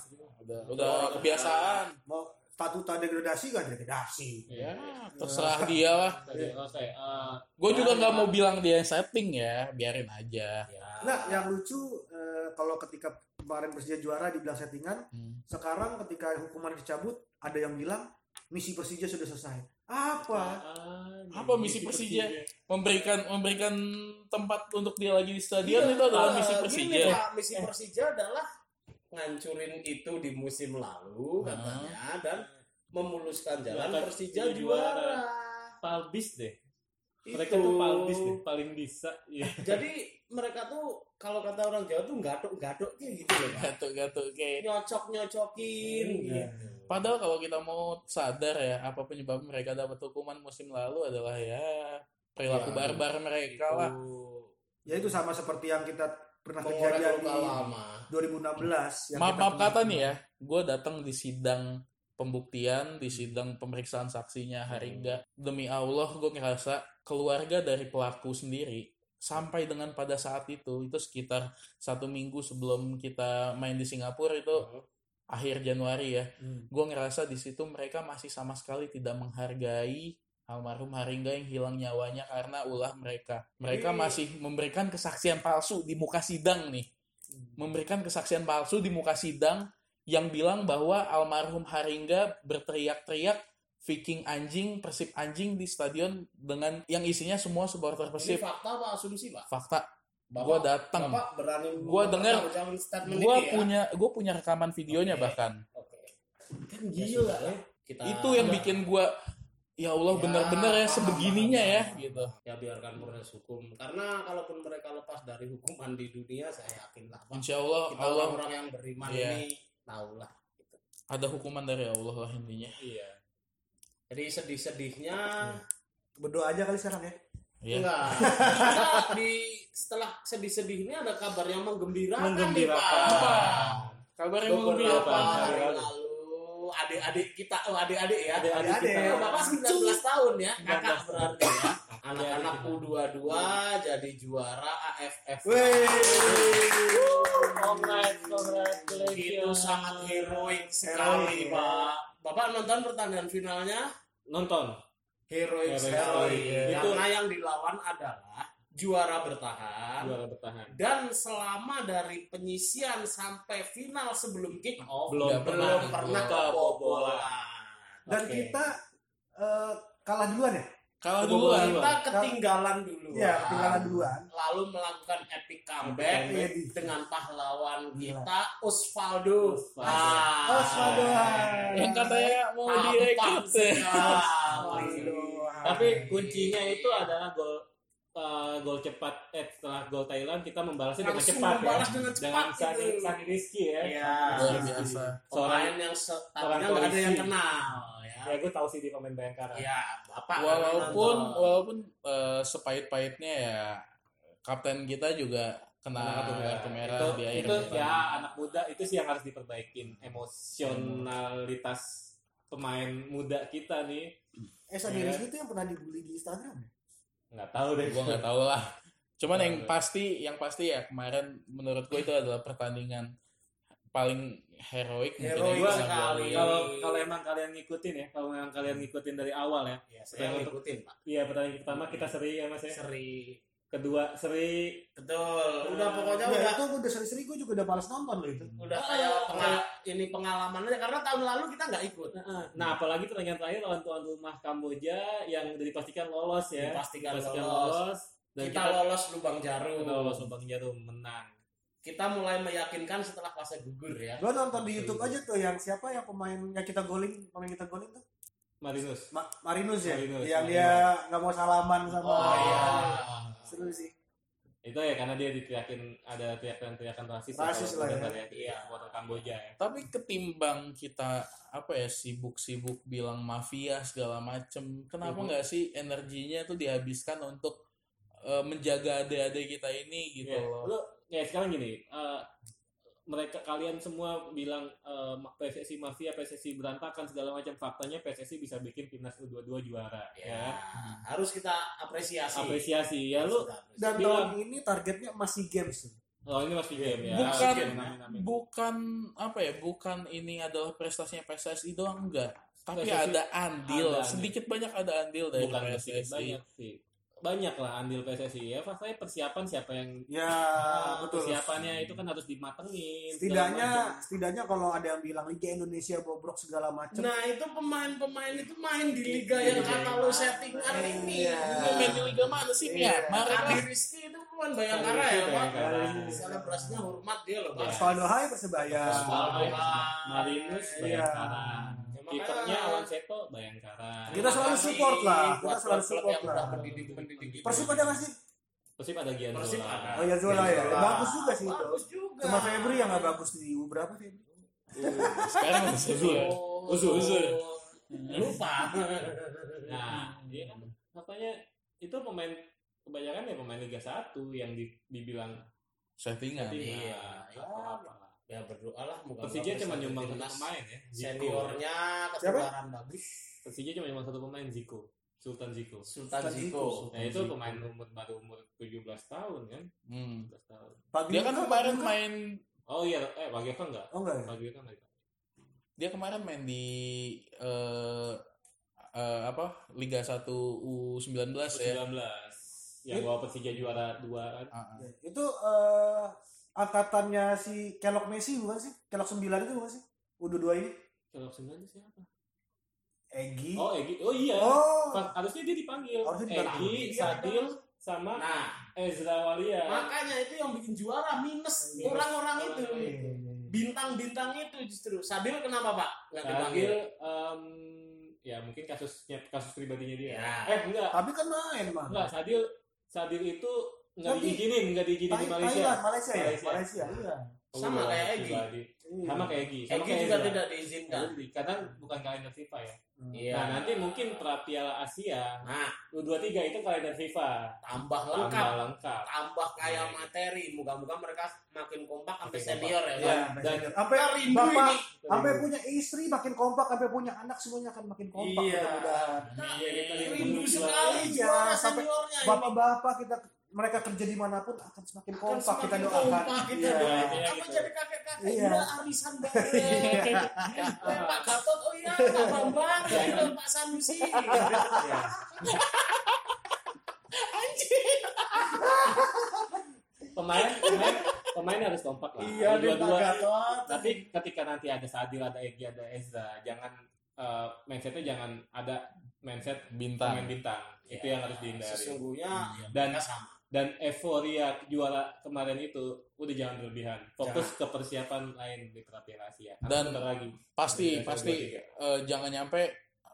Speaker 1: Udah, udah kebiasaan.
Speaker 3: mau statuta degradasi gak degradasi
Speaker 1: Ya, terserah dia lah.
Speaker 4: Iya. Tadi, oke. eh,
Speaker 1: Gue juga nggak mau bilang dia setting ya, biarin aja.
Speaker 3: nah yang lucu eh, kalau ketika kemarin Persija juara dibilang settingan
Speaker 1: Hmm.
Speaker 3: sekarang ketika hukuman dicabut ada yang bilang misi Persija sudah selesai apa
Speaker 4: Nah,
Speaker 1: Apa misi Persija? Memberikan memberikan tempat untuk dia lagi di stadion itu adalah misi
Speaker 2: Eh,
Speaker 1: Persija.
Speaker 2: gini, Pak, misi Persija adalah ngancurin itu di musim lalu
Speaker 1: Hah?
Speaker 2: katanya dan memuluskan jalan
Speaker 4: Maka
Speaker 2: Persija
Speaker 4: Persija
Speaker 2: juara.
Speaker 4: juara. Palbis deh. Mereka
Speaker 2: Itu.
Speaker 4: tuh palbis deh, paling bisa. Iya.
Speaker 2: Jadi mereka tuh kalau kata orang Jawa tuh gadok-gadoknya gitu loh, Pak.
Speaker 1: Gatuk-gatuk kayak
Speaker 2: Nyocok-nyocokin
Speaker 3: Iya.
Speaker 2: gitu.
Speaker 1: Padahal kalau kita mau sadar ya, apa penyebab mereka dapat hukuman musim lalu adalah ya perilaku
Speaker 2: Ya,
Speaker 1: barbar mereka lah.
Speaker 3: ya itu sama seperti yang kita pernah
Speaker 2: Mengorek
Speaker 3: kejadian di
Speaker 2: luka lama.
Speaker 3: 2016 yang
Speaker 1: Maaf maaf
Speaker 3: kita temukan.
Speaker 1: kata nih ya, gue datang di sidang pembuktian, di sidang pemeriksaan saksinya
Speaker 3: Hmm.
Speaker 1: Hariga. Demi Allah, gue ngerasa keluarga dari pelaku sendiri sampai dengan pada saat itu, itu sekitar satu minggu sebelum kita main di Singapura itu akhir Januari ya.
Speaker 3: Hmm.
Speaker 1: gue ngerasa di situ mereka masih sama sekali tidak menghargai almarhum Haringga yang hilang nyawanya karena ulah mereka. Mereka
Speaker 2: Jadi-
Speaker 1: masih memberikan kesaksian palsu di muka sidang nih.
Speaker 2: Hmm.
Speaker 1: Memberikan kesaksian palsu di muka sidang yang bilang bahwa almarhum Haringga berteriak-teriak Viking anjing, persib anjing di stadion dengan yang isinya semua supporter
Speaker 2: Ini
Speaker 1: persib.
Speaker 2: fakta apa asumsi, Pak?
Speaker 1: Fakta, gue
Speaker 2: Bapak,
Speaker 1: datang.
Speaker 2: Bapak berani
Speaker 1: Gua dengar.
Speaker 2: menjawab statement
Speaker 1: Gue
Speaker 2: ini ya?
Speaker 1: punya, gue punya rekaman videonya
Speaker 2: Oke.
Speaker 1: bahkan.
Speaker 2: Oke.
Speaker 4: Kan
Speaker 2: gila ya. Kita
Speaker 1: itu yang bikin gua ya Allah
Speaker 2: Ya,
Speaker 1: bener-bener ya
Speaker 2: paham,
Speaker 1: sebegininya
Speaker 2: paham,
Speaker 1: ya
Speaker 2: paham.
Speaker 1: gitu
Speaker 2: ya biarkan proses hukum karena kalaupun mereka lepas dari hukuman di dunia saya yakin lah Pak.
Speaker 1: Insya Allah
Speaker 2: kita
Speaker 1: Oh, Allah
Speaker 2: orang yang beriman
Speaker 1: Iya.
Speaker 2: ini tahu lah
Speaker 1: ada hukuman dari Allah lah intinya
Speaker 4: Iya.
Speaker 2: jadi sedih-sedihnya
Speaker 1: Hmm.
Speaker 3: berdoa aja kali sekarang ya
Speaker 1: ya
Speaker 2: enggak Kita di setelah sedih-sedihnya ada kabar yang menggembirakan,
Speaker 4: Menggembirakan.
Speaker 2: nih Pak
Speaker 1: kabar yang mengembirakan
Speaker 2: beberapa hari
Speaker 4: Hari-hari.
Speaker 2: lalu adik-adik kita oh adik-adik ya
Speaker 4: Adik-adik
Speaker 3: Adik-adik.
Speaker 4: kita.
Speaker 2: Eh, Bapak 19 tahun ya, kakak
Speaker 4: 19.
Speaker 2: berarti ya. Anak-anak
Speaker 4: Adik-adik.
Speaker 2: U22 jadi juara AFF.
Speaker 4: Congrats,
Speaker 2: Itu
Speaker 4: congratulations.
Speaker 2: sangat heroik sekali,
Speaker 3: Heroik, ya.
Speaker 2: Pak. Bapak nonton pertandingan finalnya?
Speaker 4: Nonton.
Speaker 2: Heroik
Speaker 4: Heroik
Speaker 2: sekali.
Speaker 1: Iya.
Speaker 4: sekali, ya.
Speaker 3: Iya.
Speaker 2: Karena nah yang dilawan adalah juara bertahan.
Speaker 4: Juara bertahan.
Speaker 2: Dan selama dari penyisian sampai final sebelum kick off,
Speaker 4: Belum
Speaker 2: belum
Speaker 4: pernah
Speaker 2: pernah, kebobolan.
Speaker 3: dan
Speaker 4: Oke.
Speaker 3: kita eh, kalah duluan ya
Speaker 1: kalah
Speaker 4: Kebobolan.
Speaker 1: duluan
Speaker 2: Kita ketinggalan dulu.
Speaker 3: Iya, ketinggalan duluan.
Speaker 2: Lalu melakukan epic comeback
Speaker 3: Iya, di-
Speaker 2: dengan pahlawan
Speaker 3: Gila.
Speaker 2: kita Osvaldo.
Speaker 4: Osvaldo. Oh,
Speaker 2: Ah.
Speaker 3: Osvaldo.
Speaker 1: yang katanya mau
Speaker 2: Tampak
Speaker 1: direkrut ya.
Speaker 2: sekali.
Speaker 4: Tapi kuncinya itu adalah gol eh, gol cepat eh setelah gol Thailand kita membalasnya dengan
Speaker 2: Langsung
Speaker 4: cepat
Speaker 2: membalas
Speaker 4: ya.
Speaker 2: dengan cepat
Speaker 4: dengan
Speaker 2: gitu.
Speaker 4: Sani, Sani Rizky ya.
Speaker 2: Iya.
Speaker 1: luar biasa
Speaker 2: Pemain
Speaker 4: Seorang
Speaker 2: yang se-
Speaker 4: seorang
Speaker 2: tadinya nggak ada
Speaker 4: polisi.
Speaker 2: yang kenal ya.
Speaker 4: ya gue tahu sih di kan. pemain Bayangkara.
Speaker 2: Ya, Bapak.
Speaker 1: walaupun
Speaker 2: nonton.
Speaker 1: walaupun eh, sepahit-pahitnya ya kapten kita juga kena
Speaker 4: Nah,
Speaker 1: kartu merah,
Speaker 4: itu,
Speaker 1: di akhir
Speaker 4: itu ya
Speaker 1: pertandingan.
Speaker 4: anak muda itu sih yang harus diperbaikin emosionalitas pemain muda kita nih
Speaker 3: eh Sandi Rizky itu yang pernah dibully di Instagram ya?
Speaker 4: nggak tahu deh
Speaker 1: gue nggak tahu lah cuman
Speaker 4: Tahu
Speaker 1: yang
Speaker 4: deh.
Speaker 1: pasti yang pasti ya kemarin menurut gue itu adalah pertandingan paling heroik mungkin yang
Speaker 2: Heroik
Speaker 1: pernah gua
Speaker 2: sekali.
Speaker 1: lihat.
Speaker 4: kalau kalau emang kalian ngikutin ya kalau emang kalian ngikutin dari awal ya
Speaker 2: Ya, saya ngikutin, Pak.
Speaker 4: iya pertandingan pertama kita seri ya mas ya
Speaker 2: Seri.
Speaker 4: kedua seri
Speaker 2: Betul. Udah pokoknya
Speaker 3: Nah,
Speaker 2: udah Oh.
Speaker 3: itu gue udah sering-sering gue juga udah males nonton loh itu
Speaker 2: udah kayak pengal- ini pengalaman aja karena tahun lalu kita nggak ikut.
Speaker 4: nah apalagi pertandingan terakhir lawan tuan rumah Kamboja yang udah dipastikan lolos ya
Speaker 2: Dipastikan
Speaker 4: dipastikan
Speaker 2: lolos.
Speaker 4: lolos dan
Speaker 2: Kita
Speaker 4: kita,
Speaker 2: lolos lubang jarum.
Speaker 4: kita lolos Bang Jarum menang
Speaker 2: Kita mulai meyakinkan setelah fase gugur ya.
Speaker 3: gue nonton di YouTube aja tuh yang siapa yang pemain yang kita goling pemain kita goling tuh
Speaker 4: Marinus
Speaker 3: Ma- Marinus ya
Speaker 4: Marinus,
Speaker 3: yang
Speaker 4: Marinus.
Speaker 3: dia nggak mau salaman sama
Speaker 2: Oh, iya.
Speaker 3: seru sih
Speaker 4: itu ya karena dia diteriakin ada teriakan-teriakan rasis
Speaker 3: Rasis lah ya.
Speaker 4: iya supporter Kamboja ya
Speaker 1: tapi ketimbang kita apa ya sibuk-sibuk bilang mafia segala macem kenapa
Speaker 4: Mhm.
Speaker 1: nggak sih energinya tuh dihabiskan untuk eh, menjaga adik-adik kita ini gitu
Speaker 4: Iya.
Speaker 1: loh
Speaker 4: Lu- ya sekarang gini, eh, mereka kalian semua bilang eh, ma- PSSI mafia, PSSI berantakan segala macam faktanya PSSI bisa bikin timnas U22 juara
Speaker 2: ya
Speaker 4: ya.
Speaker 2: harus kita apresiasi
Speaker 4: Apresiasi ya lu.
Speaker 3: Dan
Speaker 4: Bilang.
Speaker 3: tahun ini targetnya masih games.
Speaker 4: Oh ini masih game ya.
Speaker 1: Bukan.
Speaker 4: Oke, amin, amin.
Speaker 1: bukan apa ya bukan ini adalah prestasinya PSSI doang enggak tapi
Speaker 4: PSSI
Speaker 1: ada andil
Speaker 4: ada andil.
Speaker 1: sedikit banyak ada andil dari
Speaker 4: bukan sedikit
Speaker 1: PSSI
Speaker 4: banyak sih. Banyak lah andil PSSI ya. Faktanya persiapan siapa yang ah,
Speaker 3: Ya, betul.
Speaker 4: persiapannya itu kan harus dimatengin. segala macam.
Speaker 3: Setidaknya setidaknya kalau ada yang bilang Liga Indonesia bobrok segala macam.
Speaker 2: nah itu pemain-pemain itu main di liga yang kata lo settingan ini
Speaker 3: Iya.
Speaker 1: Lu main di liga mana sih
Speaker 3: Iya.
Speaker 1: Myanmar
Speaker 2: Kami
Speaker 1: ya?
Speaker 2: Rizky itu pemain bayangkara ya pak
Speaker 4: Bayangkara.
Speaker 2: selebrasinya hormat dia loh pak
Speaker 3: Osvaldo Hai persebaya.
Speaker 4: Osvaldo Hai.
Speaker 2: Pak.
Speaker 4: Marinus
Speaker 3: Ah, Iya.
Speaker 4: Bayangkara.
Speaker 2: Ya, Makanya
Speaker 4: Kipernya Awan Seto Bayangkara.
Speaker 3: Kita selalu
Speaker 2: makasih
Speaker 3: support lah. Kita
Speaker 2: buat
Speaker 3: selalu
Speaker 2: klub-klub
Speaker 3: support
Speaker 2: yang
Speaker 3: lah.
Speaker 2: udah mendidik-mendidik itu.
Speaker 3: Persib ada nggak sih?
Speaker 4: Persib ada Gianzola.
Speaker 2: Persib ada.
Speaker 3: Oh ya Zola ya.
Speaker 2: Zola.
Speaker 3: Bagus juga sih itu.
Speaker 2: bagus juga
Speaker 3: Cuma Febri yang nggak bagus di U berapa Febri?
Speaker 1: sekarang masih
Speaker 4: Uzur.
Speaker 1: dia.
Speaker 2: Oh. Hmm.
Speaker 4: Uzur, uzur.
Speaker 2: lupa
Speaker 4: Nah, dia kan faktanya itu pemain kebanyakan ya pemain Liga 1 yang di- dibilang
Speaker 1: settingan
Speaker 4: tadi
Speaker 2: iya.
Speaker 4: nggak apa-apa lah.
Speaker 2: ya berdoalah moga
Speaker 4: Persija
Speaker 2: bagus
Speaker 4: cuma
Speaker 2: nanti
Speaker 4: nyumbang satu
Speaker 2: timnas.
Speaker 4: pemain ya. Zico.
Speaker 2: seniornya
Speaker 3: Siapa?
Speaker 2: ketularan bagus
Speaker 4: Persija cuma nyumbang satu pemain Ziko. Sultan Ziko.
Speaker 2: Sultan
Speaker 3: Sultan
Speaker 2: Ziko
Speaker 4: Nah, itu pemain umur baru umur 17 tahun kan?
Speaker 1: Hmm.
Speaker 4: 17 tahun.
Speaker 3: Pagi
Speaker 1: dia kan
Speaker 3: Luka,
Speaker 1: kemarin
Speaker 3: Luka.
Speaker 1: main
Speaker 4: Oh iya, eh Bagi Evan enggak?
Speaker 3: Oh enggak ya?
Speaker 4: Bagi Evan enggak.
Speaker 1: dia kemarin main di eh eh, apa Liga 1 U19 ya
Speaker 4: 19. Yang bawa Persija juara 2 kan?
Speaker 1: Ah, ah.
Speaker 3: Ya, Itu eh, angkatannya si Kelok Messi bukan sih? Kelok 9 itu bukan sih? U22 ini?
Speaker 4: Kalau 9 itu siapa?
Speaker 3: Egi.
Speaker 4: Oh, Egi. Oh iya.
Speaker 3: Oh.
Speaker 4: Pas- harusnya dia dipanggil.
Speaker 3: Harusnya dipanggil.
Speaker 4: Egi,
Speaker 2: Iya,
Speaker 4: Sadil, sama
Speaker 2: nah
Speaker 4: Ezra Walia.
Speaker 2: makanya itu yang bikin juara minus orang-orang itu
Speaker 3: Iya, iya, iya.
Speaker 2: bintang-bintang itu justru Sadil kenapa pak nggak dipanggil
Speaker 4: Sadil, em, ya mungkin kasusnya kasus pribadinya dia.
Speaker 2: Ya.
Speaker 4: Eh enggak,
Speaker 3: Tapi kan main mah.
Speaker 4: enggak. Sadil, Sadil itu nggak
Speaker 3: Nanti-
Speaker 4: diizinin, nggak diizinin
Speaker 3: Thailand,
Speaker 4: di Malaysia.
Speaker 3: Malaysia ya?
Speaker 4: Malaysia.
Speaker 3: Malaysia, iya.
Speaker 4: Oh,
Speaker 2: Sama
Speaker 4: iya,
Speaker 2: kayak Egi.
Speaker 4: pribadi.
Speaker 3: Iya.
Speaker 4: Sama kayak Egi. Sama
Speaker 2: Egy
Speaker 4: kayak
Speaker 2: juga
Speaker 4: Ezra.
Speaker 2: tidak diizinkan
Speaker 4: Jadi, Karena bukan kalender FIFA ya.
Speaker 3: Hmm.
Speaker 2: Iya.
Speaker 4: Nah nanti mungkin pra Piala Asia
Speaker 2: nah
Speaker 4: U23 itu kalender FIFA.
Speaker 2: tambah
Speaker 4: Tambah
Speaker 2: lengkap
Speaker 4: lengkap.
Speaker 2: tambah kaya
Speaker 4: Iya.
Speaker 2: materi moga-moga mereka makin kompak sampai
Speaker 4: Makin
Speaker 2: senior ya
Speaker 3: Iya,
Speaker 2: Pak.
Speaker 3: dan
Speaker 4: Dan-
Speaker 3: sampai
Speaker 2: Kita rindu
Speaker 3: bapak
Speaker 2: ini.
Speaker 3: sampai punya istri makin kompak, sampai punya anak semuanya akan makin kompak.
Speaker 2: Iya.
Speaker 3: mudah-mudahan.
Speaker 2: Nah,
Speaker 4: Iya, kita rindu
Speaker 2: rindu
Speaker 4: juara.
Speaker 2: sekali
Speaker 3: Iya,
Speaker 2: juara
Speaker 3: sampai
Speaker 2: seniornya ini.
Speaker 3: Bapak-bapak kita mereka kerja dimanapun akan semakin
Speaker 2: Akan
Speaker 3: kompak kita
Speaker 2: semakin
Speaker 3: doakan.
Speaker 2: kompak kita
Speaker 3: Iya.
Speaker 2: doakan.
Speaker 4: Iya,
Speaker 2: Kamu
Speaker 4: gitu.
Speaker 2: jadi kakek-kakek
Speaker 3: Iya.
Speaker 2: iya. arisan bareng. Eh,
Speaker 4: Ah,
Speaker 2: Pak Gatot, oh iya, Pak Bambang,
Speaker 4: Iya.
Speaker 2: iya, Pak Sanusi.
Speaker 4: Ya.
Speaker 2: Anjir.
Speaker 4: Pemain, pemain, pemain harus kompak lah.
Speaker 3: deh, Pak
Speaker 4: Dua-dua-
Speaker 3: Gatot.
Speaker 4: Tapi ketika nanti ada Sadil, ada Egy, ada Ezra, jangan eh, mindsetnya jangan ada mindset pemain
Speaker 1: bintang
Speaker 4: bintang. Itu
Speaker 2: Iya.
Speaker 4: yang harus dihindari. Iya.
Speaker 2: Sesungguhnya ya,
Speaker 4: Dan-
Speaker 2: mereka sama.
Speaker 4: Dan euforia juara kemarin itu udah jangan berlebihan. Fokus ke persiapan lain di pra Piala Asia. Karena
Speaker 1: Dan-
Speaker 4: bentar lagi.
Speaker 1: pasti
Speaker 2: Iya,
Speaker 4: Liga satu,
Speaker 1: pasti
Speaker 4: dua, tiga.
Speaker 1: eh, jangan nyampe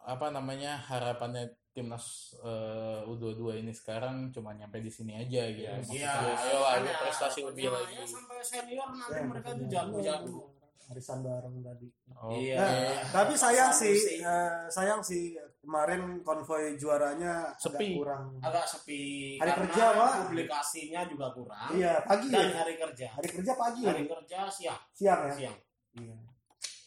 Speaker 1: apa namanya harapannya timnas eh, U22 ini sekarang cuma nyampe di sini aja gitu.
Speaker 4: Iya,
Speaker 1: Maksudnya,
Speaker 2: Iya,
Speaker 1: ayo lah lu
Speaker 2: makanya.
Speaker 1: prestasi lebih
Speaker 2: Makanya
Speaker 1: lagi.
Speaker 2: Sampai senior nanti
Speaker 3: Ya,
Speaker 2: mereka tuh
Speaker 3: makanya.
Speaker 2: jago-jago.
Speaker 3: Arisan bareng tadi.
Speaker 1: Oh.
Speaker 2: Iya.
Speaker 3: Nah, tapi sayang
Speaker 2: Sama
Speaker 3: sih,
Speaker 2: sih.
Speaker 3: eh, sayang sih kemarin konvoy juaranya
Speaker 1: Sepi.
Speaker 3: agak kurang.
Speaker 2: Agak sepi.
Speaker 3: Hari
Speaker 2: karena
Speaker 3: kerja, Pak.
Speaker 2: Publikasinya juga kurang.
Speaker 3: Iya, pagi ya.
Speaker 2: Dan hari kerja.
Speaker 3: Hari kerja pagi ya,
Speaker 2: Hari kerja siang.
Speaker 3: siang ya.
Speaker 2: Siang.
Speaker 3: Iya.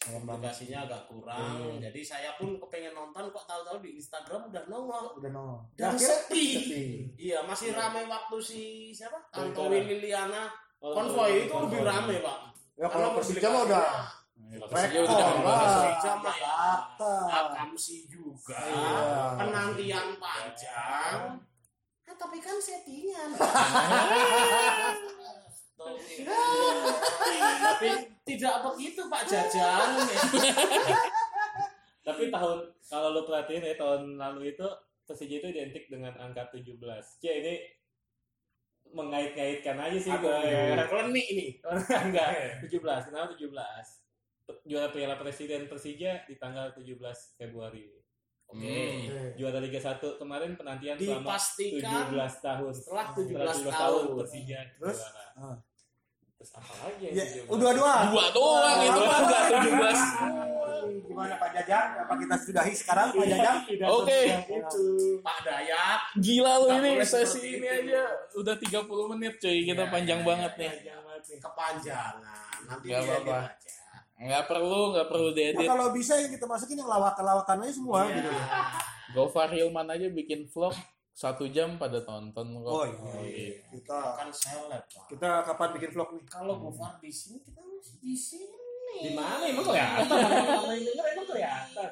Speaker 3: Sayang banget. Iya.
Speaker 2: Publikasinya agak kurang. Jadi saya pun kepengen nonton kok tahu-tahu di Instagram udah nongol.
Speaker 3: Udah nongol.
Speaker 2: Dan
Speaker 3: akhirnya
Speaker 2: sepi.
Speaker 3: sepi.
Speaker 2: Iya, masih ramai waktu si siapa?
Speaker 4: Konvoy.
Speaker 2: Tantowi Liliana.
Speaker 4: Oh,
Speaker 2: Konvoy itu
Speaker 4: konvoy.
Speaker 2: lebih ramai, Pak.
Speaker 3: Ya kalau
Speaker 2: Karena Iya.
Speaker 3: Persija mah udah
Speaker 2: publikasinya-
Speaker 4: Iya,
Speaker 1: Persija udah
Speaker 3: rekor
Speaker 1: jangan
Speaker 3: lah.
Speaker 1: bahas.
Speaker 2: Persija mah ya.
Speaker 3: Jakarta.
Speaker 2: akamsi juga
Speaker 3: Iya.
Speaker 2: penantian panjang ah, tapi kan settingan tapi tidak begitu Pak Jajan
Speaker 4: Tapi tahun kalau lu perhatiin ya tahun lalu itu Persija itu identik dengan angka 17. Ya ini mengait-ngaitkan aja sih
Speaker 2: Aduh, iya,
Speaker 4: gue.
Speaker 2: klenik ini
Speaker 4: enggak 17 kenapa 17 Pe- juara Piala Presiden Persija di tanggal 17 Februari
Speaker 2: oke
Speaker 3: Oke.
Speaker 4: juara Liga 1 kemarin penantian selama
Speaker 2: Hmm. dipastikan
Speaker 4: 17 tahun
Speaker 2: setelah 17
Speaker 4: Setelah
Speaker 2: tahun.
Speaker 4: Persija
Speaker 3: Terus?
Speaker 4: juara
Speaker 3: Ah.
Speaker 4: terus apa lagi yang
Speaker 2: Iya,
Speaker 3: Ya,
Speaker 4: 17?
Speaker 3: udah dua.
Speaker 1: Dua doang itu
Speaker 3: Dua.
Speaker 1: enggak 17.
Speaker 3: Gimana Pak Jajang? Apa kita sudahi sekarang
Speaker 2: Iya.
Speaker 3: Pak Jajang?
Speaker 4: Tidak
Speaker 1: Oke.
Speaker 4: terlihat.
Speaker 3: Itu.
Speaker 2: Pak Dayat
Speaker 1: Gila lu
Speaker 2: Nggak
Speaker 1: ini
Speaker 2: boleh
Speaker 1: sesi
Speaker 2: seperti
Speaker 1: ini
Speaker 2: itu.
Speaker 1: aja udah 30 menit cuy, kita
Speaker 2: Iya,
Speaker 1: panjang
Speaker 2: iya,
Speaker 1: banget
Speaker 2: iya,
Speaker 1: nih.
Speaker 2: iya. kepanjangan nanti
Speaker 1: Nggak
Speaker 2: diedit
Speaker 1: apa-apa.
Speaker 2: aja.
Speaker 1: nggak perlu nggak perlu
Speaker 3: Nah,
Speaker 1: diedit
Speaker 3: kalau bisa yang kita masukin yang lawakan-lawakan aja semua
Speaker 2: Iya.
Speaker 3: gitu.
Speaker 1: Gofar Hilman aja bikin vlog satu jam pada tonton kok
Speaker 3: Oh
Speaker 2: Oh,
Speaker 3: iya.
Speaker 2: iya.
Speaker 3: Kita
Speaker 2: Kan seleb. Pak.
Speaker 3: kita kapan bikin vlog nih?
Speaker 2: Kalau Gofar di sini kita masih di sini.
Speaker 4: Di mana emang kelihatan? Kalau yang denger emang kelihatan.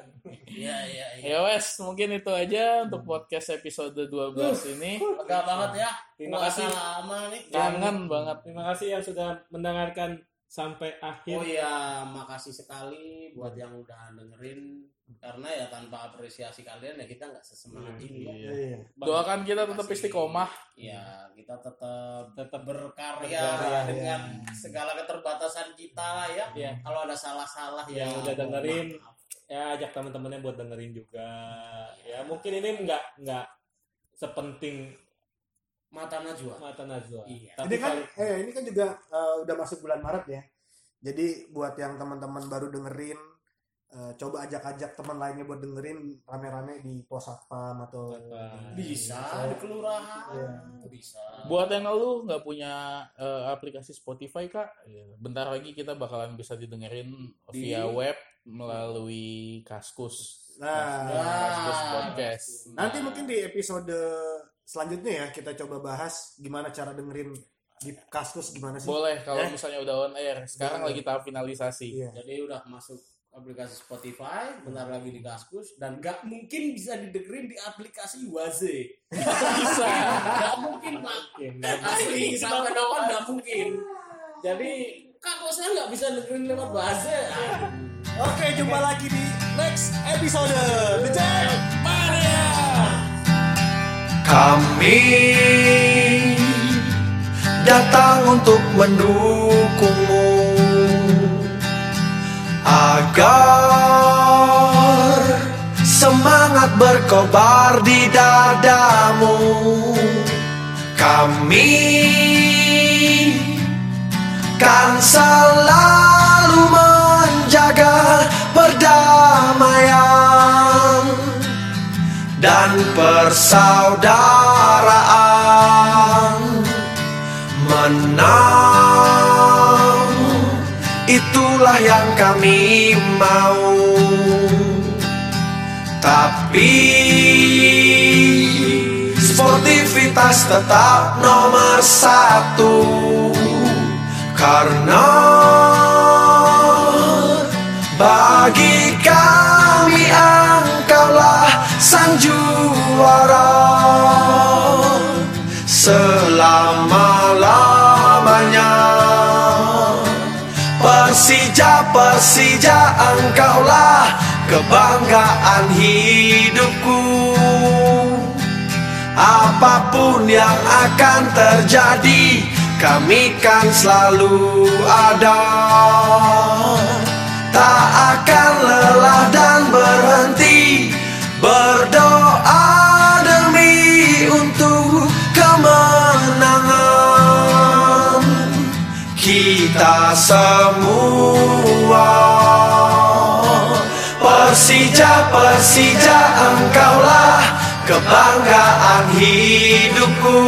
Speaker 2: Iya iya iya.
Speaker 1: ya wes mungkin itu aja untuk podcast episode 12 ini
Speaker 2: Lega banget ya.
Speaker 4: Terima kasih.
Speaker 2: Puasa lama nih.
Speaker 1: kangen banget
Speaker 4: Terima kasih yang sudah mendengarkan sampai
Speaker 2: Oh
Speaker 4: akhir.
Speaker 2: iya, makasih sekali buat yang udah dengerin karena ya tanpa apresiasi kalian ya kita nggak
Speaker 4: Nah,
Speaker 2: sesemangat ini
Speaker 4: Hmm.
Speaker 2: ya.
Speaker 1: Iya.
Speaker 3: Iya.
Speaker 1: doakan kita tetap istiqomah
Speaker 2: Ya, kita tetap
Speaker 4: Tetap
Speaker 2: berkarya
Speaker 4: Berkarya,
Speaker 2: dengan segala keterbatasan kita lah ya.
Speaker 4: Iya.
Speaker 2: Kalau ada salah-salah
Speaker 4: Yang
Speaker 2: ya,
Speaker 4: udah
Speaker 2: mohon
Speaker 4: dengerin.
Speaker 2: maaf.
Speaker 4: ya ajak teman-temannya buat dengerin juga. Ya mungkin ini nggak nggak sepenting
Speaker 2: mata najwa.
Speaker 4: mata Najwa.
Speaker 2: Iya.
Speaker 4: Tapi
Speaker 3: Ini kan
Speaker 4: kalau-
Speaker 3: eh ini kan juga eh, udah masuk bulan Maret ya. Jadi buat yang teman-teman baru dengerin eh, coba ajak-ajak teman lainnya buat dengerin rame-rame di pos satpam atau
Speaker 4: Satpam.
Speaker 2: Bisa di kelurahan,
Speaker 3: Iya.
Speaker 2: bisa.
Speaker 1: buat yang lu nggak punya eh, aplikasi Spotify kak ya, bentar lagi kita bakalan bisa didengerin
Speaker 2: Di-
Speaker 1: via web melalui Kaskus
Speaker 3: Nah,
Speaker 1: Kaskus podcast
Speaker 2: Nah.
Speaker 3: nanti mungkin di episode selanjutnya ya kita coba bahas gimana cara dengerin di kaskus gimana sih.
Speaker 1: boleh kalau
Speaker 3: Eh?
Speaker 1: misalnya udah on air sekarang
Speaker 3: Boleh.
Speaker 1: lagi tahap finalisasi
Speaker 3: Iya.
Speaker 2: Jadi udah masuk aplikasi Spotify, bentar lagi di Kaskus dan nggak mungkin bisa didengerin di aplikasi Waze.
Speaker 1: bisa
Speaker 2: Nggak mungkin Pak.
Speaker 4: Mungkin, nggak
Speaker 2: Asli sampai kapan nggak mungkin. Jadi kak kok saya nggak bisa dengerin lewat Waze.
Speaker 3: Oke, jumpa lagi di next episode The Jack
Speaker 2: Ah.
Speaker 6: Kami datang untuk mendukungmu agar semangat berkobar di dadamu. Kami kan selalu menjaga perdamaian dan persaudaraan menang itulah yang kami mau tapi sportivitas tetap nomor satu karena bagi kami engkaulah sang juara selama-lamanya Persija Persija engkaulah kebanggaan hidupku Apapun yang akan terjadi Kami kan selalu ada Tak akan lelah dan berhenti Berdoa demi untuk kemenangan Kita semua Persija, Persija engkaulah kebanggaan hidupku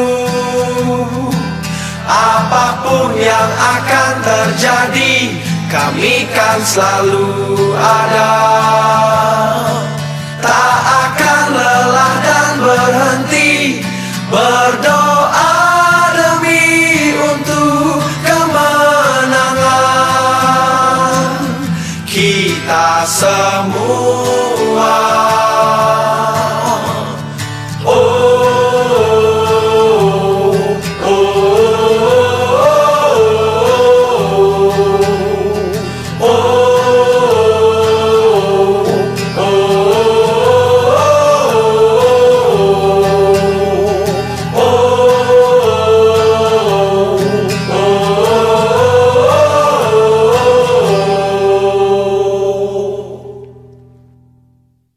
Speaker 6: Apapun yang akan terjadi kami kan selalu ada Oh.